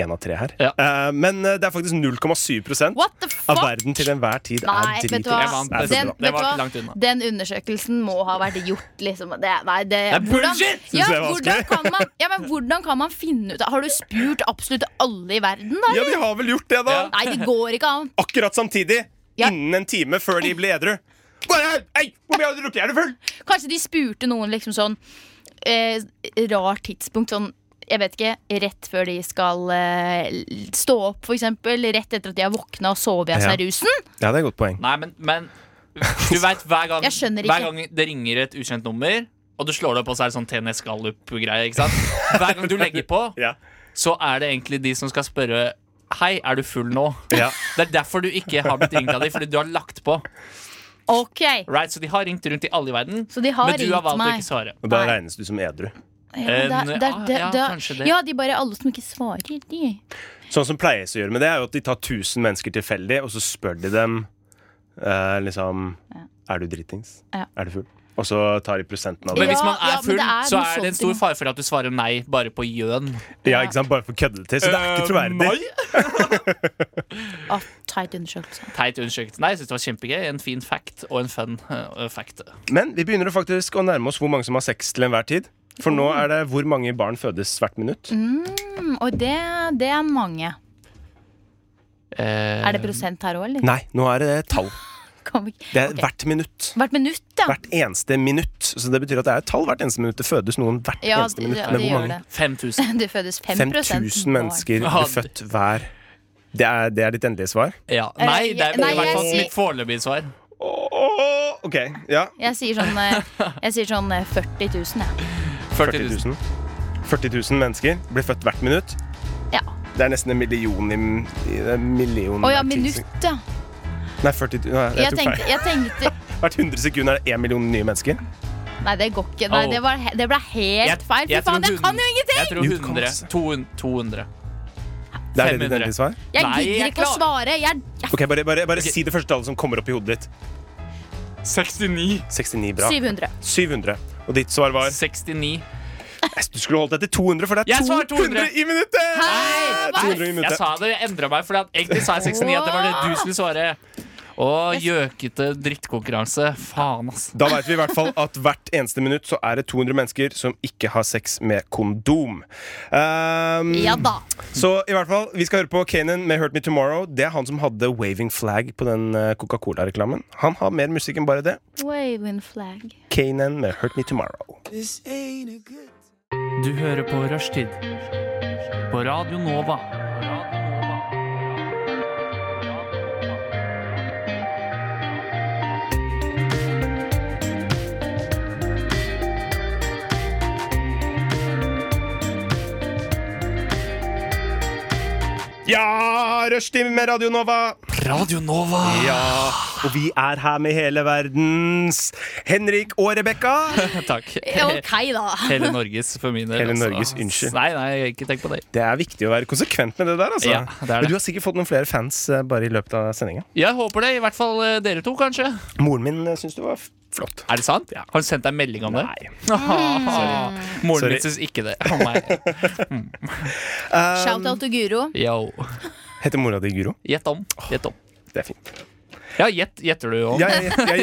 [SPEAKER 2] en av tre her.
[SPEAKER 3] Ja.
[SPEAKER 2] Eh, men eh, det er faktisk 0,7
[SPEAKER 4] What the
[SPEAKER 2] av
[SPEAKER 4] fuck?
[SPEAKER 2] verden til enhver tid
[SPEAKER 4] Nei, vet
[SPEAKER 2] er
[SPEAKER 4] du
[SPEAKER 2] dritings.
[SPEAKER 4] hva?
[SPEAKER 3] Jeg vant.
[SPEAKER 2] Det er
[SPEAKER 4] Den, vet
[SPEAKER 2] så bra.
[SPEAKER 3] Det
[SPEAKER 4] du
[SPEAKER 3] var
[SPEAKER 4] hva?
[SPEAKER 3] ikke langt unna.
[SPEAKER 4] Den undersøkelsen må ha vært gjort, liksom. Det, nei, det,
[SPEAKER 3] er bullshit!
[SPEAKER 2] Synes
[SPEAKER 4] ja,
[SPEAKER 2] jeg er
[SPEAKER 4] hvordan
[SPEAKER 2] vanskelig.
[SPEAKER 4] kan man, ja, men hvordan kan man finne ut av Har du spurt absolutt alle i verden, da?
[SPEAKER 2] Ja, de har vel gjort det, da!
[SPEAKER 3] Ja.
[SPEAKER 4] Nei, det går ikke an.
[SPEAKER 2] Akkurat samtidig!
[SPEAKER 4] Ja.
[SPEAKER 2] Innen en time før de ble edru. Bare, Hei, hvor mye har du drukket? Er du full?
[SPEAKER 4] Kanskje de spurte noen liksom sånn eh, rart tidspunkt. Sånn, jeg vet ikke, rett før de skal eh, stå opp, for eksempel. Rett etter at de har våkna og sovet av seg
[SPEAKER 2] Ja.
[SPEAKER 4] rusen.
[SPEAKER 2] Ja, det er et godt poeng.
[SPEAKER 3] Nei, men, men du vet hver gang,
[SPEAKER 4] Jeg skjønner
[SPEAKER 3] hver
[SPEAKER 4] ikke.
[SPEAKER 3] gang det ringer et ukjent nummer, og du slår det opp, og så er det sånn TNS Gallup-greie, ikke sant? Hver gang du legger på,
[SPEAKER 2] Ja.
[SPEAKER 3] så er det egentlig de som skal spørre Hei, er du full nå?
[SPEAKER 2] Ja.
[SPEAKER 3] Det er derfor du ikke har blitt ringt av dem, fordi du har lagt på.
[SPEAKER 4] Ok,
[SPEAKER 3] Right, så de har ringt rundt i alle i verden,
[SPEAKER 4] Så de har
[SPEAKER 3] men du har
[SPEAKER 4] ringt
[SPEAKER 3] valgt å
[SPEAKER 4] meg.
[SPEAKER 3] ikke svare.
[SPEAKER 2] Og da
[SPEAKER 4] Nei.
[SPEAKER 2] regnes du som edru.
[SPEAKER 4] Ja, da,
[SPEAKER 3] Eh,
[SPEAKER 4] da,
[SPEAKER 3] ah,
[SPEAKER 4] da,
[SPEAKER 3] ja,
[SPEAKER 4] da,
[SPEAKER 3] kanskje det.
[SPEAKER 4] ja, de bare alle som ikke svarer, de.
[SPEAKER 2] Sånn som pleies å gjøre med det, er jo at de tar 1000 mennesker tilfeldig, og så spør de dem eh, liksom Er du dritings?
[SPEAKER 4] Ja.
[SPEAKER 2] Er du full? Og så tar de prosenten av
[SPEAKER 3] Men
[SPEAKER 2] det.
[SPEAKER 4] Ja,
[SPEAKER 3] hvis man er
[SPEAKER 4] ja, men
[SPEAKER 3] full,
[SPEAKER 4] det er
[SPEAKER 3] så
[SPEAKER 4] noe
[SPEAKER 3] er det en
[SPEAKER 4] sånt
[SPEAKER 3] stor
[SPEAKER 4] i-
[SPEAKER 3] fare for at du svarer nei bare på gjøn.
[SPEAKER 2] Ja, ikke sant? Bare for å kødde det til. Så det er ikke
[SPEAKER 3] Eh,
[SPEAKER 2] troverdig.
[SPEAKER 4] Ah, teit undersøkelse.
[SPEAKER 3] Teit undersøkelse. Nei, jeg synes det var kjempegøy. En fin fact og en fun eh, fact.
[SPEAKER 2] Men vi begynner å faktisk å nærme oss hvor mange som har sex til enhver tid.
[SPEAKER 4] Oh.
[SPEAKER 2] For nå er det hvor mange barn fødes hvert minutt.
[SPEAKER 4] Mm, og det, det er mange.
[SPEAKER 3] Eh,
[SPEAKER 4] Er det prosent her òg, eller?
[SPEAKER 2] Nei, nå er det tall.
[SPEAKER 4] Kan vi ikke-
[SPEAKER 2] Det er
[SPEAKER 4] Ok.
[SPEAKER 2] hvert minutt.
[SPEAKER 4] Hvert minutt, ja.
[SPEAKER 2] Hvert eneste minutt. Så det betyr at det er et tall hvert eneste minutt. Det fødes noen hvert
[SPEAKER 4] ja,
[SPEAKER 2] eneste minutt.
[SPEAKER 4] det,
[SPEAKER 2] Men
[SPEAKER 4] det
[SPEAKER 2] hvor
[SPEAKER 4] gjør
[SPEAKER 2] mange?
[SPEAKER 4] det.
[SPEAKER 3] 5000.
[SPEAKER 4] Det fødes 5
[SPEAKER 2] 5000 mennesker
[SPEAKER 3] Ja,
[SPEAKER 2] blir født hver. Det er, det er ditt endelige svar?
[SPEAKER 3] Ja. Nei, det er
[SPEAKER 4] Nei,
[SPEAKER 3] i hvert
[SPEAKER 4] Eh, jeg
[SPEAKER 3] fall
[SPEAKER 4] sier-
[SPEAKER 3] mitt foreløpige svar.
[SPEAKER 2] ok, ja.
[SPEAKER 4] Jeg sier sånn, eh, jeg sier sånn eh, 40 000, jeg.
[SPEAKER 3] 40
[SPEAKER 2] 40
[SPEAKER 3] 000.
[SPEAKER 2] 000. 40 000 mennesker blir født hvert minutt.
[SPEAKER 4] Ja.
[SPEAKER 2] Det er nesten en million i, i det er en million
[SPEAKER 4] Å ja,
[SPEAKER 2] hvert
[SPEAKER 4] minutt,
[SPEAKER 2] tidssekund.
[SPEAKER 4] ja.
[SPEAKER 2] Nei, 40 000. Nei,
[SPEAKER 4] Jeg
[SPEAKER 2] jeg tok
[SPEAKER 4] tenkte,
[SPEAKER 2] feil.
[SPEAKER 4] jeg tenkte
[SPEAKER 2] Hvert 100 sekunder er det 1 million nye mennesker.
[SPEAKER 4] Nei, det går ikke. Nei,
[SPEAKER 3] Au.
[SPEAKER 4] det, var, he- det ble helt feil. Fy
[SPEAKER 3] jeg
[SPEAKER 4] faen,
[SPEAKER 3] tror
[SPEAKER 4] jeg kan jo
[SPEAKER 3] hun-
[SPEAKER 4] ingenting!
[SPEAKER 3] Jeg tror
[SPEAKER 2] Jo, det kan
[SPEAKER 3] 100.
[SPEAKER 2] masse.
[SPEAKER 3] 200. 200.
[SPEAKER 2] Det er det ditt
[SPEAKER 3] 500.
[SPEAKER 2] endelige svar?
[SPEAKER 4] Jeg
[SPEAKER 3] Nei,
[SPEAKER 4] gidder
[SPEAKER 3] jeg
[SPEAKER 4] ikke å
[SPEAKER 3] klarer-
[SPEAKER 4] svare. Jeg, jeg,
[SPEAKER 2] Ok, Bare, bare, bare
[SPEAKER 3] Ok.
[SPEAKER 2] si det første tallet som kommer opp i hodet ditt.
[SPEAKER 3] 69.
[SPEAKER 2] 69, bra.
[SPEAKER 4] 700.
[SPEAKER 2] 700. Og ditt svar var
[SPEAKER 3] 69.
[SPEAKER 2] Du skulle holdt deg til 200, for det
[SPEAKER 3] Jeg
[SPEAKER 2] er
[SPEAKER 3] svarer
[SPEAKER 2] 200,
[SPEAKER 3] 200.
[SPEAKER 2] i minuttet!
[SPEAKER 4] Hei, hva?
[SPEAKER 2] 200 i
[SPEAKER 3] Jeg
[SPEAKER 2] minuttet.
[SPEAKER 3] sa det, jeg endra meg, for at egentlig sa jeg 69. At det var det du skulle svare. Å, gjøkete drittkonkurranse. Faen, ass.
[SPEAKER 2] Da vet vi i hvert fall at hvert eneste minutt så er det 200 mennesker som ikke har sex med kondom. Um,
[SPEAKER 4] Ja da.
[SPEAKER 2] Så i hvert fall, vi skal høre på Kanan med Hurt Me Tomorrow. Det er han som hadde waving flag på den eh, Coca-Cola-reklamen. Han har mer musikk enn bare det.
[SPEAKER 4] Waving flag.
[SPEAKER 2] Kanan med Hurt Me Tomorrow.
[SPEAKER 3] Du hører på Rushtid på Radio Nova.
[SPEAKER 2] Ja, rushtid med Radio Nova!
[SPEAKER 3] Radio Nova!
[SPEAKER 2] Ja, og vi er her med hele verdens Henrik og Rebekka.
[SPEAKER 3] Takk.
[SPEAKER 4] Ok, da.
[SPEAKER 3] Hele Norges, for min del.
[SPEAKER 2] Hele
[SPEAKER 3] altså.
[SPEAKER 2] Norges, unnskyld.
[SPEAKER 3] Nei, nei, ikke tenk på det.
[SPEAKER 2] Det er viktig å være konsekvent med det der, altså.
[SPEAKER 3] Ja, det er det.
[SPEAKER 2] Men du har sikkert fått noen flere fans eh, bare i løpet av sendinga.
[SPEAKER 3] Jeg håper det. I hvert fall eh, dere to, kanskje.
[SPEAKER 2] Moren min eh, syns du var f- flott.
[SPEAKER 3] Er det sant? Har hun sendt deg en melding om det?
[SPEAKER 2] Nei.
[SPEAKER 3] Ah, Moren
[SPEAKER 2] Sorry.
[SPEAKER 3] min syns ikke det. Å, nei.
[SPEAKER 4] Shout-out til Guro.
[SPEAKER 3] Yo.
[SPEAKER 2] Heter mora di Guro?
[SPEAKER 3] Gjett om. Gjett om.
[SPEAKER 2] Det er fint.
[SPEAKER 3] Ja, gjett gjetter du om.
[SPEAKER 2] Ja, jeg jeg- jeg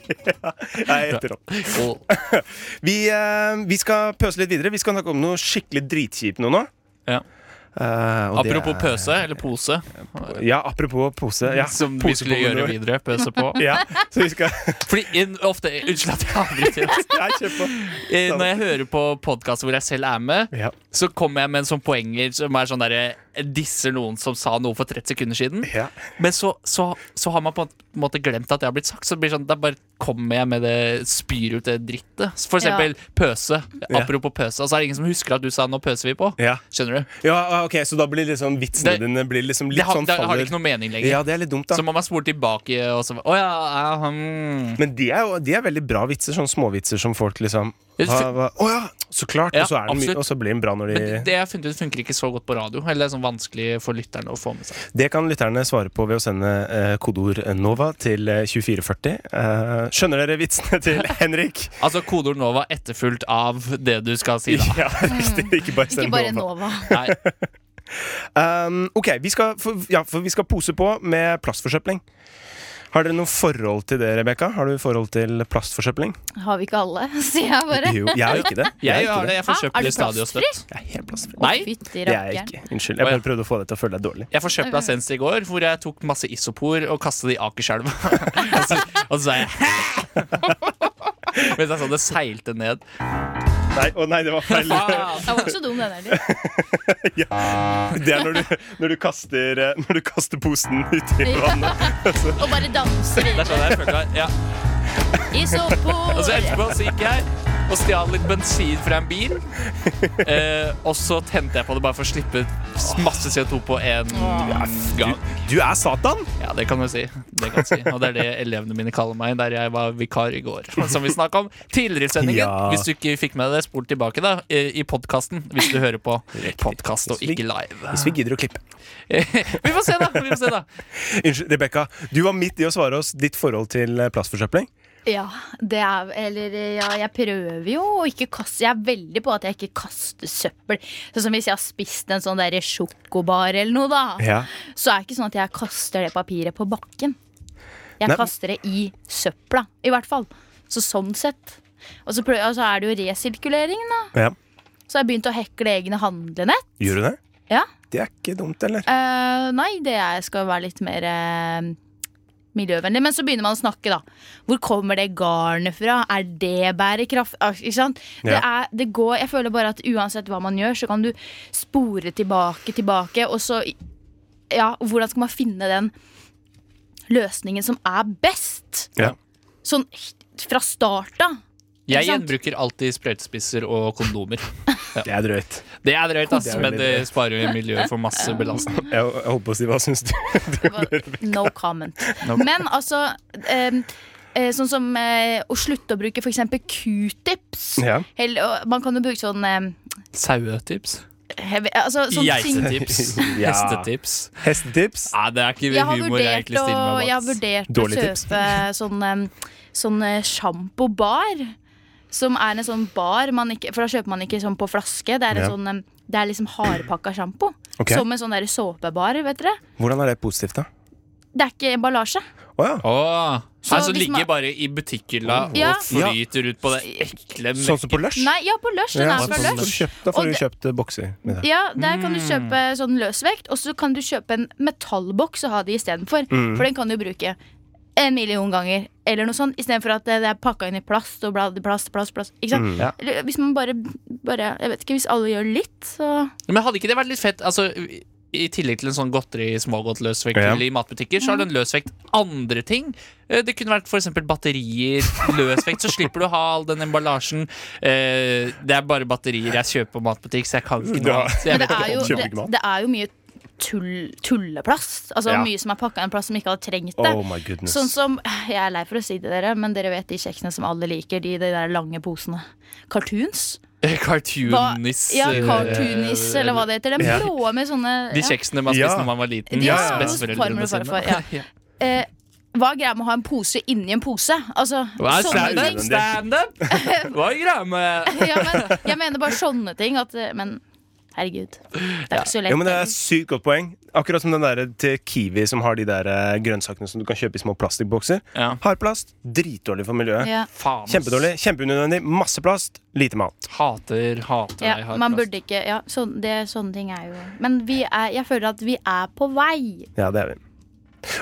[SPEAKER 2] gjetter. Ja, jeg gjetter opp.
[SPEAKER 3] Og-
[SPEAKER 2] Vi, eh, vi skal pøse litt videre. Vi skal snakke om noe skikkelig dritkjipt nå. nå.
[SPEAKER 3] Ja.
[SPEAKER 2] Eh, og det
[SPEAKER 3] Apropos
[SPEAKER 2] er-
[SPEAKER 3] pøse, eller pose,
[SPEAKER 2] Ja, apropos pose. Ja,
[SPEAKER 3] som vi skulle gjøre
[SPEAKER 2] posepommer.
[SPEAKER 3] videre. Pøse på.
[SPEAKER 2] Ja, så vi skal
[SPEAKER 3] Fordi inn, ofte, Unnskyld at jeg avbryter.
[SPEAKER 2] Nei, kjør på.
[SPEAKER 3] Eh, Når jeg hører på podkast hvor jeg selv er med,
[SPEAKER 2] Ja.
[SPEAKER 3] så kommer jeg med en sånn poenger som er sånn derre Disser noen som sa noe for 30 sekunder siden.
[SPEAKER 2] Ja.
[SPEAKER 3] Men så, så, så har man på en måte glemt at det har blitt sagt. Så det blir sånn, Da bare kommer jeg med det spyr ut det drittet. For eksempel pøse.
[SPEAKER 2] Ja.
[SPEAKER 3] Apropos pøse. Altså, er det ingen som husker at du sa 'nå pøser vi på'?
[SPEAKER 2] Ja.
[SPEAKER 3] Skjønner du?
[SPEAKER 2] ja, ok, Så da blir liksom vitsene
[SPEAKER 3] Det-
[SPEAKER 2] dine blir liksom litt
[SPEAKER 3] Det har,
[SPEAKER 2] sånn
[SPEAKER 3] det har
[SPEAKER 2] faller-
[SPEAKER 3] ikke noe mening lenger.
[SPEAKER 2] Ja, det er litt dumt, da.
[SPEAKER 3] Så må man spole tilbake og så Å ja, ja hmm.
[SPEAKER 2] Men de er jo de er veldig bra vitser, sånn småvitser som folk liksom
[SPEAKER 3] Jeg
[SPEAKER 2] Å
[SPEAKER 3] sy-
[SPEAKER 2] ja, så klart!
[SPEAKER 3] Ja,
[SPEAKER 2] og, så er de,
[SPEAKER 3] absolutt.
[SPEAKER 2] og så blir de bra når de
[SPEAKER 3] Men det jeg har funnet ut funker ikke så godt på radio. Eller det er sånn vanskelig for lytterne å få med seg.
[SPEAKER 2] Det kan lytterne svare på ved å sende eh, kodeord NOVA til eh, 2440. Eh, skjønner dere vitsene til Henrik?
[SPEAKER 3] Altså kodeord Nova etterfulgt av det du skal si, da.
[SPEAKER 2] Ja, riktig. Ikke bare
[SPEAKER 4] Mm. Ikke
[SPEAKER 2] send
[SPEAKER 4] bare
[SPEAKER 2] NOVA.
[SPEAKER 4] Nova.
[SPEAKER 3] Nei.
[SPEAKER 2] Um, ok, vi skal, for, ja, for vi skal pose på med plastforsøpling. Har dere noe forhold til det, Rebekka? Har du forhold til plastforsøpling?
[SPEAKER 4] Har vi ikke alle, sier jeg bare.
[SPEAKER 2] Jo, jeg har ikke det.
[SPEAKER 3] Jeg
[SPEAKER 2] har
[SPEAKER 3] har
[SPEAKER 2] ikke
[SPEAKER 3] det. Jeg får
[SPEAKER 4] Hæ? Er
[SPEAKER 3] kjøpt
[SPEAKER 4] du
[SPEAKER 3] det stadig og
[SPEAKER 4] plastfri?
[SPEAKER 3] støtt.
[SPEAKER 2] Jeg er helt plastfri.
[SPEAKER 3] Nei,
[SPEAKER 4] Fytti
[SPEAKER 2] Det er jeg
[SPEAKER 4] rakkeren.
[SPEAKER 2] ikke. Unnskyld. Jeg
[SPEAKER 3] Å, ja.
[SPEAKER 2] bare prøvde å få deg til å føle deg dårlig.
[SPEAKER 3] Jeg forsøpla senest i går, hvor jeg tok masse isopor og kastet det i Akerselva. og, så, og så sa jeg hæ! Mens jeg så det seilte ned.
[SPEAKER 2] Nei, å nei, det var feil.
[SPEAKER 3] Faen!
[SPEAKER 4] Den var ikke så dum, den heller.
[SPEAKER 2] Det er når du, når du, kaster, eh, når du kaster posen uti vannet.
[SPEAKER 4] Og bare danser
[SPEAKER 3] Det
[SPEAKER 4] videre.
[SPEAKER 3] er sånn jeg følte meg. Ja.
[SPEAKER 4] I
[SPEAKER 3] Og så
[SPEAKER 4] såpor.
[SPEAKER 3] etterpå så gikk jeg og stjal litt bensin fra en bil. Eh, og så tente jeg på det bare for å slippe masse CO2 på en gang.
[SPEAKER 2] Du er Satan!
[SPEAKER 3] Ja, det kan du si. Det kan du si. Og det er det elevene mine kaller meg der jeg var vikar i går. Som vi snakka om tidligere i sendingen.
[SPEAKER 2] Ja.
[SPEAKER 3] Hvis du ikke fikk med det, spol tilbake da eh, i podkasten. Hvis du hører på podkast og
[SPEAKER 2] Hvis vi-
[SPEAKER 3] ikke live.
[SPEAKER 2] Hvis vi gidder å klippe.
[SPEAKER 3] Vi får se, da. Vi får se da
[SPEAKER 2] Unnskyld, Rebekka. Du var midt i å svare oss ditt forhold til eh, plastforsøpling.
[SPEAKER 4] Ja, det er Eller ja, jeg prøver jo å ikke kaste Jeg er veldig på at jeg ikke kaster søppel. Sånn som hvis jeg har spist en sånn der sjokobar eller noe, da.
[SPEAKER 2] Ja.
[SPEAKER 4] Så er det ikke sånn at jeg kaster det papiret på bakken. Jeg
[SPEAKER 2] Nei.
[SPEAKER 4] kaster det i søpla, i hvert fall. Så sånn sett. Og så, prøver, og så er det jo resirkuleringen, da.
[SPEAKER 2] ja.
[SPEAKER 4] Så har jeg begynt å hekle egne handlenett.
[SPEAKER 2] Gjør du det?
[SPEAKER 4] Ja.
[SPEAKER 2] Det er ikke dumt, eller?
[SPEAKER 4] Eh, nei, det er- skal være litt mer eh, miljøvennlig. Men så begynner man å snakke, da. Hvor kommer det garnet fra? Er det bærekraft? Ah, Ikke sant? Det er, det går, jeg føler bare at uansett hva man gjør, så kan du spore tilbake, tilbake, og så Ja, hvordan skal man finne den løsningen som er best?
[SPEAKER 2] Ja.
[SPEAKER 4] Sånn h- fra start av.
[SPEAKER 3] Jeg
[SPEAKER 4] Ikke sant?
[SPEAKER 3] gjenbruker alltid sprøytespisser og kondomer.
[SPEAKER 2] Det er drøyt.
[SPEAKER 3] Det er drøyt, ass,
[SPEAKER 2] Det er
[SPEAKER 3] men
[SPEAKER 2] veldig
[SPEAKER 3] det sparer jo miljøet for masse belastning.
[SPEAKER 2] Jeg, jeg holdt på å si hva syns du?
[SPEAKER 4] No comment.
[SPEAKER 3] No.
[SPEAKER 4] Men altså eh, eh, Sånn som eh, å slutte å bruke f.eks. q-tips.
[SPEAKER 2] Ja.
[SPEAKER 4] Hell- og Man kan jo bruke sånn eh,
[SPEAKER 3] Sauetips.
[SPEAKER 4] hev- altså, sånne ting.
[SPEAKER 3] Geitetips.
[SPEAKER 2] Ja.
[SPEAKER 3] Hestetips.
[SPEAKER 2] Hestetips?
[SPEAKER 3] Nei, det er ikke
[SPEAKER 4] Jeg har
[SPEAKER 3] humor jeg
[SPEAKER 4] vurdert
[SPEAKER 3] egentlig
[SPEAKER 4] å,
[SPEAKER 3] stiller meg
[SPEAKER 4] jeg har
[SPEAKER 3] bak.
[SPEAKER 4] vurdert å
[SPEAKER 2] Dårlig tips.
[SPEAKER 4] kjøpe sånn, em, sånn eh, sjampobar. Som er en sånn bar, man ikke, for da kjøper man ikke sånn på flaske. Det er, en
[SPEAKER 2] Ja.
[SPEAKER 4] sånn, em, det er liksom hardpakka sjampo.
[SPEAKER 2] Ok.
[SPEAKER 4] Som en sånn der såpebar, vet dere.
[SPEAKER 2] Hvordan er det positivt, da?
[SPEAKER 4] Det er ikke emballasje.
[SPEAKER 2] Å ja.
[SPEAKER 3] Åh,
[SPEAKER 4] Så
[SPEAKER 3] så altså,
[SPEAKER 4] hvis
[SPEAKER 3] ligger
[SPEAKER 4] man-
[SPEAKER 3] bare i butikkhylla
[SPEAKER 4] Ja.
[SPEAKER 3] og flyter ut på det ekle
[SPEAKER 2] Sånn som på Lush?
[SPEAKER 4] Nei, ja, på lush. Den
[SPEAKER 2] Ja,
[SPEAKER 4] er fra
[SPEAKER 2] sånn som
[SPEAKER 4] lush.
[SPEAKER 2] du kjøpt- Da
[SPEAKER 4] Og
[SPEAKER 2] får du
[SPEAKER 4] det-
[SPEAKER 2] kjøpt eh, bokser med det.
[SPEAKER 4] Ja, der kan du kjøpe sånn løsvekt, og så kan du kjøpe en metallboks og ha det istedenfor. For den kan du bruke en million ganger, eller noe sånt, istedenfor at det det er pakka inn i plast og blad, plast, plast, plast. Ikke sant?
[SPEAKER 3] Ja.
[SPEAKER 4] Eller Hvis man bare, bare Jeg vet ikke, hvis alle gjør litt, så
[SPEAKER 3] Men hadde ikke det vært litt fett Altså i- i tillegg til en sånn godteri, smågodt, løsvekt
[SPEAKER 2] Ja.
[SPEAKER 3] i matbutikker, så har du en løsvekt andre ting. Eh, Det kunne vært f.eks. batterier. Løsvekt, så slipper du å ha all den emballasjen. Eh, Det er bare batterier jeg kjøper på matbutikk, så jeg kan ikke noe
[SPEAKER 2] Ja.
[SPEAKER 3] annet. Så jeg
[SPEAKER 4] Men
[SPEAKER 3] vet
[SPEAKER 4] det
[SPEAKER 3] ikke.
[SPEAKER 4] er jo,
[SPEAKER 2] kjøper
[SPEAKER 4] det,
[SPEAKER 2] ikke mat.
[SPEAKER 4] det er jo mye tull, tulleplast. Altså
[SPEAKER 2] Ja.
[SPEAKER 4] mye som er pakka i en plass som ikke hadde trengt det.
[SPEAKER 2] Oh my goodness.
[SPEAKER 4] Sånn som, Jeg er lei for å si det, dere, men dere vet de kjeksene som alle liker. De, de der lange posene. Cartoons?
[SPEAKER 3] Eh,
[SPEAKER 4] Hva-
[SPEAKER 3] Cartoonis.
[SPEAKER 4] ja,
[SPEAKER 3] eh,
[SPEAKER 4] cartoonis, eller hva det heter. De
[SPEAKER 2] Ja.
[SPEAKER 4] blå med sånne
[SPEAKER 3] De kjeksene man spiste
[SPEAKER 2] Ja.
[SPEAKER 3] når man var liten.
[SPEAKER 4] De
[SPEAKER 3] hos
[SPEAKER 2] har
[SPEAKER 4] hos farmor og
[SPEAKER 3] sine.
[SPEAKER 4] farfar, ja. ja, eh, Hva er greia med å ha en pose inni en pose? Altså,
[SPEAKER 3] Hva
[SPEAKER 4] sånne
[SPEAKER 3] er
[SPEAKER 2] det?
[SPEAKER 3] standup?
[SPEAKER 4] ting.
[SPEAKER 3] Standup? Hva er greia med
[SPEAKER 4] Ja, men, jeg mener bare sånne ting. At, eh, men herregud, det er ikke så lett.
[SPEAKER 2] Ja, men Det er sykt godt poeng. Akkurat som den der til Kiwi som har de der eh, grønnsakene som du kan kjøpe i små plastikkbokser.
[SPEAKER 3] Ja.
[SPEAKER 2] Har plast. Dritdårlig for miljøet.
[SPEAKER 4] Ja.
[SPEAKER 3] Faen, ass.
[SPEAKER 2] Kjempedårlig. Kjempeunødvendig. Masse plast. Lite mat.
[SPEAKER 3] Hater, hater deg.
[SPEAKER 4] Ja,
[SPEAKER 3] hater
[SPEAKER 4] man
[SPEAKER 3] oss.
[SPEAKER 4] burde ikke ja, sånn- det, Sånne ting er jo Men vi er, jeg føler at vi er på vei.
[SPEAKER 2] Ja, det er vi.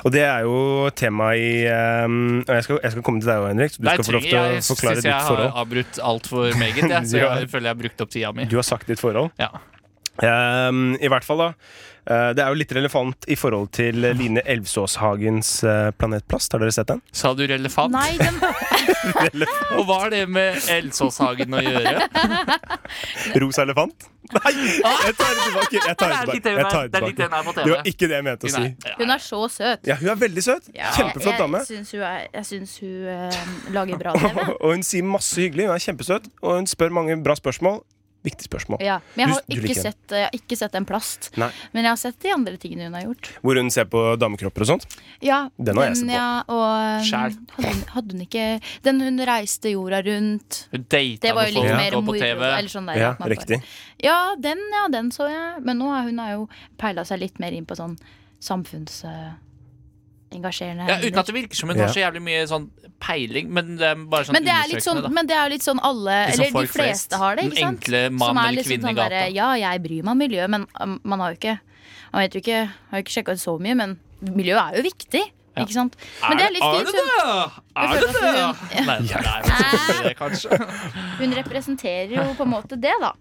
[SPEAKER 2] Og det er jo tema i ehm, og jeg, skal, jeg skal komme til deg òg, Henrik. Så du
[SPEAKER 3] Nei,
[SPEAKER 2] skal få lov
[SPEAKER 3] trenger-
[SPEAKER 2] til å
[SPEAKER 3] jeg
[SPEAKER 2] forklare
[SPEAKER 3] synes
[SPEAKER 2] ditt
[SPEAKER 3] jeg
[SPEAKER 2] forhold.
[SPEAKER 3] har avbrutt altfor meget, jeg, så
[SPEAKER 2] Ja.
[SPEAKER 3] jeg føler jeg har brukt opp tida mi.
[SPEAKER 2] Du har sagt ditt forhold.
[SPEAKER 3] Ja.
[SPEAKER 2] Ehm, I hvert fall, da. eh, det er jo litt relevant i forhold til eh, Line Elvsåshagens eh, Planet Plast. Har dere sett den?
[SPEAKER 3] Sa du relefant?
[SPEAKER 4] Nei, den,
[SPEAKER 3] Og hva har det med Elsåshagen å gjøre?
[SPEAKER 2] Rosa elefant? Nei! Jeg tar det tilbake. Jeg tar det tilbake. Jeg tar det tilbake.
[SPEAKER 3] er på
[SPEAKER 2] Det var ikke det jeg mente å si.
[SPEAKER 4] hun er så søt.
[SPEAKER 2] Ja, hun er veldig søt. Kjempeflott dame.
[SPEAKER 4] Jeg, jeg syns hun, er, jeg synes hun eh, lager bra TV.
[SPEAKER 2] Og hun sier masse hyggelig. Hun er kjempesøt, og hun spør mange bra spørsmål. Viktige spørsmål.
[SPEAKER 4] Ja, men jeg har,
[SPEAKER 2] Du- du
[SPEAKER 4] ikke
[SPEAKER 2] liker den.
[SPEAKER 4] sett, eh, jeg har ikke sett en plast.
[SPEAKER 2] Nei.
[SPEAKER 4] Men jeg har sett de andre tingene hun har gjort.
[SPEAKER 2] Hvor hun ser på damekropper og sånt.
[SPEAKER 4] Ja,
[SPEAKER 2] Den har jeg sett på.
[SPEAKER 4] Ja, og,
[SPEAKER 3] Skjær.
[SPEAKER 4] um, Hadde, hun- hadde hun ikke Den hun reiste jorda rundt.
[SPEAKER 3] Hun data
[SPEAKER 4] Det var jo
[SPEAKER 3] med
[SPEAKER 4] litt
[SPEAKER 3] folk
[SPEAKER 4] mer
[SPEAKER 3] og på
[SPEAKER 4] moro.
[SPEAKER 3] TV.
[SPEAKER 4] Eller sånn der,
[SPEAKER 2] Ja,
[SPEAKER 4] at man bare-
[SPEAKER 2] riktig.
[SPEAKER 4] Ja, den, ja, den så jeg. Men nå har hun har jo peila seg litt mer inn på sånn eh, samfunnsengasjerende
[SPEAKER 3] Ja, uten at det virker som hun
[SPEAKER 2] Ja.
[SPEAKER 3] har så jævlig mye sånn peiling, men det er bare sånn
[SPEAKER 4] men det, er litt sånn,
[SPEAKER 3] undersøkende, da.
[SPEAKER 4] men det er jo litt sånn alle,
[SPEAKER 3] Litt sånn
[SPEAKER 4] eller de
[SPEAKER 3] folk flest.
[SPEAKER 4] fleste har det,
[SPEAKER 3] Den
[SPEAKER 4] ikke sant?
[SPEAKER 3] enkle mann
[SPEAKER 4] Som er
[SPEAKER 3] eller
[SPEAKER 4] litt
[SPEAKER 3] kvinne i
[SPEAKER 4] sånn
[SPEAKER 3] gata.
[SPEAKER 4] Ja, jeg bryr meg om miljøet, men um, man har jo ikke Man vet jo ikke, har jo ikke sjekka ut så mye, men miljøet er jo viktig,
[SPEAKER 3] Ja.
[SPEAKER 4] ikke sant? Men det er litt
[SPEAKER 3] er
[SPEAKER 4] fint.
[SPEAKER 3] det
[SPEAKER 4] Hun,
[SPEAKER 3] det? Er
[SPEAKER 4] Jeg
[SPEAKER 3] det det?
[SPEAKER 4] føler at
[SPEAKER 3] Nei, det er ikke det, kanskje.
[SPEAKER 4] hun representerer jo på en måte det, da.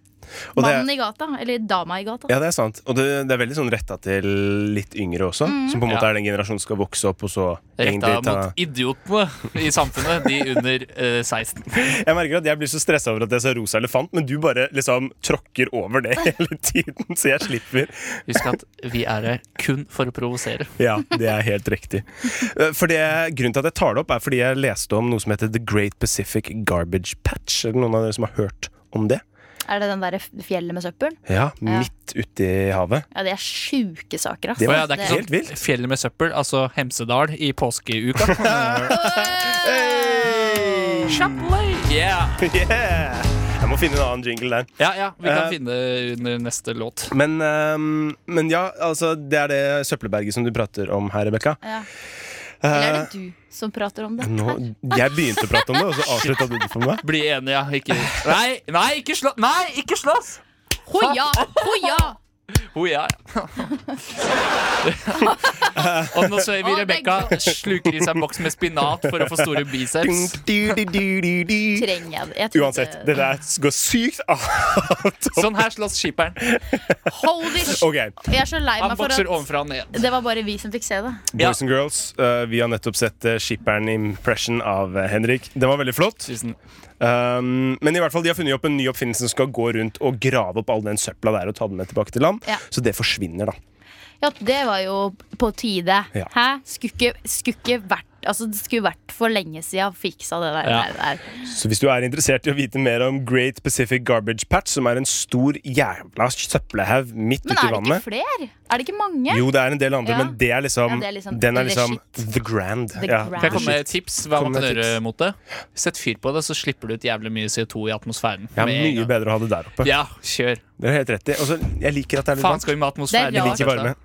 [SPEAKER 2] Og det,
[SPEAKER 4] Mannen i gata, eller dama i gata.
[SPEAKER 2] ja, det er sant. Og det, det er veldig sånn retta til litt yngre også, som på en måte
[SPEAKER 3] Ja.
[SPEAKER 2] er den generasjonen som skal vokse opp og så
[SPEAKER 3] Retta
[SPEAKER 2] egentlig ta
[SPEAKER 3] mot idiotene i samfunnet, de under eh, 16.
[SPEAKER 2] Jeg merker at jeg blir så stressa over at jeg sa rosa elefant, men du bare liksom tråkker over det hele tiden, så jeg slipper.
[SPEAKER 3] Husk at vi er her kun for å provosere.
[SPEAKER 2] Ja, det er helt riktig. Eh, For det, grunnen til at jeg tar det opp, er fordi jeg leste om noe som heter The Great Pacific Garbage Patch. Er det noen av dere som har hørt om det?
[SPEAKER 4] Er det den derre fjellet med søppel?
[SPEAKER 2] Ja,
[SPEAKER 4] Ja.
[SPEAKER 2] midt ute i havet.
[SPEAKER 4] Ja, det er sjuke saker, ass.
[SPEAKER 2] Det
[SPEAKER 3] Å
[SPEAKER 2] var
[SPEAKER 3] ja, det er ikke
[SPEAKER 2] helt vilt.
[SPEAKER 3] sånn fjellet med søppel, altså Hemsedal i påskeuka. yeah.
[SPEAKER 2] Yeah! Jeg må finne en annen jingle der.
[SPEAKER 3] Ja, ja, vi kan
[SPEAKER 2] Eh,
[SPEAKER 3] finne det under neste låt.
[SPEAKER 2] Men, ehm, men ja, altså, det er det søppelberget som du prater om her, Rebekka. Eh,
[SPEAKER 4] Ja. Eller er det du som prater om det?
[SPEAKER 2] Nå, jeg begynte å prate om det, og så avslutta du det for meg.
[SPEAKER 3] Bli enige, ja. Ikke, nei, nei, ikke slå, nei, ikke slåss!
[SPEAKER 4] Hoia! Hoia!
[SPEAKER 3] Ho, ja. Og nå ser vi Rebekka sluker i seg en boks med spinat for å få store biceps.
[SPEAKER 4] Trenger jeg det? Jeg tror
[SPEAKER 2] Uansett,
[SPEAKER 4] det-
[SPEAKER 2] det der går sykt av.
[SPEAKER 3] Sånn her slåss skipperen.
[SPEAKER 4] Holy shit!
[SPEAKER 2] Ok,
[SPEAKER 4] Jeg er så lei
[SPEAKER 3] Han
[SPEAKER 4] meg for
[SPEAKER 3] bokser
[SPEAKER 4] at
[SPEAKER 3] ovenfra og ned.
[SPEAKER 4] det var bare vi som fikk se det.
[SPEAKER 3] Ja.
[SPEAKER 2] Boys and girls, eh, vi har nettopp sett eh, Skipperen Impression av eh, Henrik. Den var veldig flott.
[SPEAKER 3] Tusen.
[SPEAKER 2] Um, men i hvert fall, de har funnet opp en ny oppfinnelse som skal gå rundt og grave opp all den søpla der og ta den med tilbake til land.
[SPEAKER 4] Ja.
[SPEAKER 2] Så det forsvinner, da.
[SPEAKER 4] Ja, det var jo på tide.
[SPEAKER 2] Ja.
[SPEAKER 4] Hæ? Skulle ikke- skulle ikke vært Altså, det skulle vært for lenge siden jeg fiksa det der.
[SPEAKER 3] Ja.
[SPEAKER 4] der, der.
[SPEAKER 2] Så hvis du er interessert i å vite mer om Great Pacific Garbage Patch, som er en stor jævla søppelhaug midt
[SPEAKER 4] Men er det
[SPEAKER 2] ute i
[SPEAKER 4] ikke
[SPEAKER 2] vannet
[SPEAKER 4] flere? Er det ikke mange?
[SPEAKER 2] Jo, det er en del andre,
[SPEAKER 4] Ja.
[SPEAKER 2] men det er liksom,
[SPEAKER 4] Ja, det er liksom
[SPEAKER 2] den er
[SPEAKER 4] the
[SPEAKER 2] liksom
[SPEAKER 4] shit.
[SPEAKER 2] the grand.
[SPEAKER 4] The
[SPEAKER 2] ja,
[SPEAKER 4] grand.
[SPEAKER 3] Kan jeg komme med et
[SPEAKER 2] shit.
[SPEAKER 3] tips? Hva
[SPEAKER 2] Kom
[SPEAKER 3] man kan
[SPEAKER 2] med
[SPEAKER 3] gjøre
[SPEAKER 2] tips.
[SPEAKER 3] mot det? Sett fyr på det, så slipper du ut jævlig mye CO2 i atmosfæren.
[SPEAKER 2] Ja,
[SPEAKER 3] med en
[SPEAKER 2] mye
[SPEAKER 3] gang.
[SPEAKER 2] bedre å ha det der oppe.
[SPEAKER 3] Ja, kjør.
[SPEAKER 2] Dere har helt rett i. Og så, jeg liker at det er litt
[SPEAKER 3] Faen
[SPEAKER 2] varmt.
[SPEAKER 3] skal vi med
[SPEAKER 4] Det er
[SPEAKER 3] atmosfæren? altså?
[SPEAKER 2] Jeg
[SPEAKER 4] rart.
[SPEAKER 2] liker varme.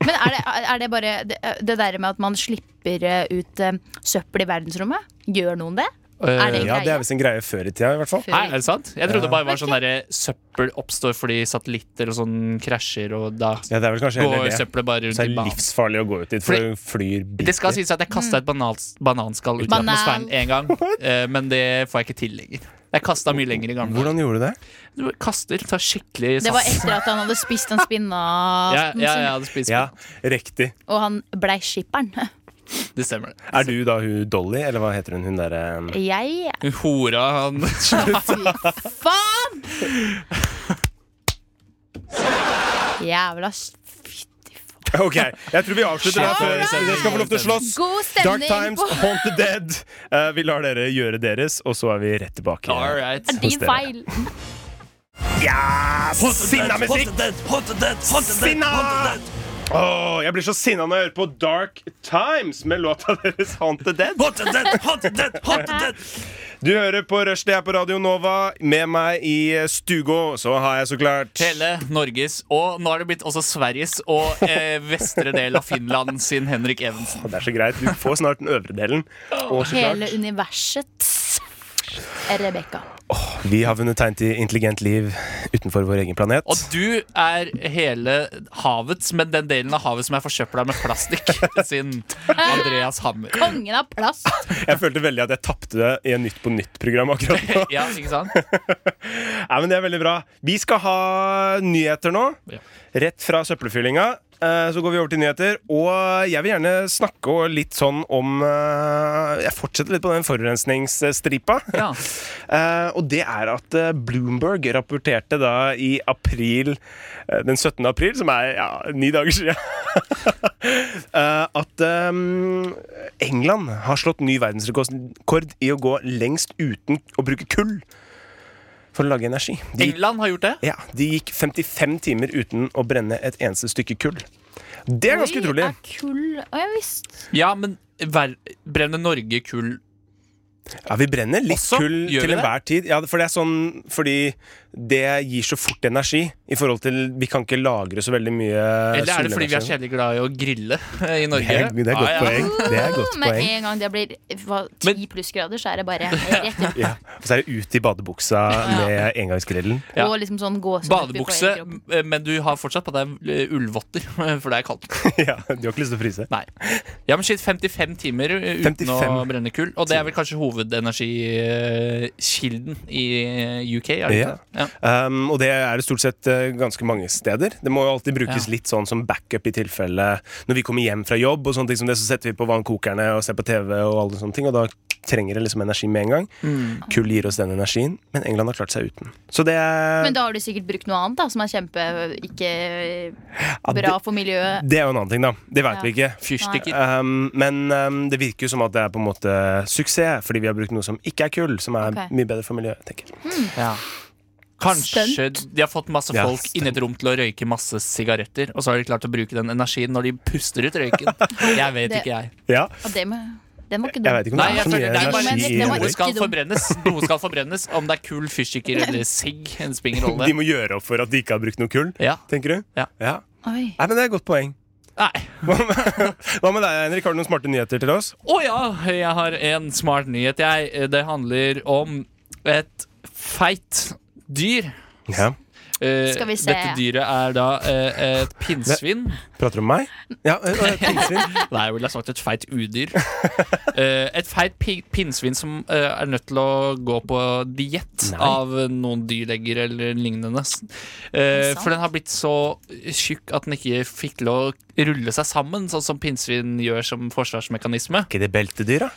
[SPEAKER 4] Men er det, er det bare det, det der med at man slipper eh, ut eh, søppel i verdensrommet? Gjør noen det? Er det
[SPEAKER 3] Eh,
[SPEAKER 4] en
[SPEAKER 2] Ja, det
[SPEAKER 4] greie?
[SPEAKER 2] er visst en greie før i tida, i hvert fall.
[SPEAKER 4] Før-
[SPEAKER 3] Nei, er det sant? Jeg trodde det bare var
[SPEAKER 4] Vet
[SPEAKER 3] sånn derre søppel oppstår fordi satellitter og sånn krasjer, og da
[SPEAKER 2] Ja, det er vel kanskje
[SPEAKER 3] går
[SPEAKER 2] heller det.
[SPEAKER 3] søppelet bare rundt
[SPEAKER 2] Så
[SPEAKER 3] i
[SPEAKER 2] er det
[SPEAKER 3] banen.
[SPEAKER 2] livsfarlig å gå ut dit, for
[SPEAKER 3] Fordi-
[SPEAKER 2] du flyr
[SPEAKER 3] Det skal
[SPEAKER 2] biter.
[SPEAKER 3] sies at jeg kasta et banals, bananskall
[SPEAKER 4] Mm.
[SPEAKER 3] ut i
[SPEAKER 4] Banan.
[SPEAKER 3] atmosfæren én gang, eh, men det får jeg ikke til lenger. Jeg kasta mye lenger i gamle dager.
[SPEAKER 2] Hvordan gjorde du det?
[SPEAKER 3] Du kaster, tar skikkelig
[SPEAKER 4] Det var
[SPEAKER 3] sats.
[SPEAKER 4] etter at han hadde spist den
[SPEAKER 3] Ja,
[SPEAKER 4] spinnaten
[SPEAKER 3] ja,
[SPEAKER 4] sin,
[SPEAKER 3] jeg hadde spist
[SPEAKER 2] Ja, riktig.
[SPEAKER 4] og han blei skipperen.
[SPEAKER 3] Det stemmer, det.
[SPEAKER 2] Er du da hun Dolly, eller hva heter hun? Hun derre um?
[SPEAKER 4] Jeg
[SPEAKER 3] Hun hora han
[SPEAKER 4] Faen! Jævla s-
[SPEAKER 2] Ok, jeg tror vi avslutter det før dere skal få lov til å slåss.
[SPEAKER 4] God
[SPEAKER 2] Dark
[SPEAKER 4] stemning
[SPEAKER 2] Times,
[SPEAKER 4] på
[SPEAKER 2] Haunt the Dead. Eh, vi lar dere gjøre deres, og så er vi rett tilbake.
[SPEAKER 3] All right.
[SPEAKER 2] hos
[SPEAKER 4] din
[SPEAKER 2] dere.
[SPEAKER 4] feil.
[SPEAKER 2] Ja! Sinna musikk! Sinna! Åh, jeg blir så sinna når jeg hører på Dark Times med låta deres Haunt the Dead. Du hører på Rush, det er på Radio Nova. Med meg i stugo så har jeg så klart
[SPEAKER 3] Hele Norges, og nå har det blitt også Sveriges og eh, vestre del av Finland sin Henrik Evensen.
[SPEAKER 2] Det er så greit. Du får snart den øvre delen. Og så klart
[SPEAKER 4] Hele universets Rebekka.
[SPEAKER 2] Vi har vunnet tegn til intelligent liv utenfor vår egen planet.
[SPEAKER 3] Og du er hele havets, men den delen av havet som er forsøpla med plastikk, sin Andreas Hammer.
[SPEAKER 4] Kongen av plast.
[SPEAKER 2] Jeg følte veldig at jeg tapte det i en Nytt på Nytt-program akkurat nå.
[SPEAKER 3] Ja, ikke sant?
[SPEAKER 2] Nei, men det er veldig bra. Vi skal ha nyheter nå.
[SPEAKER 3] Ja.
[SPEAKER 2] Rett fra søppelfyllinga. eh, Så går vi over til nyheter. Og jeg vil gjerne snakke og litt sånn om eh, Jeg fortsetter litt på den forurensningsstripa.
[SPEAKER 3] Ja.
[SPEAKER 2] Eh, og det er at eh, Bloomberg rapporterte da i april eh, Den 17. april, som er ja, ni dager siden eh, At eh, England har slått ny verdensrekord i å gå lengst uten å bruke kull for å lage energi. De,
[SPEAKER 3] England har gjort det.
[SPEAKER 2] ja, de gikk 55 timer uten å brenne et eneste stykke kull. Det er ganske
[SPEAKER 4] Oi,
[SPEAKER 2] utrolig.
[SPEAKER 4] Er kull Å, jeg visste
[SPEAKER 3] Ja, men ver- brenner Norge kull
[SPEAKER 2] Ja, vi brenner litt
[SPEAKER 3] Også?
[SPEAKER 2] kull
[SPEAKER 3] Gjør vi
[SPEAKER 2] til
[SPEAKER 3] det?
[SPEAKER 2] enhver tid. Ja, for det er sånn Fordi det gir så fort energi i forhold til Vi kan ikke lagre så veldig mye
[SPEAKER 3] Eller er det fordi vi er
[SPEAKER 2] solenergi.
[SPEAKER 3] kjedelig glad i å grille eh, i
[SPEAKER 2] Det
[SPEAKER 3] Norge?
[SPEAKER 2] er, det er godt
[SPEAKER 3] Ja, ja.
[SPEAKER 2] poeng. Det er godt
[SPEAKER 4] Med
[SPEAKER 2] poeng.
[SPEAKER 4] en gang det blir hva,
[SPEAKER 3] Men-
[SPEAKER 4] ti plussgrader, så er det bare rett ut.
[SPEAKER 2] Ja. Og så er det ut i badebuksa med engangsgrillen.
[SPEAKER 3] Ja.
[SPEAKER 4] Og liksom sånn gåsehud oppi på hele
[SPEAKER 3] Badebukse,
[SPEAKER 4] kroppen.
[SPEAKER 3] eh, men du har fortsatt på deg eh, ullvotter, for det er kaldt.
[SPEAKER 2] Ja, Du har ikke lyst til å fryse?
[SPEAKER 3] Nei. Ja, men shit, 55 timer eh, uten
[SPEAKER 2] 55
[SPEAKER 3] å brenne kull. Og det er vel kanskje hovedenergikilden i eh, UK? Er det
[SPEAKER 2] Ja.
[SPEAKER 3] ikke det? Ja.
[SPEAKER 2] Um, og det er det stort sett eh, ganske mange steder. Det må jo alltid brukes
[SPEAKER 3] Ja.
[SPEAKER 2] litt sånn som backup i tilfelle Når vi kommer hjem fra jobb, og sånne ting som det, så setter vi på vannkokerne og ser på TV, og alle sånne ting Og da trenger det liksom energi med en gang.
[SPEAKER 4] Mm.
[SPEAKER 2] Kull gir oss den energien, men England har klart seg uten. Så det er
[SPEAKER 4] Men da har du sikkert brukt noe annet da som er kjempe ikke
[SPEAKER 2] ja,
[SPEAKER 4] bra for miljøet.
[SPEAKER 2] det, det er jo en annen ting, da. Det
[SPEAKER 4] Ja.
[SPEAKER 2] veit vi ikke.
[SPEAKER 3] Fyrstikker.
[SPEAKER 2] Um, men um, det virker jo som at det er på en måte suksess, fordi vi har brukt noe som ikke er kull, som er
[SPEAKER 4] Ok.
[SPEAKER 2] mye bedre for miljøet. tenker jeg
[SPEAKER 3] Ja. Kanskje de har fått masse
[SPEAKER 2] Ja,
[SPEAKER 3] folk inni et rom til å røyke masse sigaretter, og så har de klart å bruke den energien når de puster ut røyken. Jeg vet
[SPEAKER 4] Det-
[SPEAKER 3] ikke, jeg.
[SPEAKER 2] Ja,
[SPEAKER 4] Og det med, den var ikke
[SPEAKER 2] jeg
[SPEAKER 4] dum.
[SPEAKER 2] vet ikke om
[SPEAKER 3] Nei,
[SPEAKER 2] det
[SPEAKER 3] jeg
[SPEAKER 2] er så
[SPEAKER 3] føler
[SPEAKER 2] mye
[SPEAKER 3] det er bare
[SPEAKER 4] Men
[SPEAKER 2] energi
[SPEAKER 4] det var
[SPEAKER 2] i
[SPEAKER 3] Noe
[SPEAKER 2] røyk.
[SPEAKER 3] skal
[SPEAKER 4] ikke dumt.
[SPEAKER 3] forbrennes, noe skal forbrennes om det er kull, fyrstikker eller sigg. En springer
[SPEAKER 2] De
[SPEAKER 3] rolle.
[SPEAKER 2] må gjøre opp for at de ikke har brukt noe kull,
[SPEAKER 3] Ja.
[SPEAKER 2] tenker du?
[SPEAKER 3] Ja.
[SPEAKER 2] ja.
[SPEAKER 4] Oi.
[SPEAKER 2] Nei, men det er et godt poeng.
[SPEAKER 3] Nei.
[SPEAKER 2] Hva med, hva med deg, Henrik? Har du noen smarte nyheter til oss?
[SPEAKER 3] Å ja, jeg har en smart nyhet, jeg. eh, Det handler om et feit dyr.
[SPEAKER 2] Ja.
[SPEAKER 3] Eh,
[SPEAKER 4] Skal vi se.
[SPEAKER 3] Dette dyret er da eh, et pinnsvin.
[SPEAKER 2] Prater du om meg? Ja, øh, øh, pinnsvin.
[SPEAKER 3] Nei, jeg ville ha sagt et feit udyr. Eh, et feit pi- pinnsvin som eh, er nødt til å gå på diett
[SPEAKER 2] Nei.
[SPEAKER 3] av noen dyrlegger eller lignende. Eh,
[SPEAKER 4] Er det sant?
[SPEAKER 3] for den har blitt så tjukk at den ikke fikk til å rulle seg sammen, sånn som pinnsvin gjør som forsvarsmekanisme.
[SPEAKER 2] Ikke det beltedyr, da?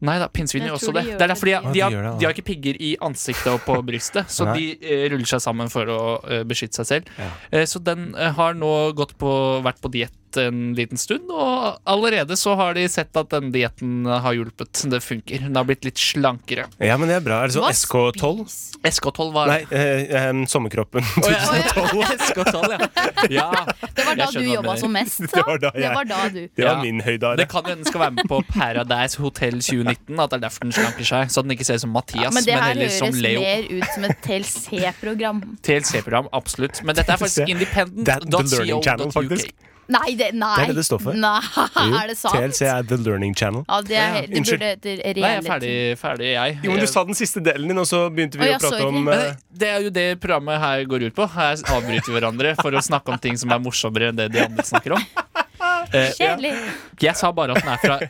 [SPEAKER 3] Nei da, pinnsvin
[SPEAKER 4] Jeg
[SPEAKER 3] gjør
[SPEAKER 4] tror de
[SPEAKER 3] også det.
[SPEAKER 4] gjør
[SPEAKER 3] Det er derfor de,
[SPEAKER 4] det.
[SPEAKER 2] Ja,
[SPEAKER 3] har- de,
[SPEAKER 2] de
[SPEAKER 3] har,
[SPEAKER 2] gjør det, ja.
[SPEAKER 3] de har ikke pigger i ansiktet og på brystet, så de eh, ruller seg sammen for å eh, beskytte seg selv. Eh, så den eh, har nå gått på, vært på diett en liten stund, og allerede så har de sett at den dietten har hjulpet. Det funker. Den har blitt litt slankere.
[SPEAKER 2] Ja, men det er bra. Er det sånn
[SPEAKER 4] Hva
[SPEAKER 2] SK12?
[SPEAKER 3] SK12 var
[SPEAKER 2] Nei, øh, øh, Sommerkroppen.
[SPEAKER 3] Å, ja. SK12, ja. ja.
[SPEAKER 4] Det var da
[SPEAKER 3] Jeg
[SPEAKER 4] du
[SPEAKER 3] skjønner hva du
[SPEAKER 4] jobba
[SPEAKER 3] mener.
[SPEAKER 4] som mest. da.
[SPEAKER 2] Det var da
[SPEAKER 4] Det
[SPEAKER 2] jeg-
[SPEAKER 4] var da du.
[SPEAKER 2] Det var
[SPEAKER 3] Ja.
[SPEAKER 2] min høydare.
[SPEAKER 3] Det kan jo hende den skal være med på Paradise Hotel 2019, at det er derfor den slanker seg. Så den ikke ser ut som Mathias,
[SPEAKER 4] Men det
[SPEAKER 3] men
[SPEAKER 4] her
[SPEAKER 3] heller
[SPEAKER 4] høres
[SPEAKER 3] som Leo.
[SPEAKER 4] mer ut som et TLC-program.
[SPEAKER 3] TLC-program, absolutt. Men dette er
[SPEAKER 2] That's
[SPEAKER 3] faktisk
[SPEAKER 2] the learning channel,
[SPEAKER 3] independent.co.uk.
[SPEAKER 2] faktisk.
[SPEAKER 4] Nei, det, nei.
[SPEAKER 2] Det er det det står for.
[SPEAKER 4] Nei,
[SPEAKER 2] Jo,
[SPEAKER 4] er det sant? Ah,
[SPEAKER 2] TLC er The Learning Channel.
[SPEAKER 4] Ja, det er, helt- de
[SPEAKER 2] Unnskyld.
[SPEAKER 4] burde hete
[SPEAKER 3] Nei, jeg er
[SPEAKER 4] reality.
[SPEAKER 3] ferdig, ferdig jeg.
[SPEAKER 2] Jo, men Du sa den siste delen din, og så begynte vi
[SPEAKER 4] Å, ja,
[SPEAKER 2] å prate
[SPEAKER 4] sorry.
[SPEAKER 2] om
[SPEAKER 3] Men
[SPEAKER 2] eh,
[SPEAKER 3] det er jo det programmet her går ut på. Her avbryter vi hverandre for å snakke om ting som er morsommere enn det de andre snakker om. Eh,
[SPEAKER 4] Kjedelig.
[SPEAKER 3] jeg sa bare at den er fra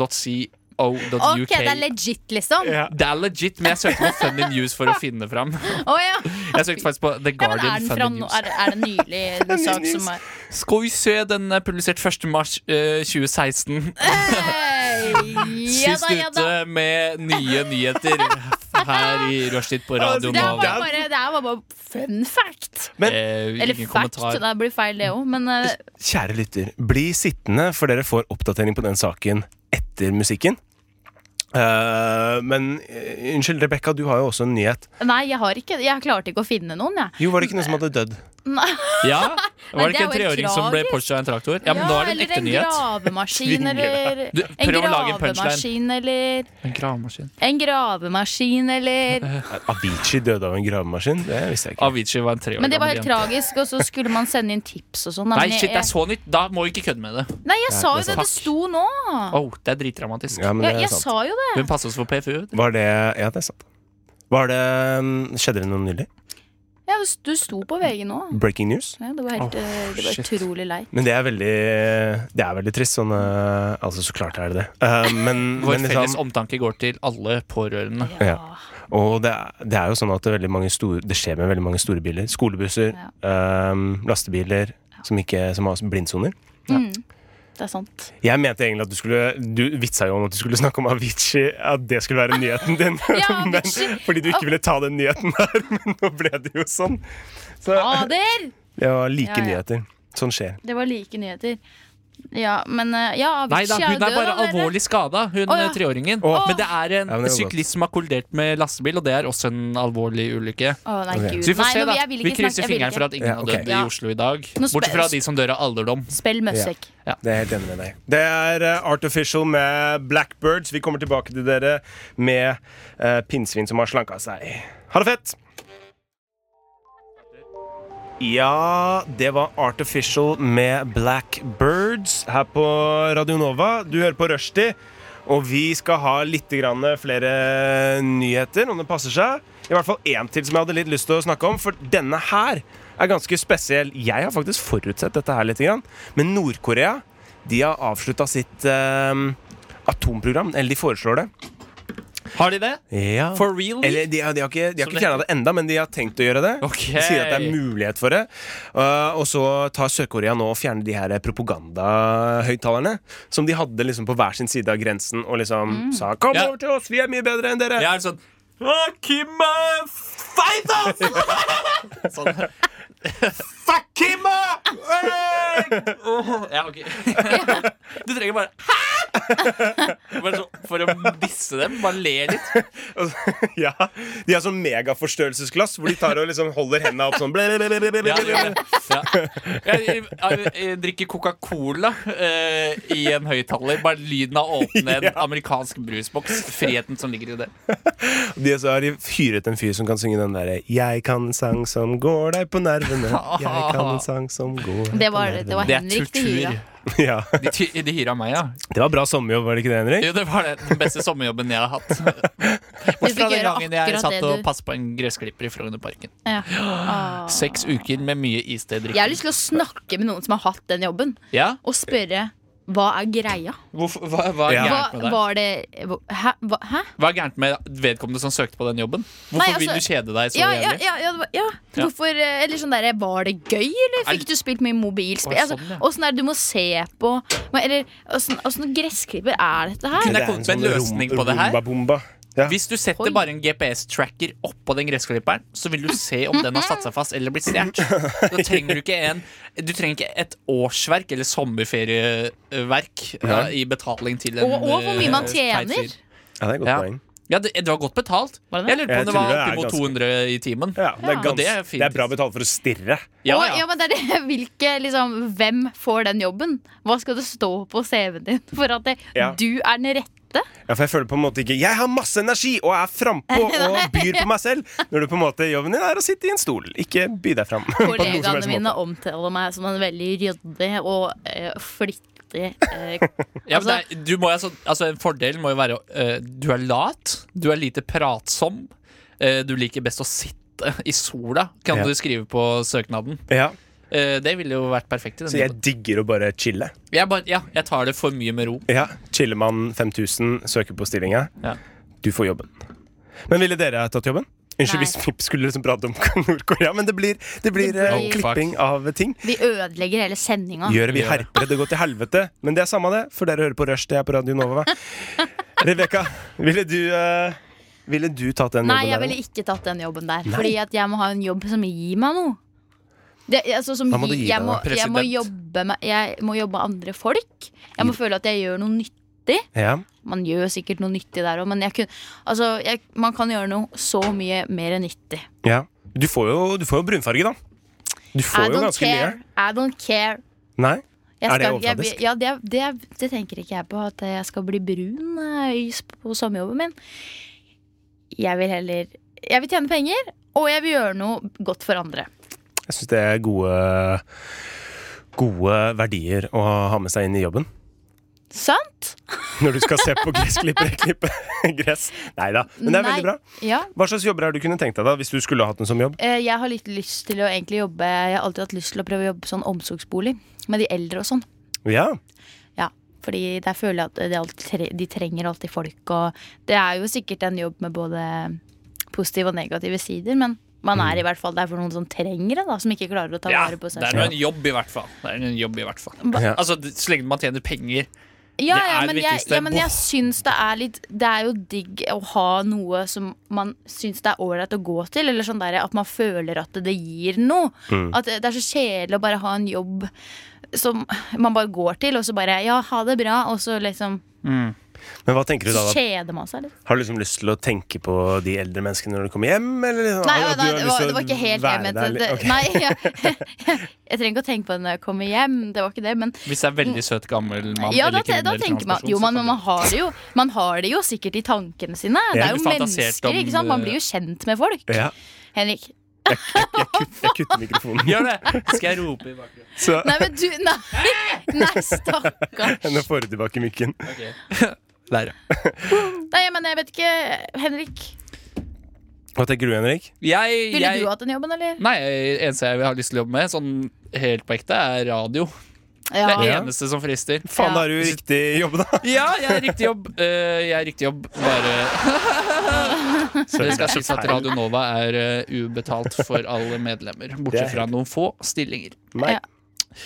[SPEAKER 3] independent.co.uk.
[SPEAKER 4] Ok, det er legit, liksom.
[SPEAKER 2] eh, Ja.
[SPEAKER 3] det er legit, men jeg søkte på Funny News for å finne fram. Jeg
[SPEAKER 4] Å ja.
[SPEAKER 3] søkte faktisk på
[SPEAKER 4] ja men er
[SPEAKER 3] The Guardian
[SPEAKER 4] den fra nå?
[SPEAKER 3] Funny News.
[SPEAKER 4] Er, er det nylig en sak
[SPEAKER 2] news.
[SPEAKER 4] som er
[SPEAKER 3] Skal vi se, den er publisert 1. mars eh, 2016.
[SPEAKER 4] Hey, ja
[SPEAKER 3] Sist
[SPEAKER 4] da, ja da.
[SPEAKER 3] ute med nye nyheter her i Rushtid på Radio
[SPEAKER 4] Altså, Det her
[SPEAKER 3] Nova.
[SPEAKER 4] var bare, det her var bare fun fact.
[SPEAKER 2] Men
[SPEAKER 3] Eh,
[SPEAKER 4] Eller
[SPEAKER 3] ingen
[SPEAKER 4] fact,
[SPEAKER 3] kommentar.
[SPEAKER 4] det blir feil det òg, men eh,
[SPEAKER 2] kjære lytter, bli sittende, for dere får oppdatering på den saken etter musikken. Eh, men eh, unnskyld, Rebekka, du har jo også en nyhet.
[SPEAKER 4] Nei, jeg har ikke Jeg klarte ikke å finne noen, jeg.
[SPEAKER 2] Jo, var det ikke noen som hadde dødd?
[SPEAKER 4] Nei.
[SPEAKER 3] Ja,
[SPEAKER 4] Men
[SPEAKER 3] Var det
[SPEAKER 4] det er jo
[SPEAKER 3] ikke en
[SPEAKER 4] helt
[SPEAKER 3] treåring som ble
[SPEAKER 4] tragisk.
[SPEAKER 3] Porsche av en traktor? Ja, men nå er det en
[SPEAKER 4] eller
[SPEAKER 3] ekte nyhet.
[SPEAKER 4] gravemaskin,
[SPEAKER 2] Tvinger deg.
[SPEAKER 4] eller
[SPEAKER 3] Du,
[SPEAKER 4] En
[SPEAKER 3] prøv å lage en
[SPEAKER 4] gravemaskin, eller
[SPEAKER 3] En gravemaskin.
[SPEAKER 4] En gravemaskin, eller
[SPEAKER 2] Avicii døde av en gravemaskin? Det visste jeg ikke.
[SPEAKER 3] Avicii var en tre år
[SPEAKER 4] Men det var
[SPEAKER 3] gammel
[SPEAKER 4] helt
[SPEAKER 3] jente.
[SPEAKER 4] tragisk, og så skulle man sende inn tips og sånn. da,
[SPEAKER 3] Nei,
[SPEAKER 4] men jeg-
[SPEAKER 3] shit, det er så nytt! Da må vi ikke kødde med det.
[SPEAKER 4] Nei, jeg sa jo
[SPEAKER 2] det er
[SPEAKER 4] det. Det
[SPEAKER 3] sant.
[SPEAKER 4] sto nå.
[SPEAKER 3] Oh, det er dritdramatisk.
[SPEAKER 2] Ja, men
[SPEAKER 4] Jeg,
[SPEAKER 2] det er
[SPEAKER 4] jeg
[SPEAKER 2] sant.
[SPEAKER 4] sa jo det.
[SPEAKER 3] Men pass oss for PFU.
[SPEAKER 2] Var det Ja, det er sant. Var det mm, Skjedde det noe nylig?
[SPEAKER 4] Ja, det, du sto på VG nå.
[SPEAKER 2] Breaking news?
[SPEAKER 4] Ja, det var helt eh, det var
[SPEAKER 3] shit.
[SPEAKER 4] utrolig leit.
[SPEAKER 2] Men det er veldig Det er veldig trist. Sånn eh, Altså, så klart er det det. Eh, men,
[SPEAKER 3] Vår
[SPEAKER 2] men
[SPEAKER 3] felles
[SPEAKER 2] liksom
[SPEAKER 3] omtanke går til alle pårørende.
[SPEAKER 2] Ja. Og det er, det er jo sånn at det, er veldig mange store, det skjer med veldig mange store biler. Skolebusser, eh, lastebiler som, ikke, som har blindsoner.
[SPEAKER 4] Mm. Det er sant.
[SPEAKER 2] Jeg mente egentlig at du skulle Du vitsa jo om at du skulle snakke om Avicii. At det skulle være nyheten din.
[SPEAKER 4] Ja,
[SPEAKER 2] men,
[SPEAKER 4] Avicii.
[SPEAKER 2] fordi du ikke ville ta den nyheten der. Men nå ble det jo sånn. Så
[SPEAKER 4] Fader!
[SPEAKER 2] det var like
[SPEAKER 4] Ja, ja.
[SPEAKER 2] nyheter. Sånn skjer.
[SPEAKER 4] Det var like nyheter. Ja, men eh, Ja,
[SPEAKER 3] Nei da,
[SPEAKER 4] Avicii er jo
[SPEAKER 3] hun er
[SPEAKER 4] død,
[SPEAKER 3] bare
[SPEAKER 4] da, dere.
[SPEAKER 3] alvorlig skada, hun
[SPEAKER 4] Å, ja.
[SPEAKER 3] eh, treåringen.
[SPEAKER 2] Å.
[SPEAKER 3] Men det er en
[SPEAKER 2] Ja, men det er jo
[SPEAKER 3] syklist som har kollidert med lastebil, og det er også en alvorlig ulykke.
[SPEAKER 4] Å, nei,
[SPEAKER 2] Ok.
[SPEAKER 4] gud.
[SPEAKER 3] Så vi får
[SPEAKER 4] nei,
[SPEAKER 3] se,
[SPEAKER 4] nå-
[SPEAKER 3] da.
[SPEAKER 4] jeg vil
[SPEAKER 3] Vi
[SPEAKER 4] ikke
[SPEAKER 3] krysser
[SPEAKER 4] snakke- jeg vil
[SPEAKER 3] fingeren
[SPEAKER 4] ikke.
[SPEAKER 3] for at ingen
[SPEAKER 2] Ja, ok.
[SPEAKER 3] har dødd i
[SPEAKER 4] Ja.
[SPEAKER 3] Oslo i dag.
[SPEAKER 4] spe-
[SPEAKER 3] Bortsett fra de som dør av alderdom.
[SPEAKER 4] Spill musikk.
[SPEAKER 2] Det er jeg helt enig med deg. Det er eh, Artificial med Blackbirds. Vi kommer tilbake til dere med eh, pinnsvin som har slanka seg. Ha det fett! Ja, det var Artificial med Blackbirds her på Radio Nova. Du hører på Rushdie, og vi skal ha litt grann flere nyheter, om det passer seg. I hvert fall én til som jeg hadde litt lyst til å snakke om, for denne her er ganske spesiell. Jeg har faktisk forutsett dette her litt, grann, men Nord-Korea de har avslutta sitt eh, atomprogram. Eller de foreslår det.
[SPEAKER 3] Har de det?
[SPEAKER 2] Ja.
[SPEAKER 3] For real?
[SPEAKER 2] Eller de, har- de har ikke, de har
[SPEAKER 3] Som
[SPEAKER 2] ikke
[SPEAKER 3] det
[SPEAKER 2] fjerna det enda, men de har tenkt å gjøre det.
[SPEAKER 3] Ok.
[SPEAKER 2] De sier at det er mulighet for det. Uh, og så tar Sør-Korea nå og fjerner de her propagandahøyttalerne som de hadde liksom på hver sin side av grensen og liksom sa 'kom
[SPEAKER 3] Ja.
[SPEAKER 2] over til oss, vi er mye bedre enn dere'.
[SPEAKER 3] Jeg er sånn «Ah, Kim eh, fight us! sånn. Fuck Kim! eh! Åh, Ja, ok. Du trenger bare Hæ?! Bare så, for å disse dem. Bare le litt.
[SPEAKER 2] Og så- ja. De har sånn megaforstørrelsesglass hvor de tar og liksom holder hendene opp sånn. Ble, ble, ble, ble, ble,
[SPEAKER 3] Ja,
[SPEAKER 2] ble, ble.
[SPEAKER 3] ja, ja. Jeg, jeg, jeg drikker Coca-Cola eh, i en høyttaler. Bare lyden av å åpne en amerikansk brusboks. Friheten som ligger i det.
[SPEAKER 2] De så har de hyret en fyr som kan synge den derre 'Jeg kan en sang som går deg på nervene'. 'Jeg kan en sang som går deg
[SPEAKER 4] Det
[SPEAKER 2] på
[SPEAKER 4] var, det
[SPEAKER 2] nervene'.
[SPEAKER 4] var
[SPEAKER 3] Det er
[SPEAKER 4] Henrik de
[SPEAKER 3] tortur.
[SPEAKER 4] hyra.
[SPEAKER 2] Ja.
[SPEAKER 3] De, ty- de hyra meg, ja.
[SPEAKER 2] Det var bra sommerjobb, var det ikke det, Henrik?
[SPEAKER 3] Jo, det var det, den beste sommerjobben jeg har hatt. Bortsett fra
[SPEAKER 4] fikk
[SPEAKER 3] den
[SPEAKER 4] gjøre
[SPEAKER 3] gangen jeg
[SPEAKER 4] akkurat
[SPEAKER 3] satt
[SPEAKER 4] det
[SPEAKER 3] og
[SPEAKER 4] du-
[SPEAKER 3] passet på en gressklipper i Frognerparken.
[SPEAKER 4] Ja. Ah.
[SPEAKER 3] Seks uker med mye
[SPEAKER 4] Jeg har
[SPEAKER 3] istedrikking.
[SPEAKER 4] lyst til å snakke med noen som har hatt den jobben,
[SPEAKER 3] Ja?
[SPEAKER 4] og spørre hva er greia?
[SPEAKER 3] Hvorfor, hva, hva er
[SPEAKER 2] Ja.
[SPEAKER 3] gærent
[SPEAKER 4] Hva
[SPEAKER 3] med deg?
[SPEAKER 4] var det Hæ? Hva, hæ?
[SPEAKER 3] Hva er gærent med vedkommende som søkte på den jobben? Hvorfor
[SPEAKER 4] Nei, altså-
[SPEAKER 3] vil du kjede deg så
[SPEAKER 4] Ja, ja,
[SPEAKER 3] jævlig?
[SPEAKER 4] ja, ja, det var- ja.
[SPEAKER 3] Ja.
[SPEAKER 4] Hvorfor eh, Eller sånn derre Var det gøy, eller
[SPEAKER 3] Er-
[SPEAKER 4] fikk du spilt mye mobilspill?
[SPEAKER 3] Å,
[SPEAKER 4] Altså,
[SPEAKER 3] sånn, ja.
[SPEAKER 4] Åssen er det du må se på Men- Eller åssen åssen gressklipper er dette her?
[SPEAKER 3] Kunne jeg
[SPEAKER 2] Det er en
[SPEAKER 3] kommet med en
[SPEAKER 2] sånn
[SPEAKER 3] løsning på det her?
[SPEAKER 2] rumba-bomba. Ja.
[SPEAKER 3] Hvis du setter
[SPEAKER 4] Oi.
[SPEAKER 3] bare en GPS-tracker oppå den gressklipperen, så vil du se om den har satt seg fast eller blitt stjålet. Da trenger du ikke en Du trenger ikke et årsverk eller sommerferieverk ja, i betaling til en
[SPEAKER 4] Og, og hvor mye man
[SPEAKER 3] eh,
[SPEAKER 4] tjener?
[SPEAKER 3] teit fyr.
[SPEAKER 2] Ja, det er et godt
[SPEAKER 3] Ja.
[SPEAKER 2] poeng.
[SPEAKER 3] Ja, det, det var godt betalt.
[SPEAKER 4] Var det det?
[SPEAKER 3] Jeg lurte på
[SPEAKER 2] Jeg
[SPEAKER 3] om det
[SPEAKER 2] tror
[SPEAKER 3] var
[SPEAKER 2] det er
[SPEAKER 3] oppimot
[SPEAKER 2] ganske-
[SPEAKER 3] 200 i timen.
[SPEAKER 2] Ja, det, er
[SPEAKER 3] Og
[SPEAKER 2] gans,
[SPEAKER 3] det
[SPEAKER 2] det,
[SPEAKER 3] er
[SPEAKER 2] er
[SPEAKER 3] fint.
[SPEAKER 2] bra betalt for å stirre.
[SPEAKER 3] Ja,
[SPEAKER 4] Og-
[SPEAKER 3] ja.
[SPEAKER 4] ja, men det er det, hvilke, liksom, hvem får den jobben? Hva skal det stå på CV-en din for at det,
[SPEAKER 2] Ja.
[SPEAKER 4] du er den rette borte.
[SPEAKER 2] Ja, for jeg føler på en måte ikke Jeg har masse energi og er frampå og byr på meg selv. Når du på en måte jobben din er å sitte i en stol. Ikke by deg fram. på noen som helst
[SPEAKER 4] Kollegaene mine
[SPEAKER 2] måte.
[SPEAKER 4] omtaler meg som en veldig ryddig og eh, flittig eh,
[SPEAKER 3] Ja, men
[SPEAKER 4] altså-
[SPEAKER 3] det er, du må, altså, altså, en fordel må jo være eh, du er lat, du er lite pratsom, eh, du liker best å sitte i sola, kan
[SPEAKER 2] Ja.
[SPEAKER 3] du skrive på søknaden.
[SPEAKER 2] Ja,
[SPEAKER 3] Eh, det ville jo vært perfekt. i
[SPEAKER 2] så
[SPEAKER 3] denne
[SPEAKER 2] jeg
[SPEAKER 3] jobben.
[SPEAKER 2] digger å bare chille.
[SPEAKER 3] jeg, bare, ja, jeg tar det for mye med ro.
[SPEAKER 2] Ja, Chillemann 5000 søker på stillinga.
[SPEAKER 3] Ja.
[SPEAKER 2] Du får jobben. Men ville dere tatt jobben? Unnskyld
[SPEAKER 4] Nei.
[SPEAKER 2] hvis Pip skulle liksom prate om Nord-Korea, men det blir, det blir eh,
[SPEAKER 3] blir- Oh, fuck.
[SPEAKER 2] klipping av ting.
[SPEAKER 4] Vi ødelegger hele sendinga.
[SPEAKER 2] Gjør vi
[SPEAKER 3] Gjør det.
[SPEAKER 2] herpere det går til helvete? Men det er samme det, for dere hører på Rush, det er på Radio Nova. Rebekka, ville du eh, Ville du tatt den
[SPEAKER 4] Nei,
[SPEAKER 2] jobben?
[SPEAKER 4] jeg ville ikke tatt den jobben der. Fordi at jeg må ha en jobb som gir meg noe. Det, altså, som
[SPEAKER 2] Da må du
[SPEAKER 4] gi-
[SPEAKER 2] gi
[SPEAKER 4] jeg,
[SPEAKER 2] deg,
[SPEAKER 4] må,
[SPEAKER 3] da.
[SPEAKER 4] jeg, må
[SPEAKER 3] President.
[SPEAKER 4] jobbe med, jeg må jobbe med andre folk. Jeg
[SPEAKER 2] Mm.
[SPEAKER 4] må føle at jeg gjør noe nytt.
[SPEAKER 2] Ja.
[SPEAKER 4] Man gjør sikkert noe nyttig der òg, men jeg kun, altså, jeg, man kan gjøre noe så mye mer enn nyttig.
[SPEAKER 2] ja. Du, får jo, du får jo brunfarge, da. Du
[SPEAKER 4] I
[SPEAKER 2] får jo
[SPEAKER 4] don't
[SPEAKER 2] ganske
[SPEAKER 4] care. I don't care.
[SPEAKER 2] mye. Nei?
[SPEAKER 4] Jeg
[SPEAKER 2] Er det
[SPEAKER 4] skal, jeg,
[SPEAKER 2] overfladisk?
[SPEAKER 4] blir- ja, det, det, det tenker ikke jeg på, at jeg skal bli brun eh, i s- på sommerjobben min. Jeg vil heller Jeg vil tjene penger, og jeg vil gjøre noe godt for andre.
[SPEAKER 2] Jeg syns det er gode Gode verdier å ha med seg inn i jobben.
[SPEAKER 4] Sant?
[SPEAKER 2] Når du skal se på gressklippere klippe gress. Nei da. Men det er
[SPEAKER 4] Nei.
[SPEAKER 2] veldig bra.
[SPEAKER 4] Ja.
[SPEAKER 2] Hva slags jobber er det du kunne tenkt deg da, hvis du skulle hatt den som jobb?
[SPEAKER 4] Eh, Jeg har litt lyst til å egentlig jobbe Jeg har alltid hatt lyst til å prøve å jobbe sånn omsorgsbolig med de eldre og sånn.
[SPEAKER 2] Ja.
[SPEAKER 4] Ja, fordi der føler jeg at det alltid, tre- de trenger alltid folk, og det er jo sikkert en jobb med både positive og negative sider, men man er i hvert fall der for noen som trenger det, da, som ikke klarer å ta
[SPEAKER 3] Mm. Ja,
[SPEAKER 4] vare på
[SPEAKER 3] det
[SPEAKER 4] seg
[SPEAKER 3] er
[SPEAKER 4] selv.
[SPEAKER 3] nå en jobb, i hvert fall. Det er en jobb i hvert fall.
[SPEAKER 2] Ja.
[SPEAKER 3] Altså, det- Så lenge man tjener penger.
[SPEAKER 4] Ja, ja,
[SPEAKER 3] det er det
[SPEAKER 4] men jeg,
[SPEAKER 3] viktigste.
[SPEAKER 4] ja, men jeg syns det er litt Det er jo digg å ha noe som man syns det er ålreit å gå til. Eller sånn der, at man føler at det gir noe. At det er så kjedelig å bare ha en jobb som man bare går til, og så bare Ja, ha det bra, og så liksom
[SPEAKER 2] Men hva tenker du da?
[SPEAKER 4] så
[SPEAKER 2] da?
[SPEAKER 4] kjeder man seg litt.
[SPEAKER 2] Har du liksom lyst til å tenke på de eldre menneskene når du kommer hjem? Eller liksom,
[SPEAKER 4] Nei,
[SPEAKER 2] har
[SPEAKER 4] nei,
[SPEAKER 2] du-
[SPEAKER 4] nei
[SPEAKER 2] du har
[SPEAKER 4] det,
[SPEAKER 2] lyst
[SPEAKER 4] var,
[SPEAKER 2] til
[SPEAKER 4] det var
[SPEAKER 2] å
[SPEAKER 4] ikke helt det jeg
[SPEAKER 2] være
[SPEAKER 4] mente.
[SPEAKER 2] der litt?
[SPEAKER 4] Det,
[SPEAKER 2] Ok.
[SPEAKER 4] nei, jeg, jeg trenger ikke å tenke på det når jeg kommer hjem. Det var ikke det, men
[SPEAKER 3] Hvis det er veldig søt, gammel mann
[SPEAKER 4] ja, da, te-
[SPEAKER 3] eller
[SPEAKER 4] da
[SPEAKER 3] kriminell
[SPEAKER 4] tenker man
[SPEAKER 3] transperson,
[SPEAKER 4] Jo,
[SPEAKER 3] så
[SPEAKER 4] man,
[SPEAKER 3] kan
[SPEAKER 4] man, har det jo, man har det jo sikkert i tankene sine. Det
[SPEAKER 2] Ja.
[SPEAKER 4] er jo
[SPEAKER 3] Du fantaserte
[SPEAKER 4] mennesker,
[SPEAKER 3] om,
[SPEAKER 4] ikke sant? Man
[SPEAKER 3] eh,
[SPEAKER 4] blir jo kjent med folk.
[SPEAKER 2] Ja,
[SPEAKER 4] Henrik.
[SPEAKER 2] jeg kutter mikrofonen.
[SPEAKER 3] du- Gjør det! Skal jeg rope i bakgrunnen?
[SPEAKER 2] Så
[SPEAKER 4] Nei, men du Nei, nei stakkars.
[SPEAKER 2] nå får du tilbake mikken.
[SPEAKER 3] Der, ja.
[SPEAKER 4] Nei, men jeg vet ikke. Henrik,
[SPEAKER 2] Hva tenker du, Henrik?
[SPEAKER 3] Jeg,
[SPEAKER 4] ville
[SPEAKER 3] jeg,
[SPEAKER 4] du hatt den jobben, eller?
[SPEAKER 3] Nei, eneste jeg har lyst til å jobbe med, sånn helt på ekte, er radio. Det er
[SPEAKER 4] Ja.
[SPEAKER 2] Ja.
[SPEAKER 3] eneste som frister.
[SPEAKER 2] Faen,
[SPEAKER 4] Ja.
[SPEAKER 2] da er du i riktig jobb, da.
[SPEAKER 3] Ja, jeg er riktig jobb. Eh, jeg er riktig jobb, bare Det skal sies at Radio Nova er eh, ubetalt for alle medlemmer,
[SPEAKER 2] Det er
[SPEAKER 3] bortsett fra noen få stillinger.
[SPEAKER 2] Nei.
[SPEAKER 4] Ja.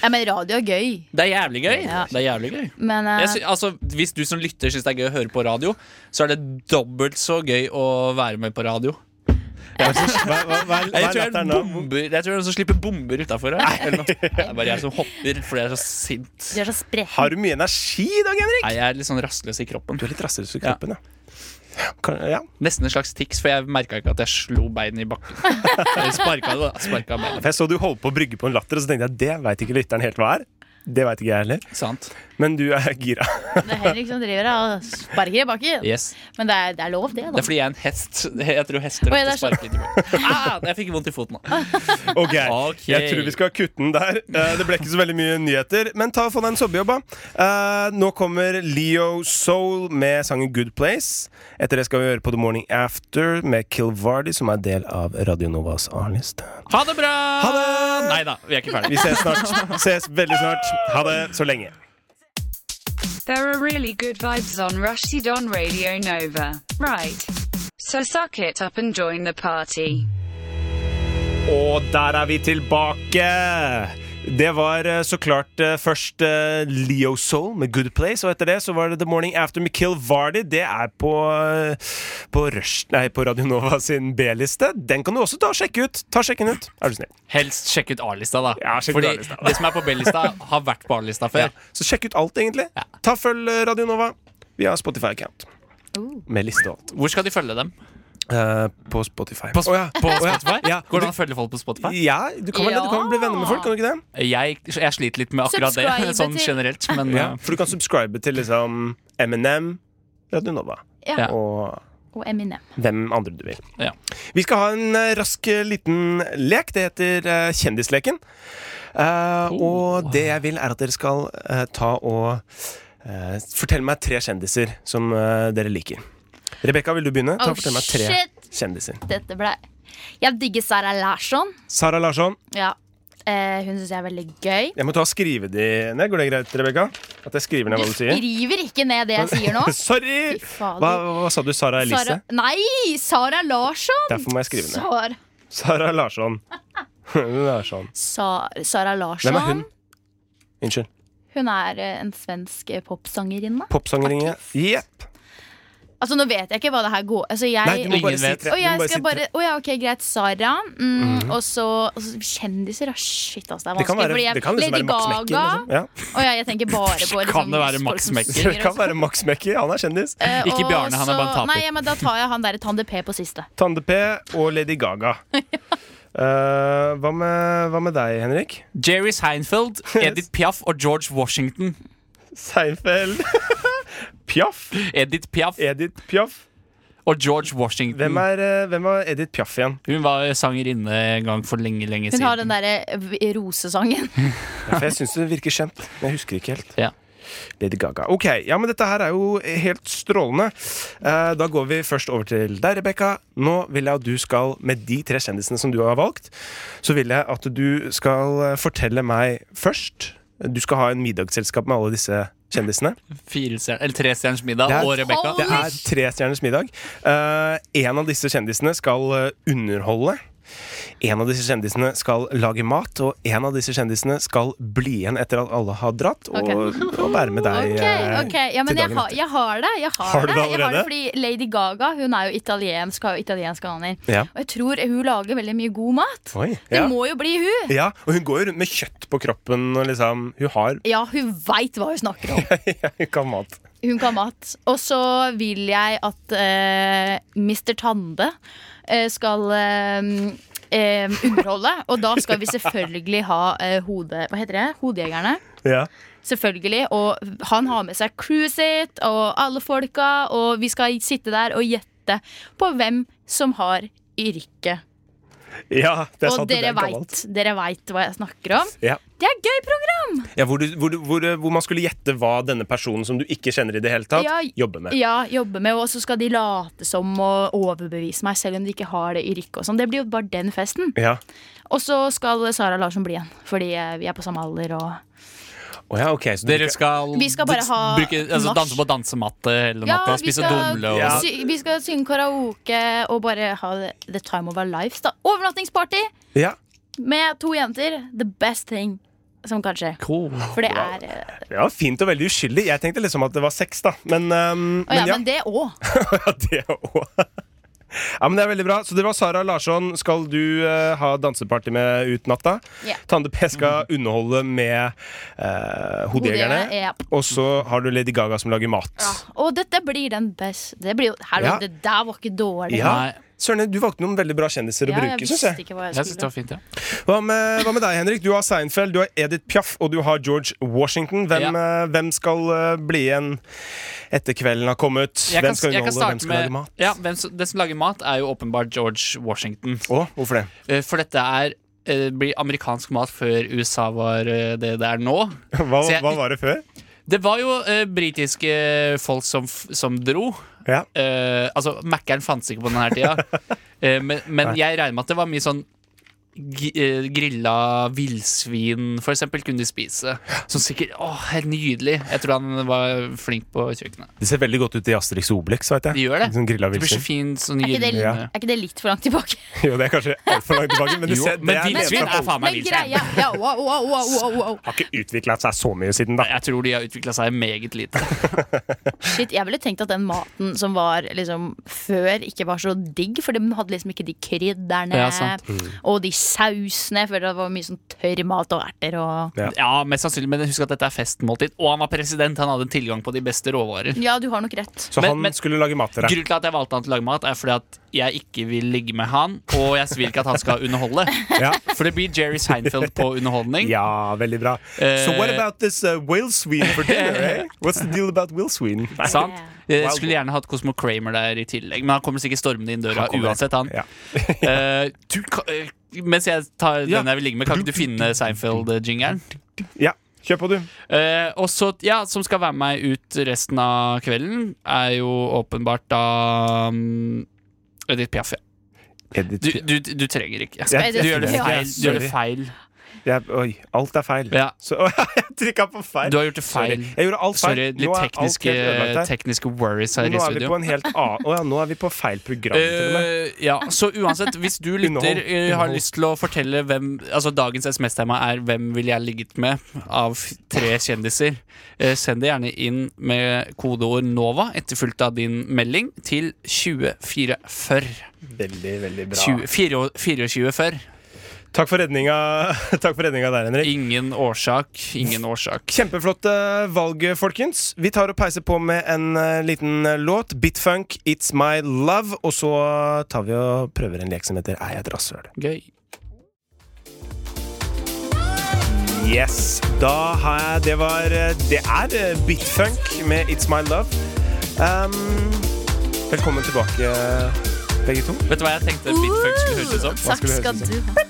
[SPEAKER 4] ja, men radio er gøy.
[SPEAKER 3] Det er jævlig gøy.
[SPEAKER 4] Ja.
[SPEAKER 3] Det er jævlig gøy.
[SPEAKER 4] Men eh,
[SPEAKER 3] Jeg sy altså, hvis du som lytter syns det er gøy å høre på radio, så er det dobbelt så gøy å være med på radio.
[SPEAKER 2] Hva, hva, hva, hva, er- hva
[SPEAKER 3] Jeg
[SPEAKER 2] er
[SPEAKER 3] tror jeg er
[SPEAKER 2] latteren
[SPEAKER 3] en
[SPEAKER 2] nå?
[SPEAKER 3] bomber Jeg tror det er noen som slipper bomber utafor her. Eller noe. Det er bare jeg som hopper fordi jeg er så sint.
[SPEAKER 4] du er så
[SPEAKER 2] Har
[SPEAKER 4] spretten.
[SPEAKER 2] du mye energi i dag, Henrik?
[SPEAKER 3] Nei, jeg er litt sånn rastløs i kroppen.
[SPEAKER 2] Du er litt rastløs i kroppen, ja. Kan, ja.
[SPEAKER 3] Nesten en slags tics, for jeg merka ikke at jeg slo beinet i bakken. Eller sparka det, da. Sparka beinet.
[SPEAKER 2] For jeg så du holdt på å brygge på en latter, og så tenkte jeg det veit ikke lytteren helt hva er. Det vet ikke jeg heller.
[SPEAKER 3] Sant.
[SPEAKER 2] Men du er gira.
[SPEAKER 4] Det er Henrik som driver og sparker i bakken.
[SPEAKER 3] Yes.
[SPEAKER 4] Men det er, det er lov, det.
[SPEAKER 3] Det
[SPEAKER 4] da
[SPEAKER 3] er fordi jeg er en hest. Jeg tror hester
[SPEAKER 4] Oi, det
[SPEAKER 3] ofte
[SPEAKER 4] er
[SPEAKER 3] sparker i bakken. Ah, jeg fikk vondt i foten nå.
[SPEAKER 2] Ok,
[SPEAKER 3] Ok.
[SPEAKER 2] Jeg tror vi skal kutte den der. Eh, Det ble ikke så veldig mye nyheter, men ta og få deg en sommerjobb, da. Eh, Nå kommer Leo Soul med sangen Good Place. Etter det skal vi høre på The Morning After med Kilvardi, som er del av Radio Novas A-liste.
[SPEAKER 3] Ha det bra!
[SPEAKER 2] Ha det!
[SPEAKER 3] Nei da, vi er ikke
[SPEAKER 2] Vi
[SPEAKER 3] ferdige.
[SPEAKER 2] ses snart. Ses veldig snart. Ha det så lenge.
[SPEAKER 7] There are really good vibes on Rushdie Don Radio Nova. Right. So suck it up and join the party.
[SPEAKER 2] Og der er vi tilbake! Det var eh, så klart eh, først eh, Leo Soul med Good Place, og etter det så var det The Morning After med Kill Vardy. Det er på, eh, på, Rush, nei, på Radio Nova sin B-liste. Den kan du også ta og sjekke ut. Ta og sjekke den ut, er du snill.
[SPEAKER 3] Helst sjekk ut A-lista, da.
[SPEAKER 2] Ja, sjekk ut
[SPEAKER 3] fordi
[SPEAKER 2] A-lista, da.
[SPEAKER 3] det som er på B-lista, har vært på A-lista før.
[SPEAKER 2] Så sjekk ut alt, egentlig. Ta og Følg eh, Radio Nova. Vi har Spotify-account. Med liste og alt.
[SPEAKER 3] Hvor skal de følge dem?
[SPEAKER 2] Oh. Eh, på Spotify.
[SPEAKER 3] På,
[SPEAKER 2] Å ja.
[SPEAKER 3] på Spotify?
[SPEAKER 2] Ja.
[SPEAKER 3] Går det an å følge folk på Spotify?
[SPEAKER 2] Ja, du kan, vel, du kan vel bli venner med folk, kan du ikke det?
[SPEAKER 3] Jeg, jeg sliter litt med akkurat det,
[SPEAKER 4] Subscribe
[SPEAKER 3] sånn
[SPEAKER 4] til-
[SPEAKER 3] generelt. Men
[SPEAKER 2] Ja, for du kan subscribe til liksom Eminem, Radionova
[SPEAKER 4] Ja.
[SPEAKER 2] og
[SPEAKER 4] Og Eminem.
[SPEAKER 2] hvem andre du vil.
[SPEAKER 3] Ja.
[SPEAKER 2] Vi skal ha en eh, rask eh, liten lek. Det heter eh, Kjendisleken. Eh, Og det jeg vil, er at dere skal eh, ta og eh, fortelle meg tre kjendiser som eh, dere liker. Rebekka, vil du begynne? Ta
[SPEAKER 4] Oh,
[SPEAKER 2] og Fortell meg tre
[SPEAKER 4] shit.
[SPEAKER 2] kjendiser.
[SPEAKER 4] Dette ble Jeg digger Sara Larsson.
[SPEAKER 2] Sara Larsson.
[SPEAKER 4] Ja. Eh, hun syns jeg er veldig gøy.
[SPEAKER 2] Jeg må ta og skrive de ned. Går det greit, Rebekka? At jeg skriver ned hva du sier?
[SPEAKER 4] Skriver ikke ned det jeg sier nå.
[SPEAKER 2] Sorry!
[SPEAKER 4] Fy fader.
[SPEAKER 2] Hva, hva sa du? Sara Elise?
[SPEAKER 4] Sara, nei! Sara Larsson!
[SPEAKER 2] Derfor må jeg skrive ned.
[SPEAKER 4] Sara,
[SPEAKER 2] Sara Larsson. Larsson.
[SPEAKER 4] Sa- Sara Larsson.
[SPEAKER 2] sånn. Hvem er hun? Unnskyld.
[SPEAKER 4] Hun er eh, en svensk eh, popsangerinne.
[SPEAKER 2] Popsangeringe. Jepp.
[SPEAKER 4] Altså, nå vet jeg ikke hva det her går altså, jeg,
[SPEAKER 2] Nei, du må bare
[SPEAKER 3] Ingen
[SPEAKER 2] si
[SPEAKER 3] vet.
[SPEAKER 2] tre.
[SPEAKER 4] Og
[SPEAKER 2] Du må
[SPEAKER 4] jeg
[SPEAKER 2] bare si
[SPEAKER 4] skal
[SPEAKER 2] tre.
[SPEAKER 4] bare Å ja, ok, greit. Sara. Mm, Og så og så kjendiser. ah, shit, altså, det er
[SPEAKER 2] Det kan
[SPEAKER 4] vanskelig.
[SPEAKER 2] være,
[SPEAKER 4] fordi jeg,
[SPEAKER 2] det kan liksom
[SPEAKER 4] Lady
[SPEAKER 2] være Max
[SPEAKER 4] Gaga.
[SPEAKER 2] Mekker. Liksom. Ja.
[SPEAKER 4] Å ja, jeg tenker bare på liksom,
[SPEAKER 3] Kan det være Max
[SPEAKER 4] folk som
[SPEAKER 3] Mekker?
[SPEAKER 4] synger
[SPEAKER 2] Det
[SPEAKER 4] og
[SPEAKER 2] kan
[SPEAKER 4] sånn.
[SPEAKER 2] være Max Mekker. Han er kjendis.
[SPEAKER 4] Eh,
[SPEAKER 3] Ikke
[SPEAKER 4] og
[SPEAKER 3] Bjarne, han er
[SPEAKER 4] så-
[SPEAKER 3] bare en taper.
[SPEAKER 4] Nei, men da tar jeg han derre Tande P på siste.
[SPEAKER 2] Tande P og Lady Gaga. Eh, hva, med, hva med deg, Henrik?
[SPEAKER 3] Jerry Seinfeld, Edith Piaf og George Washington.
[SPEAKER 2] Seinfeld. Piaf.
[SPEAKER 3] Edith Piaf
[SPEAKER 2] Edith Piaf.
[SPEAKER 3] og George Washington.
[SPEAKER 4] Mm.
[SPEAKER 2] Hvem er, eh, hvem er Edith Piaf igjen?
[SPEAKER 3] Hun var sangerinne en gang for lenge, lenge
[SPEAKER 4] Hun
[SPEAKER 3] siden.
[SPEAKER 4] har den derre v- rosesangen.
[SPEAKER 2] Ja, for jeg syns det virker kjent, men jeg husker ikke helt.
[SPEAKER 3] Ja.
[SPEAKER 2] Lady Gaga. Ok, ja, men dette her er jo helt strålende. Eh, da går vi først over til deg, Rebekka. Nå vil jeg at du skal, med de tre kjendisene som du har valgt, så vil jeg at du skal eh, fortelle meg først Du skal ha en middagsselskap med alle disse kjendisene.
[SPEAKER 3] Fire stjern- eller Trestjerners middag
[SPEAKER 2] Det er-
[SPEAKER 3] og Rebekka.
[SPEAKER 2] Det er trestjerners middag. Eh, en av disse kjendisene skal eh, underholde. En av disse kjendisene skal lage mat, og en av disse kjendisene skal bli igjen etter at alle har dratt, og, og være med deg
[SPEAKER 4] Ok,
[SPEAKER 2] eh,
[SPEAKER 4] ok, ja, men jeg,
[SPEAKER 2] til dagen
[SPEAKER 4] har-
[SPEAKER 2] etter.
[SPEAKER 4] jeg har det. Jeg har,
[SPEAKER 2] Har du
[SPEAKER 4] det,
[SPEAKER 2] det
[SPEAKER 4] Jeg har det
[SPEAKER 2] allerede?
[SPEAKER 4] fordi Lady Gaga hun er jo italiensk, har jo italienske aner.
[SPEAKER 2] Ja.
[SPEAKER 4] Og jeg tror hun lager veldig mye god mat.
[SPEAKER 2] Oi,
[SPEAKER 4] Det
[SPEAKER 2] ja.
[SPEAKER 4] må jo bli hun!
[SPEAKER 2] ja, og hun går jo rundt med kjøtt på kroppen, og liksom Hun har
[SPEAKER 4] Ja, hun veit hva hun snakker om.
[SPEAKER 2] Hun kan mat.
[SPEAKER 4] Hun kan mat. Og så vil jeg at eh, Mr. Tande eh, skal eh, eh, underholde. Og da skal vi selvfølgelig ha eh, hode... Hva heter det? Hodejegerne.
[SPEAKER 2] Ja.
[SPEAKER 4] Selvfølgelig. Og han har med seg crewet sitt og alle folka, og vi skal sitte der og gjette på hvem som har yrket.
[SPEAKER 2] ja, det er
[SPEAKER 4] Og
[SPEAKER 2] sant. det
[SPEAKER 4] dere
[SPEAKER 2] er gammelt.
[SPEAKER 4] veit, dere vet hva jeg snakker om.
[SPEAKER 2] Ja.
[SPEAKER 4] Det er gøy program!
[SPEAKER 2] Ja, hvor, du, hvor, du- hvor, hvor man skulle gjette hva denne personen som du ikke kjenner i det hele tatt,
[SPEAKER 4] Ja,
[SPEAKER 2] jobber med.
[SPEAKER 4] Ja, jobbe med, Og så skal de late som og overbevise meg, selv om de ikke har det yrket. og sånn. Det blir jo bare den festen.
[SPEAKER 2] Ja.
[SPEAKER 4] Og så skal Sara Larsson bli igjen, fordi eh, vi er på samme alder og
[SPEAKER 2] Å ja, ok, så du
[SPEAKER 3] Dere skal
[SPEAKER 4] Vi skal bare ha
[SPEAKER 3] bruke, altså,
[SPEAKER 4] nach.
[SPEAKER 3] danse på dansematte hele
[SPEAKER 4] Ja,
[SPEAKER 3] natta og
[SPEAKER 4] vi
[SPEAKER 3] spise
[SPEAKER 4] skal-
[SPEAKER 3] dumle. Og,
[SPEAKER 2] Ja.
[SPEAKER 4] Sy vi skal synge karaoke og bare ha the time of our lives. da. Overnattingsparty!
[SPEAKER 2] Ja.
[SPEAKER 4] Med to jenter. The best thing som kan skje.
[SPEAKER 3] Cool.
[SPEAKER 4] For det er eh,
[SPEAKER 2] Det var fint og veldig uskyldig. Jeg tenkte liksom at det var sex, da. Men, ehm,
[SPEAKER 4] Å ja,
[SPEAKER 2] men ja,
[SPEAKER 4] men det òg.
[SPEAKER 2] ja, det òg. Ja, men Det er veldig bra. Så det var Sara Larsson. Skal du eh, ha danseparty med ut natta?
[SPEAKER 4] Ja.
[SPEAKER 2] Tande P skal underholde med uh, Hodejegerne.
[SPEAKER 4] Hodejegerne, ja. Ah.
[SPEAKER 2] Og så har du Lady Gaga som lager mat.
[SPEAKER 4] Og dette blir den best Det, blir jo, her,
[SPEAKER 2] Ja.
[SPEAKER 4] det der var ikke dårlig.
[SPEAKER 2] Ja.
[SPEAKER 3] Nei,
[SPEAKER 2] Søren, du valgte noen veldig bra kjendiser
[SPEAKER 4] Ja,
[SPEAKER 2] å
[SPEAKER 4] jeg
[SPEAKER 2] bruke. Synes
[SPEAKER 4] visste
[SPEAKER 2] jeg.
[SPEAKER 4] ikke hva jeg
[SPEAKER 3] jeg synes
[SPEAKER 4] skulle.
[SPEAKER 3] det var fint, ja.
[SPEAKER 2] Hva, med, hva med deg, Henrik? Du har Seinfeld, du har Edith Piaf og du har George Washington. Hvem, eh, hvem skal eh, bli igjen etter kvelden har kommet?
[SPEAKER 3] Jeg
[SPEAKER 2] hvem
[SPEAKER 3] kan,
[SPEAKER 2] skal
[SPEAKER 3] jeg kan
[SPEAKER 2] underholde? Hvem
[SPEAKER 3] starte
[SPEAKER 2] skal lage
[SPEAKER 3] med
[SPEAKER 2] mat?
[SPEAKER 3] ja, hvem som, Det som lager mat, er jo åpenbart George Washington.
[SPEAKER 2] Å, hvorfor det?
[SPEAKER 3] Eh, For dette er eh, blir amerikansk mat før USA var eh, det det er nå.
[SPEAKER 2] Hva,
[SPEAKER 3] Så jeg-
[SPEAKER 2] hva var det før?
[SPEAKER 3] Det var jo eh, britiske folk som, f- som dro.
[SPEAKER 2] Ja.
[SPEAKER 3] Eh, altså, Mac-eren fantes ikke på denne tida. Eh, men men jeg regner med at det var mye sånn gi- eh, grilla villsvin, for eksempel, kunne de spise. Som sikkert Åh, helt nydelig. Jeg tror han var flink på kjøkkenet.
[SPEAKER 2] Det ser veldig godt ut i Asterix og Obelix. vet jeg.
[SPEAKER 3] De gjør det.
[SPEAKER 2] Sånn grilla
[SPEAKER 3] Det blir så
[SPEAKER 2] villsvin.
[SPEAKER 3] fint sånn
[SPEAKER 4] Er ikke, det,
[SPEAKER 3] gyllen
[SPEAKER 2] Ja.
[SPEAKER 4] er ikke det litt for langt tilbake?
[SPEAKER 2] Jo, det er kanskje altfor langt tilbake, men, det
[SPEAKER 3] Jo,
[SPEAKER 2] ser, det
[SPEAKER 3] Men
[SPEAKER 2] er
[SPEAKER 3] villsvin
[SPEAKER 2] nedsatt
[SPEAKER 3] er faen meg
[SPEAKER 4] Men
[SPEAKER 3] villsvin.
[SPEAKER 4] greia ja, wow, wow, wow, wow, wow.
[SPEAKER 2] Har ikke utvikla seg så mye siden, da.
[SPEAKER 3] Jeg tror de har utvikla seg meget lite.
[SPEAKER 4] Shit, Jeg ville tenkt at den maten som var liksom før, ikke var så digg. For den hadde liksom ikke de krydderne
[SPEAKER 3] Ja, sant.
[SPEAKER 2] Mm.
[SPEAKER 4] og de sausene. Jeg føler det var mye sånn tørr mat og erter og
[SPEAKER 2] Ja.
[SPEAKER 3] Ja, mest sannsynlig, men husk at dette er festmåltid. Og han var president, han hadde tilgang på de beste råvarer.
[SPEAKER 4] Ja, du har nok rett.
[SPEAKER 2] Så
[SPEAKER 3] Men-
[SPEAKER 2] han
[SPEAKER 3] men-
[SPEAKER 2] skulle lage mat til deg.
[SPEAKER 3] Grunnen til at jeg valgte han til å lage mat, er fordi at jeg ikke vil ligge med han, og jeg vil ikke at han skal underholde.
[SPEAKER 2] Ja.
[SPEAKER 3] For det blir Jerry Seinfeld på underholdning.
[SPEAKER 2] ja, veldig eh? bra. So what about this uh, Will Sween for dinner? Eh? What's the deal about Will Sween?
[SPEAKER 3] Sant? Jeg
[SPEAKER 2] Wow.
[SPEAKER 3] skulle gjerne hatt Cosmo Kramer der i tillegg, men han kommer sikkert stormende inn døra
[SPEAKER 2] Han kommer.
[SPEAKER 3] uansett, han.
[SPEAKER 2] Ja.
[SPEAKER 3] Eh, du, ka- eh, mens jeg tar
[SPEAKER 2] Ja.
[SPEAKER 3] den jeg vil ligge med, kan ikke du finne Seinfeld-jingeren?
[SPEAKER 2] ja. Kjør på, du.
[SPEAKER 3] Eh, og så, ja, som skal være med meg ut resten av kvelden, er jo åpenbart da um, Edith Piaf, ja. Du,
[SPEAKER 2] Edith.
[SPEAKER 3] du, du trenger ikke. Jeg
[SPEAKER 2] Jeg-
[SPEAKER 3] du
[SPEAKER 4] jeg-
[SPEAKER 3] gjør det
[SPEAKER 4] jeg-
[SPEAKER 3] feil. Du, gjør
[SPEAKER 2] sorry.
[SPEAKER 3] det feil.
[SPEAKER 2] Jeg, oi, alt er feil.
[SPEAKER 3] Ja.
[SPEAKER 2] Så, jeg trykka på feil.
[SPEAKER 3] du har gjort det feil.
[SPEAKER 2] Sorry. Jeg gjorde alt feil.
[SPEAKER 3] Sorry,
[SPEAKER 2] Nå
[SPEAKER 3] litt
[SPEAKER 2] er alt
[SPEAKER 3] tekniske,
[SPEAKER 2] helt ødelagt her.
[SPEAKER 3] tekniske worries her
[SPEAKER 2] Nå
[SPEAKER 3] i
[SPEAKER 2] er vi
[SPEAKER 3] studio.
[SPEAKER 2] på en helt annen Å ja, nå er vi på feil program. til og med.
[SPEAKER 3] Eh, ja, så uansett, hvis du lytter
[SPEAKER 2] Underhold,
[SPEAKER 3] eh, har
[SPEAKER 2] underhold.
[SPEAKER 3] lyst til å fortelle hvem Altså Dagens SMS-tema er 'Hvem ville jeg ligget med?' av f- tre kjendiser. Eh, send det gjerne inn med kodeord NOVA etterfulgt av din melding til 2440.
[SPEAKER 2] Veldig, veldig bra.
[SPEAKER 3] 20 24 2440.
[SPEAKER 2] Takk for redninga, Takk for redninga der, Henrik.
[SPEAKER 3] Ingen årsak, ingen årsak.
[SPEAKER 2] Kjempeflotte valg, folkens. Vi tar og peiser på med en eh, liten eh, låt. Bitfunk, 'It's My Love'. Og så tar vi og prøver en lek som heter 'Er jeg et rasshøl'?
[SPEAKER 3] Gøy.
[SPEAKER 2] Yes, da har jeg Det var eh, Det er eh, Bitfunk med 'It's My Love'. Um, velkommen tilbake, begge to.
[SPEAKER 3] Vet du hva jeg tenkte Bitfuck skulle høres ut som?
[SPEAKER 4] Takk
[SPEAKER 2] skulle det
[SPEAKER 4] skal
[SPEAKER 2] høres
[SPEAKER 4] du ha.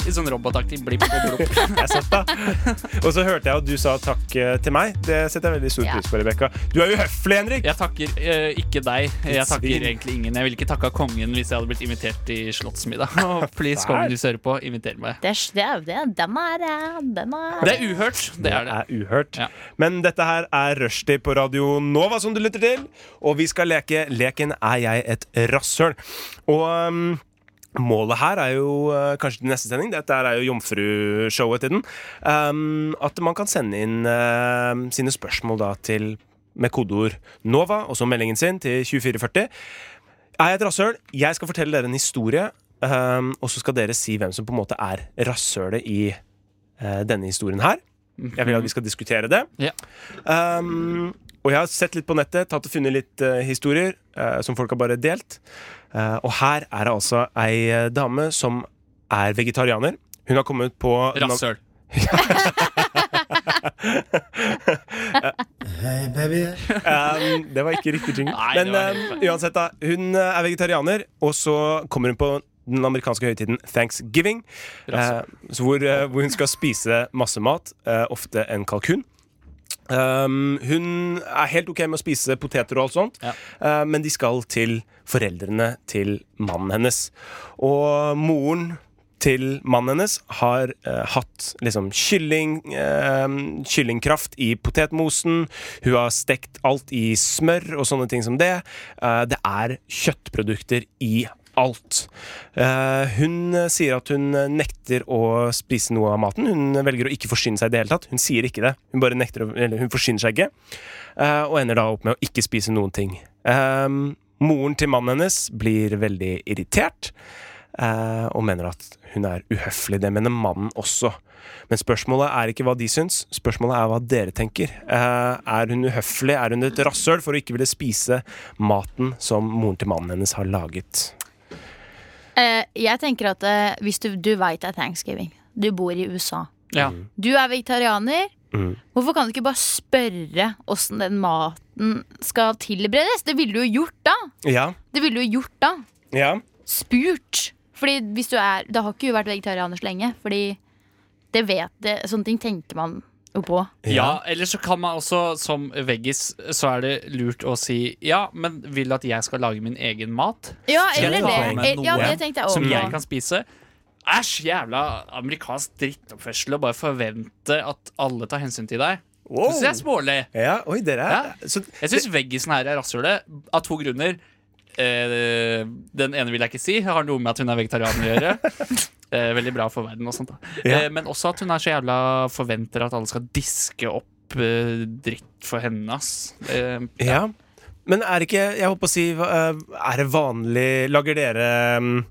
[SPEAKER 3] Litt sånn robotaktig. Blipp og blopp.
[SPEAKER 2] Jeg satt da. Og så hørte jeg at du sa takk eh, til meg. Det setter jeg veldig stor
[SPEAKER 4] Ja.
[SPEAKER 2] pris på, Rebekka. Du er uhøflig, Henrik!
[SPEAKER 3] Jeg takker eh, ikke deg. Jeg
[SPEAKER 2] Ditt
[SPEAKER 3] takker
[SPEAKER 2] svin.
[SPEAKER 3] egentlig ingen. Jeg ville ikke takka kongen hvis jeg hadde blitt invitert i slottsmiddag. Oh, please,
[SPEAKER 2] Der.
[SPEAKER 3] kongen hvis du hører på, inviter meg.
[SPEAKER 4] Det er, det er, det er, den er, eh, den er.
[SPEAKER 3] Det er uhørt. Det er det.
[SPEAKER 2] uhørt.
[SPEAKER 3] Ja.
[SPEAKER 2] Men dette her er Rushdie på Radio Nova som du lytter til, og vi skal leke Leken er jeg et rasshøl. Og um, Målet her er jo eh, kanskje til neste sending. Dette her er jo jomfrushowet til den. Um, at man kan sende inn eh, sine spørsmål da til med kodeord NOVA, og så meldingen sin til 2440. Er jeg et rasshøl? Jeg skal fortelle dere en historie, ehm, og så skal dere si hvem som på en måte er rasshølet i eh, denne historien her. Jeg vil at vi skal diskutere det.
[SPEAKER 3] Ja.
[SPEAKER 2] Ehm, og jeg har sett litt på nettet, tatt og funnet litt eh, historier eh, som folk har bare delt. Eh, og her er det altså ei eh, dame som er vegetarianer. Hun har kommet på
[SPEAKER 3] Rasshøl.
[SPEAKER 2] Um, det var ikke riktig jingle.
[SPEAKER 3] Nei, det
[SPEAKER 2] Men
[SPEAKER 3] var
[SPEAKER 2] um, uansett, da. Hun uh, er vegetarianer, og så kommer hun på den amerikanske høytiden thanksgiving.
[SPEAKER 3] Rasshøl.
[SPEAKER 2] eh, så hvor, eh, hvor hun skal spise masse mat, eh, ofte en kalkun. Um, hun er helt ok med å spise poteter og alt sånt,
[SPEAKER 3] Ja.
[SPEAKER 2] eh, men de skal til foreldrene til mannen hennes. Og moren til mannen hennes har eh, hatt liksom kylling eh, kyllingkraft i potetmosen. Hun har stekt alt i smør og sånne ting som det. Eh, det er kjøttprodukter i alt. Eh, hun eh, sier at hun eh, nekter å spise noe av maten. Hun velger å ikke forsyne seg i det hele tatt. Hun sier ikke det. Hun bare nekter å, eller hun forsyner seg ikke. Eh, og ender da opp med å ikke spise noen ting. Eh, moren til mannen hennes blir veldig irritert. Eh, og mener at hun er uhøflig. Det mener mannen også. Men spørsmålet er ikke hva de syns, spørsmålet er hva dere tenker. Eh, er hun uhøflig? Er hun et rasshøl for å ikke ville spise maten som moren til mannen hennes har laget?
[SPEAKER 4] Eh, jeg tenker at eh, hvis du, du veit det er thanksgiving, du bor i USA,
[SPEAKER 3] Ja.
[SPEAKER 4] du er vegetarianer,
[SPEAKER 2] Mm.
[SPEAKER 4] hvorfor kan du ikke bare spørre åssen den maten skal tilberedes? Det ville du jo gjort da!
[SPEAKER 2] Ja.
[SPEAKER 4] Det ville du jo gjort da.
[SPEAKER 2] Ja.
[SPEAKER 4] Spurt! Fordi hvis du er Da har ikke du vært vegetarianer så lenge, fordi det vet det, Sånne ting tenker man jo på.
[SPEAKER 3] Ja, eller så kan man også, som veggis, så er det lurt å si ja, men vil at jeg skal lage min egen mat?
[SPEAKER 4] Ja,
[SPEAKER 3] Skal jeg
[SPEAKER 4] eller
[SPEAKER 3] ta
[SPEAKER 4] det.
[SPEAKER 3] med
[SPEAKER 4] Ja,
[SPEAKER 3] noe
[SPEAKER 4] det tenkte jeg
[SPEAKER 3] som jeg
[SPEAKER 4] også på.
[SPEAKER 3] kan spise. Æsj, jævla amerikansk drittoppførsel å bare forvente at alle tar hensyn til deg. Det syns jeg er smålig.
[SPEAKER 2] Ja, oi, dere er så,
[SPEAKER 3] Jeg syns veggisen her er rasshølet av to grunner. Eh, den ene vil jeg ikke si. Jeg har noe med at hun er vegetarianer å gjøre. Eh, veldig bra for verden og sånt. da eh, Men også at hun er så jævla forventer at alle skal diske opp eh, dritt for henne, ass. Eh,
[SPEAKER 2] ja. Men er det ikke Jeg holdt på å si hva, eh, Er det vanlig Lager dere mm,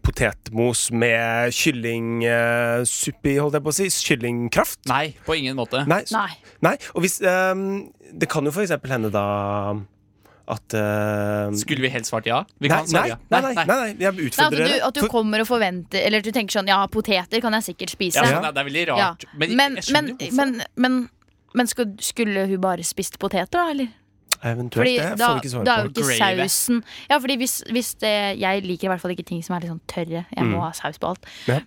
[SPEAKER 2] potetmos med kyllingsuppe i, holdt jeg på å si? Kyllingkraft?
[SPEAKER 3] nei, på ingen måte.
[SPEAKER 2] Nei, s-
[SPEAKER 4] Nei.
[SPEAKER 2] nei. Og hvis ehm, Det kan jo for eksempel hende da at ehm,
[SPEAKER 3] Skulle vi helst svart ja? Vi
[SPEAKER 2] nei,
[SPEAKER 3] kan svare
[SPEAKER 2] nei,
[SPEAKER 3] ja.
[SPEAKER 2] nei, nei, nei, nei, jeg
[SPEAKER 4] Nei, at,
[SPEAKER 2] utfordrer
[SPEAKER 4] du,
[SPEAKER 2] dere.
[SPEAKER 4] at du
[SPEAKER 2] For-
[SPEAKER 4] kommer og forventer Eller at du tenker sånn Ja, poteter kan jeg sikkert spise.
[SPEAKER 3] Ja,
[SPEAKER 2] Ja.
[SPEAKER 3] nei, Det er veldig
[SPEAKER 4] Ja.
[SPEAKER 3] rart. Men,
[SPEAKER 4] Men, men,
[SPEAKER 3] jeg skjønner jo hvorfor.
[SPEAKER 4] men, men Men skulle, skulle hun bare spist poteter, da? eller?
[SPEAKER 2] Eventuelt
[SPEAKER 4] Fordi
[SPEAKER 2] det. Jeg
[SPEAKER 4] da,
[SPEAKER 2] får ikke
[SPEAKER 4] da er
[SPEAKER 2] svare
[SPEAKER 4] jo
[SPEAKER 2] på.
[SPEAKER 4] ikke
[SPEAKER 3] Gravy.
[SPEAKER 4] sausen Ja, fordi hvis, hvis det Jeg liker i hvert fall ikke ting som er litt sånn tørre. Jeg
[SPEAKER 2] Mm.
[SPEAKER 4] må ha saus på alt.
[SPEAKER 2] Ja.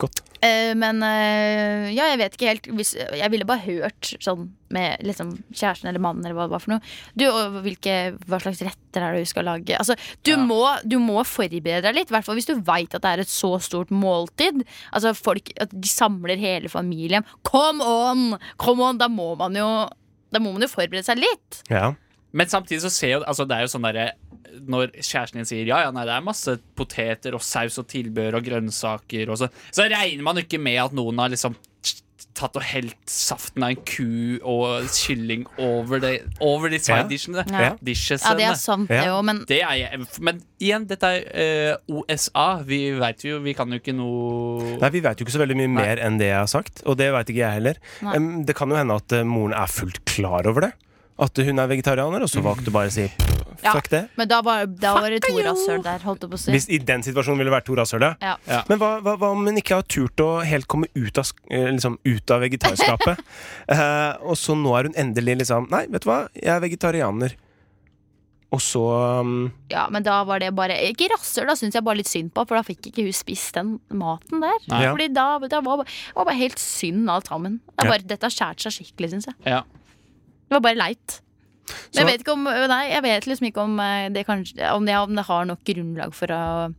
[SPEAKER 2] Godt.
[SPEAKER 4] Eh, men eh, ja, jeg vet ikke helt hvis, Jeg ville bare hørt sånn med liksom, kjæresten eller mannen eller hva det var for noe. Du, og hvilke, hva slags retter er det du skal lage? Altså, du, må, du må forberede deg litt, i hvert fall hvis du veit at det er et så stort måltid. Altså folk, at De samler hele familien. Come on! Come on! Da må man jo da må man jo forberede seg litt.
[SPEAKER 2] Ja.
[SPEAKER 3] Men samtidig så ser jeg altså Det er jo sånn derre når kjæresten din sier ja, ja, nei, det er masse poteter og saus og tilbehør og grønnsaker og så, så regner man ikke med at noen har liksom tatt og helt saften av en ku og kylling over, det, over de side
[SPEAKER 2] Ja.
[SPEAKER 3] dishene.
[SPEAKER 2] Ja.
[SPEAKER 3] Dishes,
[SPEAKER 4] Ja, det
[SPEAKER 3] ene.
[SPEAKER 4] er sant, det
[SPEAKER 2] Ja.
[SPEAKER 4] òg, men
[SPEAKER 3] Det er jeg, men igjen, dette er eh, OSA. Vi veit jo Vi kan jo ikke noe
[SPEAKER 2] Nei, Vi veit jo ikke så veldig mye mer enn det jeg har sagt, og det veit ikke jeg heller.
[SPEAKER 4] Nei.
[SPEAKER 2] Em, det kan jo hende at eh, moren er fullt klar over det. At hun er vegetarianer, og så valgte å bare si "Pff,
[SPEAKER 4] Ja.
[SPEAKER 2] fuck det.
[SPEAKER 4] Men da var, da var det to rasshøl der, holdt jeg på å si.
[SPEAKER 2] Hvis i den situasjonen ville det vært to rasshøl, ja.
[SPEAKER 4] Ja.
[SPEAKER 3] Ja.
[SPEAKER 2] Men hva, hva, hva om hun ikke har turt å helt komme ut av, sk- eh, liksom, ut av vegetarskapet? Eh, og så nå er hun endelig liksom Nei, vet du hva, jeg er vegetarianer. Og så um,
[SPEAKER 4] ja, men da var det bare Ikke rasshøl, da syns jeg bare litt synd på, for da fikk ikke hun spist den maten der.
[SPEAKER 3] Nei.
[SPEAKER 2] Ja.
[SPEAKER 4] Fordi da, da var det var bare helt synd alt sammen. Det er
[SPEAKER 2] Ja.
[SPEAKER 4] bare, Dette har skåret seg skikkelig, syns jeg.
[SPEAKER 3] Ja.
[SPEAKER 4] Det var bare leit. Men
[SPEAKER 2] Så-
[SPEAKER 4] jeg vet, ikke om, nei, jeg vet liksom ikke om eh, det, kanskje, om, det, om det har nok grunnlag for, å,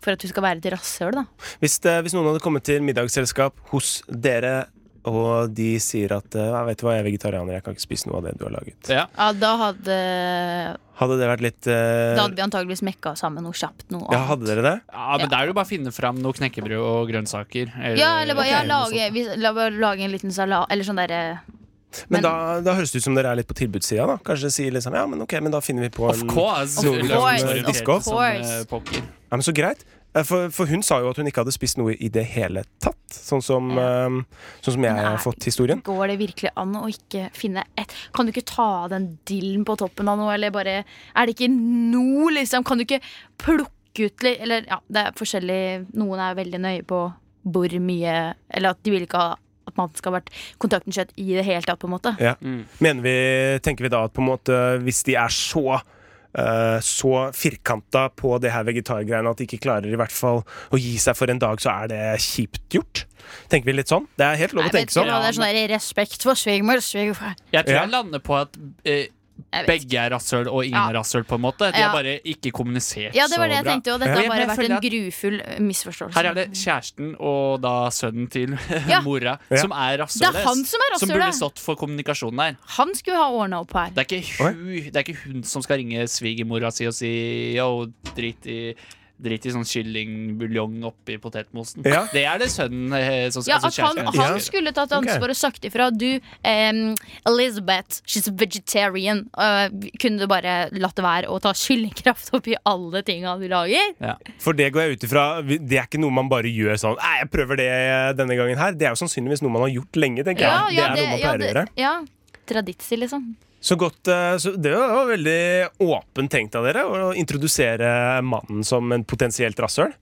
[SPEAKER 4] for at du skal være et rasshøl, da.
[SPEAKER 2] hvis, det, hvis noen hadde kommet til middagsselskap hos dere, og de sier at eh, «Nei, Vet du hva, jeg er vegetarianer, jeg kan ikke spise noe av det du har laget.
[SPEAKER 3] ja.
[SPEAKER 4] Ja, da hadde,
[SPEAKER 2] Hadde det vært litt eh,
[SPEAKER 4] da hadde vi antageligvis mekka sammen noe kjapt. Noe
[SPEAKER 2] Ja,
[SPEAKER 4] annet.
[SPEAKER 2] hadde dere det?
[SPEAKER 3] ja, men da er det jo bare å finne fram noe knekkebrød og grønnsaker.
[SPEAKER 4] Ja, eller bare ja,
[SPEAKER 3] Ok, noe sånt.
[SPEAKER 4] lage, vi, la, bare lage en liten salat, eller sånn derre
[SPEAKER 2] Men, da, da høres det ut som dere er litt på tilbudssida, da. Kanskje si liksom ja, men ok, men da finner vi på
[SPEAKER 3] Of
[SPEAKER 2] en
[SPEAKER 3] course.
[SPEAKER 2] Noe
[SPEAKER 4] vi
[SPEAKER 3] Løgn
[SPEAKER 4] course,
[SPEAKER 3] orientert
[SPEAKER 2] of course.
[SPEAKER 3] som, eh, pokker.
[SPEAKER 2] Ja, men Så greit. Eh, For, for hun sa jo at hun ikke hadde spist noe i det hele tatt, sånn som, eh, sånn som jeg
[SPEAKER 4] Nei.
[SPEAKER 2] har fått historien.
[SPEAKER 4] Går det virkelig an å ikke finne et Kan du ikke ta av den dillen på toppen av noe, eller bare Er det ikke noe, liksom? Kan du ikke plukke ut litt Eller ja, det er forskjellig Noen er veldig nøye på hvor mye Eller at de vil ikke ha at man skal ha vært kontakten kjøtt i det hele tatt, på en måte.
[SPEAKER 2] Ja. Mener vi, tenker vi da at på en måte hvis de er så eh, så firkanta på det her vegetargreiene at de ikke klarer i hvert fall å gi seg for en dag, så er det kjipt gjort? Tenker vi litt sånn? Det er helt lov
[SPEAKER 4] Nei,
[SPEAKER 2] å tenke
[SPEAKER 4] vet
[SPEAKER 2] sånn.
[SPEAKER 4] ikke, hva, det er sånn der respekt for svigermor, svigerfar
[SPEAKER 3] Jeg tror
[SPEAKER 2] Ja.
[SPEAKER 3] jeg lander på at eh,
[SPEAKER 4] Jeg vet
[SPEAKER 3] begge er rasshøl og ingen er
[SPEAKER 4] Ja.
[SPEAKER 3] rasshøl, på en måte. De
[SPEAKER 4] Ja.
[SPEAKER 3] har bare ikke kommunisert
[SPEAKER 4] Ja, det var
[SPEAKER 3] så
[SPEAKER 4] det jeg
[SPEAKER 3] bra.
[SPEAKER 4] tenkte, og dette
[SPEAKER 3] Ja.
[SPEAKER 4] har
[SPEAKER 3] Men
[SPEAKER 4] bare
[SPEAKER 3] jeg
[SPEAKER 4] vært
[SPEAKER 3] føler
[SPEAKER 4] en
[SPEAKER 3] at
[SPEAKER 4] grufull misforståelse.
[SPEAKER 3] Her er det kjæresten og da sønnen til
[SPEAKER 4] Ja.
[SPEAKER 3] mora
[SPEAKER 2] Ja.
[SPEAKER 3] som er rasshølet.
[SPEAKER 4] Det er han som er
[SPEAKER 3] Som
[SPEAKER 4] rasshølet.
[SPEAKER 3] burde stått for kommunikasjonen her.
[SPEAKER 4] Han skulle ha ordna opp her.
[SPEAKER 3] Det er ikke hun, det er ikke hun som skal ringe svigermora si og si yo, drit i Drit i sånn kyllingbuljong oppi potetmosen.
[SPEAKER 2] Ja.
[SPEAKER 3] Det er det sønnen eh, som skal
[SPEAKER 4] Ja,
[SPEAKER 3] altså
[SPEAKER 4] at han,
[SPEAKER 3] kjæresten.
[SPEAKER 4] han
[SPEAKER 2] Ja.
[SPEAKER 4] skulle tatt ansvar og sagt ifra. Du, em, Elizabeth, she's a vegetarian. Eh, kunne du bare latt det være å ta kyllingkraft oppi alle tinga du lager?
[SPEAKER 3] Ja.
[SPEAKER 2] For det går jeg ut ifra. vi- Det er ikke noe man bare gjør sånn Nei, jeg prøver det denne gangen her. Det er jo sannsynligvis noe man har gjort lenge, tenker jeg. Det er noe man
[SPEAKER 4] ja,
[SPEAKER 2] pleier å gjøre.
[SPEAKER 4] det- ja. Traditsi, liksom.
[SPEAKER 2] Så godt, eh, så Det var veldig åpent tenkt av dere å introdusere mannen som en potensielt rasshøl.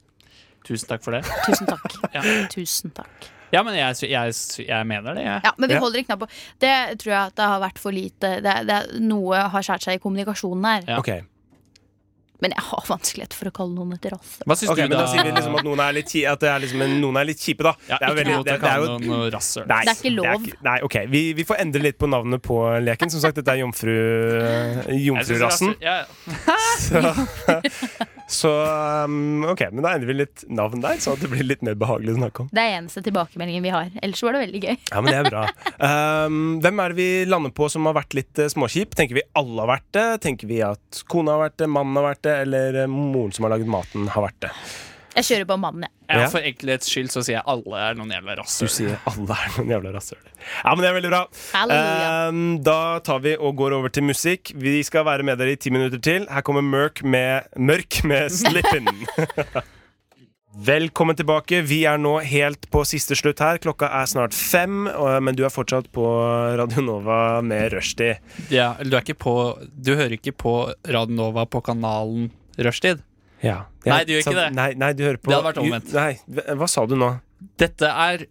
[SPEAKER 3] Tusen takk for det.
[SPEAKER 4] Tusen takk.
[SPEAKER 3] Ja.
[SPEAKER 4] Tusen takk.
[SPEAKER 3] Ja, men jeg, jeg, jeg mener det, jeg.
[SPEAKER 4] Ja, men vi
[SPEAKER 2] Ja.
[SPEAKER 4] holder en knapp på. Det tror jeg at det har vært for lite. Det, det, er- noe har skåret seg i kommunikasjonen her.
[SPEAKER 3] Ja.
[SPEAKER 2] Ok,
[SPEAKER 4] Men jeg har vanskelighet for å kalle noen et rasse.
[SPEAKER 3] Hva syns
[SPEAKER 2] ok,
[SPEAKER 3] du,
[SPEAKER 2] men da sier vi liksom at noen er litt, ki- at det er liksom en, noen er litt kjipe, da. Det er
[SPEAKER 3] Ja,
[SPEAKER 2] jo
[SPEAKER 3] ikke
[SPEAKER 2] veldig-
[SPEAKER 3] lov
[SPEAKER 2] det-
[SPEAKER 3] til
[SPEAKER 2] det
[SPEAKER 3] å
[SPEAKER 2] er
[SPEAKER 3] kalle
[SPEAKER 2] jo-
[SPEAKER 3] noen rasshøl.
[SPEAKER 2] Nei,
[SPEAKER 4] Det er ikke lov.
[SPEAKER 2] nei, ok, vi, vi får endre litt på navnet på leken. Som sagt, dette er jomfru,
[SPEAKER 3] Jeg synes
[SPEAKER 2] jomfrurassen.
[SPEAKER 3] rasshøl- Ja, ja.
[SPEAKER 2] Så um, ok, men da endrer vi litt navn der, sånn at det blir litt mer behagelig å snakke om.
[SPEAKER 4] Det er eneste tilbakemeldingen vi har. Ellers var det veldig gøy.
[SPEAKER 2] Ja, men det er bra. Um, hvem er det vi lander på som har vært litt eh, småkjip? Tenker vi alle har vært det? Tenker vi at kona har vært det, mannen har vært det, eller eh, moren som har laget maten, har vært det?
[SPEAKER 4] Jeg kjører på mannen, jeg.
[SPEAKER 3] Ja,
[SPEAKER 2] Ja.
[SPEAKER 3] For enkelhets skyld så sier jeg alle er noen jævla
[SPEAKER 2] Du
[SPEAKER 3] rasshøl.
[SPEAKER 2] sier alle er noen jævla rasshøler. Ja, men det er veldig bra.
[SPEAKER 4] Halleluja.
[SPEAKER 2] Ehm, da tar vi og går over til musikk. Vi skal være med dere i ti minutter til. Her kommer Mørk med, Mørk med Slippen. Velkommen tilbake. Vi er nå helt på siste slutt her. Klokka er snart fem, og- eh, men du er fortsatt på Radio Nova med rushtid.
[SPEAKER 3] Ja, eller du, er ikke på, du hører ikke på Radio Nova på kanalen Rushtid.
[SPEAKER 2] Ja.
[SPEAKER 3] Nei, du gjør ikke det.
[SPEAKER 2] Nei, nei, du hører på
[SPEAKER 3] Det hadde vært omvendt.
[SPEAKER 2] Nei, hva sa du nå?
[SPEAKER 3] Dette er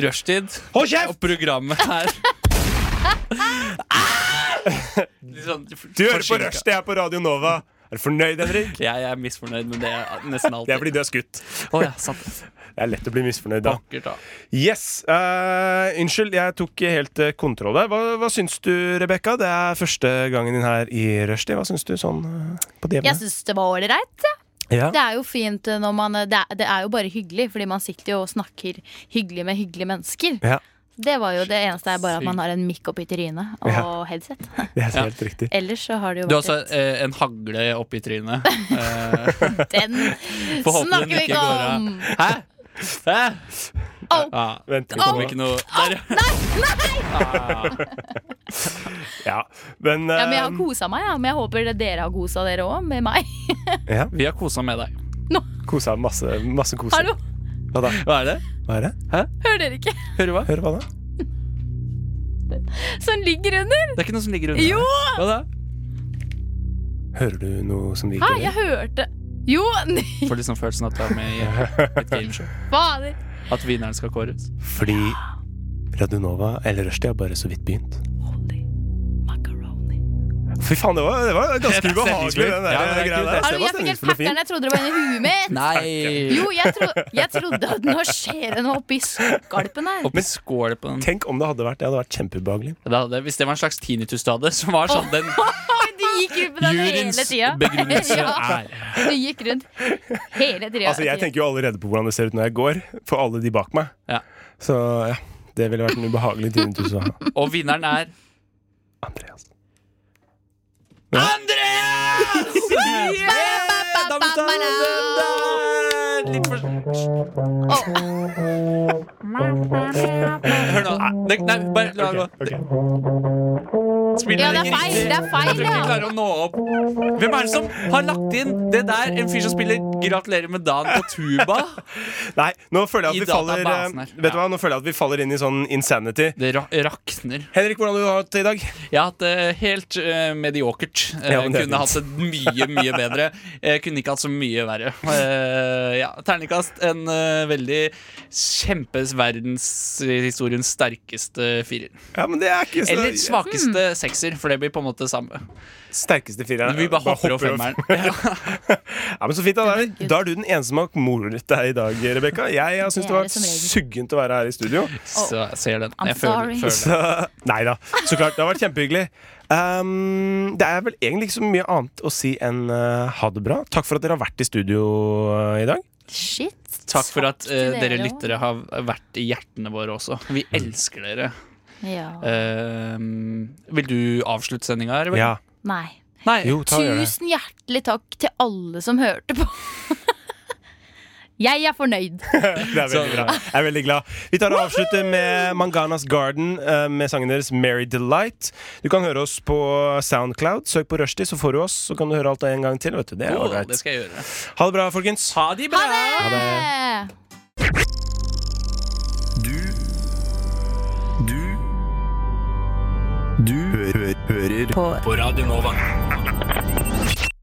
[SPEAKER 3] Rushtid,
[SPEAKER 2] Hold
[SPEAKER 3] og programmet her Litt sånn for-
[SPEAKER 2] Du hører på
[SPEAKER 3] forsinket.
[SPEAKER 2] Rush, det er på Radio Nova. Er du fornøyd, Henrik?
[SPEAKER 3] Jeg er misfornøyd med det er nesten alltid.
[SPEAKER 2] Det er fordi du er skutt.
[SPEAKER 3] Å ja, sant.
[SPEAKER 2] Det er lett å bli misfornøyd da.
[SPEAKER 3] Pokker, da.
[SPEAKER 2] Yes. eh, unnskyld, jeg tok helt eh, kontroll der. Hva, hva syns du, Rebekka? Det er første gangen din her i rushtid. Hva syns du sånn eh, på det
[SPEAKER 4] Jeg
[SPEAKER 2] jevne?
[SPEAKER 4] syns det var ålreit. ja.
[SPEAKER 2] Ja.
[SPEAKER 4] Det er jo fint eh, når man det er, det er jo bare hyggelig, fordi man sitter jo og snakker hyggelig med hyggelige mennesker.
[SPEAKER 2] Ja.
[SPEAKER 4] Det var jo det eneste er bare at man har en mikk opp i trynet og
[SPEAKER 2] Ja.
[SPEAKER 4] headset.
[SPEAKER 2] Det er
[SPEAKER 3] Ja.
[SPEAKER 2] helt riktig.
[SPEAKER 4] Ellers så har det jo
[SPEAKER 3] Du har
[SPEAKER 4] vært
[SPEAKER 3] også eh, en hagle oppi trynet. Eh,
[SPEAKER 4] Den
[SPEAKER 3] får håpe
[SPEAKER 4] snakker
[SPEAKER 3] den
[SPEAKER 4] vi ikke
[SPEAKER 3] går av.
[SPEAKER 4] om!
[SPEAKER 3] Hæ? Hæ?
[SPEAKER 4] Au.
[SPEAKER 3] Ja,
[SPEAKER 2] Vent,
[SPEAKER 3] det kom ikke noe der. Ah.
[SPEAKER 2] Ja, men,
[SPEAKER 4] Ja, men jeg har
[SPEAKER 2] eh,
[SPEAKER 4] kosa meg, ja. men jeg håper det dere har kosa dere òg, med meg.
[SPEAKER 2] ja,
[SPEAKER 3] Vi har kosa med deg.
[SPEAKER 2] kosa masse, masse kos.
[SPEAKER 4] Hallo,
[SPEAKER 2] Hva da?
[SPEAKER 3] Hva er det?
[SPEAKER 2] Hva er det?
[SPEAKER 4] hører dere ikke?
[SPEAKER 3] Hører du hva?
[SPEAKER 2] Hør hva da?
[SPEAKER 4] Som ligger under!
[SPEAKER 3] Det er ikke noe som ligger under.
[SPEAKER 4] Jo!
[SPEAKER 3] Hva da?
[SPEAKER 2] Hører du noe som vi
[SPEAKER 4] Hæ,
[SPEAKER 2] ikke
[SPEAKER 4] jeg hørte Jo, nei,
[SPEAKER 3] Får liksom følelsen at du er med i et gameshow.
[SPEAKER 4] fader.
[SPEAKER 3] At vinneren skal kåres.
[SPEAKER 2] Fordi Radionova eller Rushdie har bare så vidt begynt.
[SPEAKER 4] Holy macaroni.
[SPEAKER 2] Fy faen, det var, det var ganske
[SPEAKER 3] Det er
[SPEAKER 2] ubehagelig,
[SPEAKER 3] stemningsfullt.
[SPEAKER 2] den der
[SPEAKER 3] Ja, det er
[SPEAKER 2] greia
[SPEAKER 3] kult,
[SPEAKER 2] der.
[SPEAKER 3] det.
[SPEAKER 4] Hallo,
[SPEAKER 2] Så det var
[SPEAKER 4] jeg fikk helt
[SPEAKER 2] stemningsfullt og
[SPEAKER 4] packeren.
[SPEAKER 2] fint.
[SPEAKER 4] Jeg trodde det var inni huet mitt.
[SPEAKER 3] Nei!
[SPEAKER 4] Jo, jeg, tro, jeg trodde at nå skjer det noe oppi skalpen her.
[SPEAKER 3] Oppi skål på den.
[SPEAKER 2] Tenk om det hadde vært det. hadde vært kjempeubehagelig.
[SPEAKER 3] Da hadde, hvis det var en slags tinnitus du hadde, som var sånn den
[SPEAKER 4] Oi, Du gikk rundt med den hele
[SPEAKER 3] juryens
[SPEAKER 4] tida.
[SPEAKER 3] begrunnelse
[SPEAKER 4] Ja,
[SPEAKER 3] er
[SPEAKER 4] du gikk rundt hele tida.
[SPEAKER 2] Altså, jeg tenker jo allerede på hvordan det ser ut når jeg går, for alle de bak meg.
[SPEAKER 3] Ja.
[SPEAKER 2] Så ja, det ville vært en ubehagelig tinnitus å ha.
[SPEAKER 3] Og vinneren er
[SPEAKER 2] Andreas.
[SPEAKER 3] Andreas! Yeah! Da må vi ta den der! Litt for Hør nå. Nei, nei, bare la det gå. Spiller
[SPEAKER 4] Ja, det er
[SPEAKER 3] ikke
[SPEAKER 4] feil,
[SPEAKER 3] riktig.
[SPEAKER 4] det er feil,
[SPEAKER 3] Jeg tror ikke vi
[SPEAKER 4] ja.
[SPEAKER 3] klarer å nå opp. Hvem er det som har lagt inn det der? En fyr som spiller 'Gratulerer med dagen' på tuba?
[SPEAKER 2] Nei, nå føler jeg
[SPEAKER 3] I
[SPEAKER 2] at vi faller eh,
[SPEAKER 3] databasen her.
[SPEAKER 2] Vet du hva, nå føler jeg at vi faller inn i sånn insanity.
[SPEAKER 3] Det ra rakner.
[SPEAKER 2] Henrik, hvordan har du hatt det i dag?
[SPEAKER 3] Jeg har hatt det helt eh, mediokert. Eh,
[SPEAKER 2] Ja, men det er fint.
[SPEAKER 3] kunne hatt det mye, mye bedre. Jeg kunne ikke hatt så mye verre. Eh, ja, Terningkast en eh, veldig kjempes verdenshistoriens sterkeste firer.
[SPEAKER 2] Ja, men det er ikke så
[SPEAKER 3] Eller svakeste
[SPEAKER 4] Hmm.
[SPEAKER 3] sekser, for det blir på en måte samme.
[SPEAKER 2] Sterkeste fireren.
[SPEAKER 3] Vi bare hopper over
[SPEAKER 2] over-
[SPEAKER 3] femmeren. Ja.
[SPEAKER 2] Ja, men så fint Da da er, da er du den eneste som har moret deg i dag, Rebekka. Jeg, jeg syns det
[SPEAKER 4] Det er
[SPEAKER 2] var
[SPEAKER 4] det som regel.
[SPEAKER 2] suggent å være her i studio.
[SPEAKER 3] Så jeg ser den.
[SPEAKER 4] I'm
[SPEAKER 3] Jeg føler,
[SPEAKER 4] sorry.
[SPEAKER 3] føler.
[SPEAKER 2] Så, nei da. Så klart. Det har vært kjempehyggelig. Ehm, det er vel egentlig ikke så mye annet å si enn eh, ha det bra. Takk for at dere har vært i studio eh, i dag.
[SPEAKER 4] Shit.
[SPEAKER 3] Takk for at
[SPEAKER 4] til
[SPEAKER 3] eh, dere
[SPEAKER 4] dere også.
[SPEAKER 3] lyttere har vært i hjertene våre også. Vi
[SPEAKER 2] Hmm.
[SPEAKER 3] elsker dere.
[SPEAKER 4] Ja.
[SPEAKER 3] Eh, vil du avslutte sendinga, Rebekka?
[SPEAKER 2] Ja.
[SPEAKER 4] Nei.
[SPEAKER 3] Nei.
[SPEAKER 2] Jo, ta og gjør det.
[SPEAKER 4] Tusen hjertelig takk til alle som hørte på. Jeg er fornøyd.
[SPEAKER 2] Det er veldig
[SPEAKER 3] Så-
[SPEAKER 2] bra. Jeg er veldig glad. Vi tar og avslutter med Manganas Garden eh, med sangen deres Mary Delight. Du kan høre oss på Soundcloud. Søk på Rushdie, så får du oss. Så kan du høre alt det en gang til. Vet du. Det er
[SPEAKER 3] Å, det
[SPEAKER 2] ålreit.
[SPEAKER 3] skal jeg gjøre.
[SPEAKER 2] Ha det bra, folkens.
[SPEAKER 3] Ha det bra!
[SPEAKER 4] Eh.
[SPEAKER 1] Du Du Du hø hø hører på. på Radio Nova.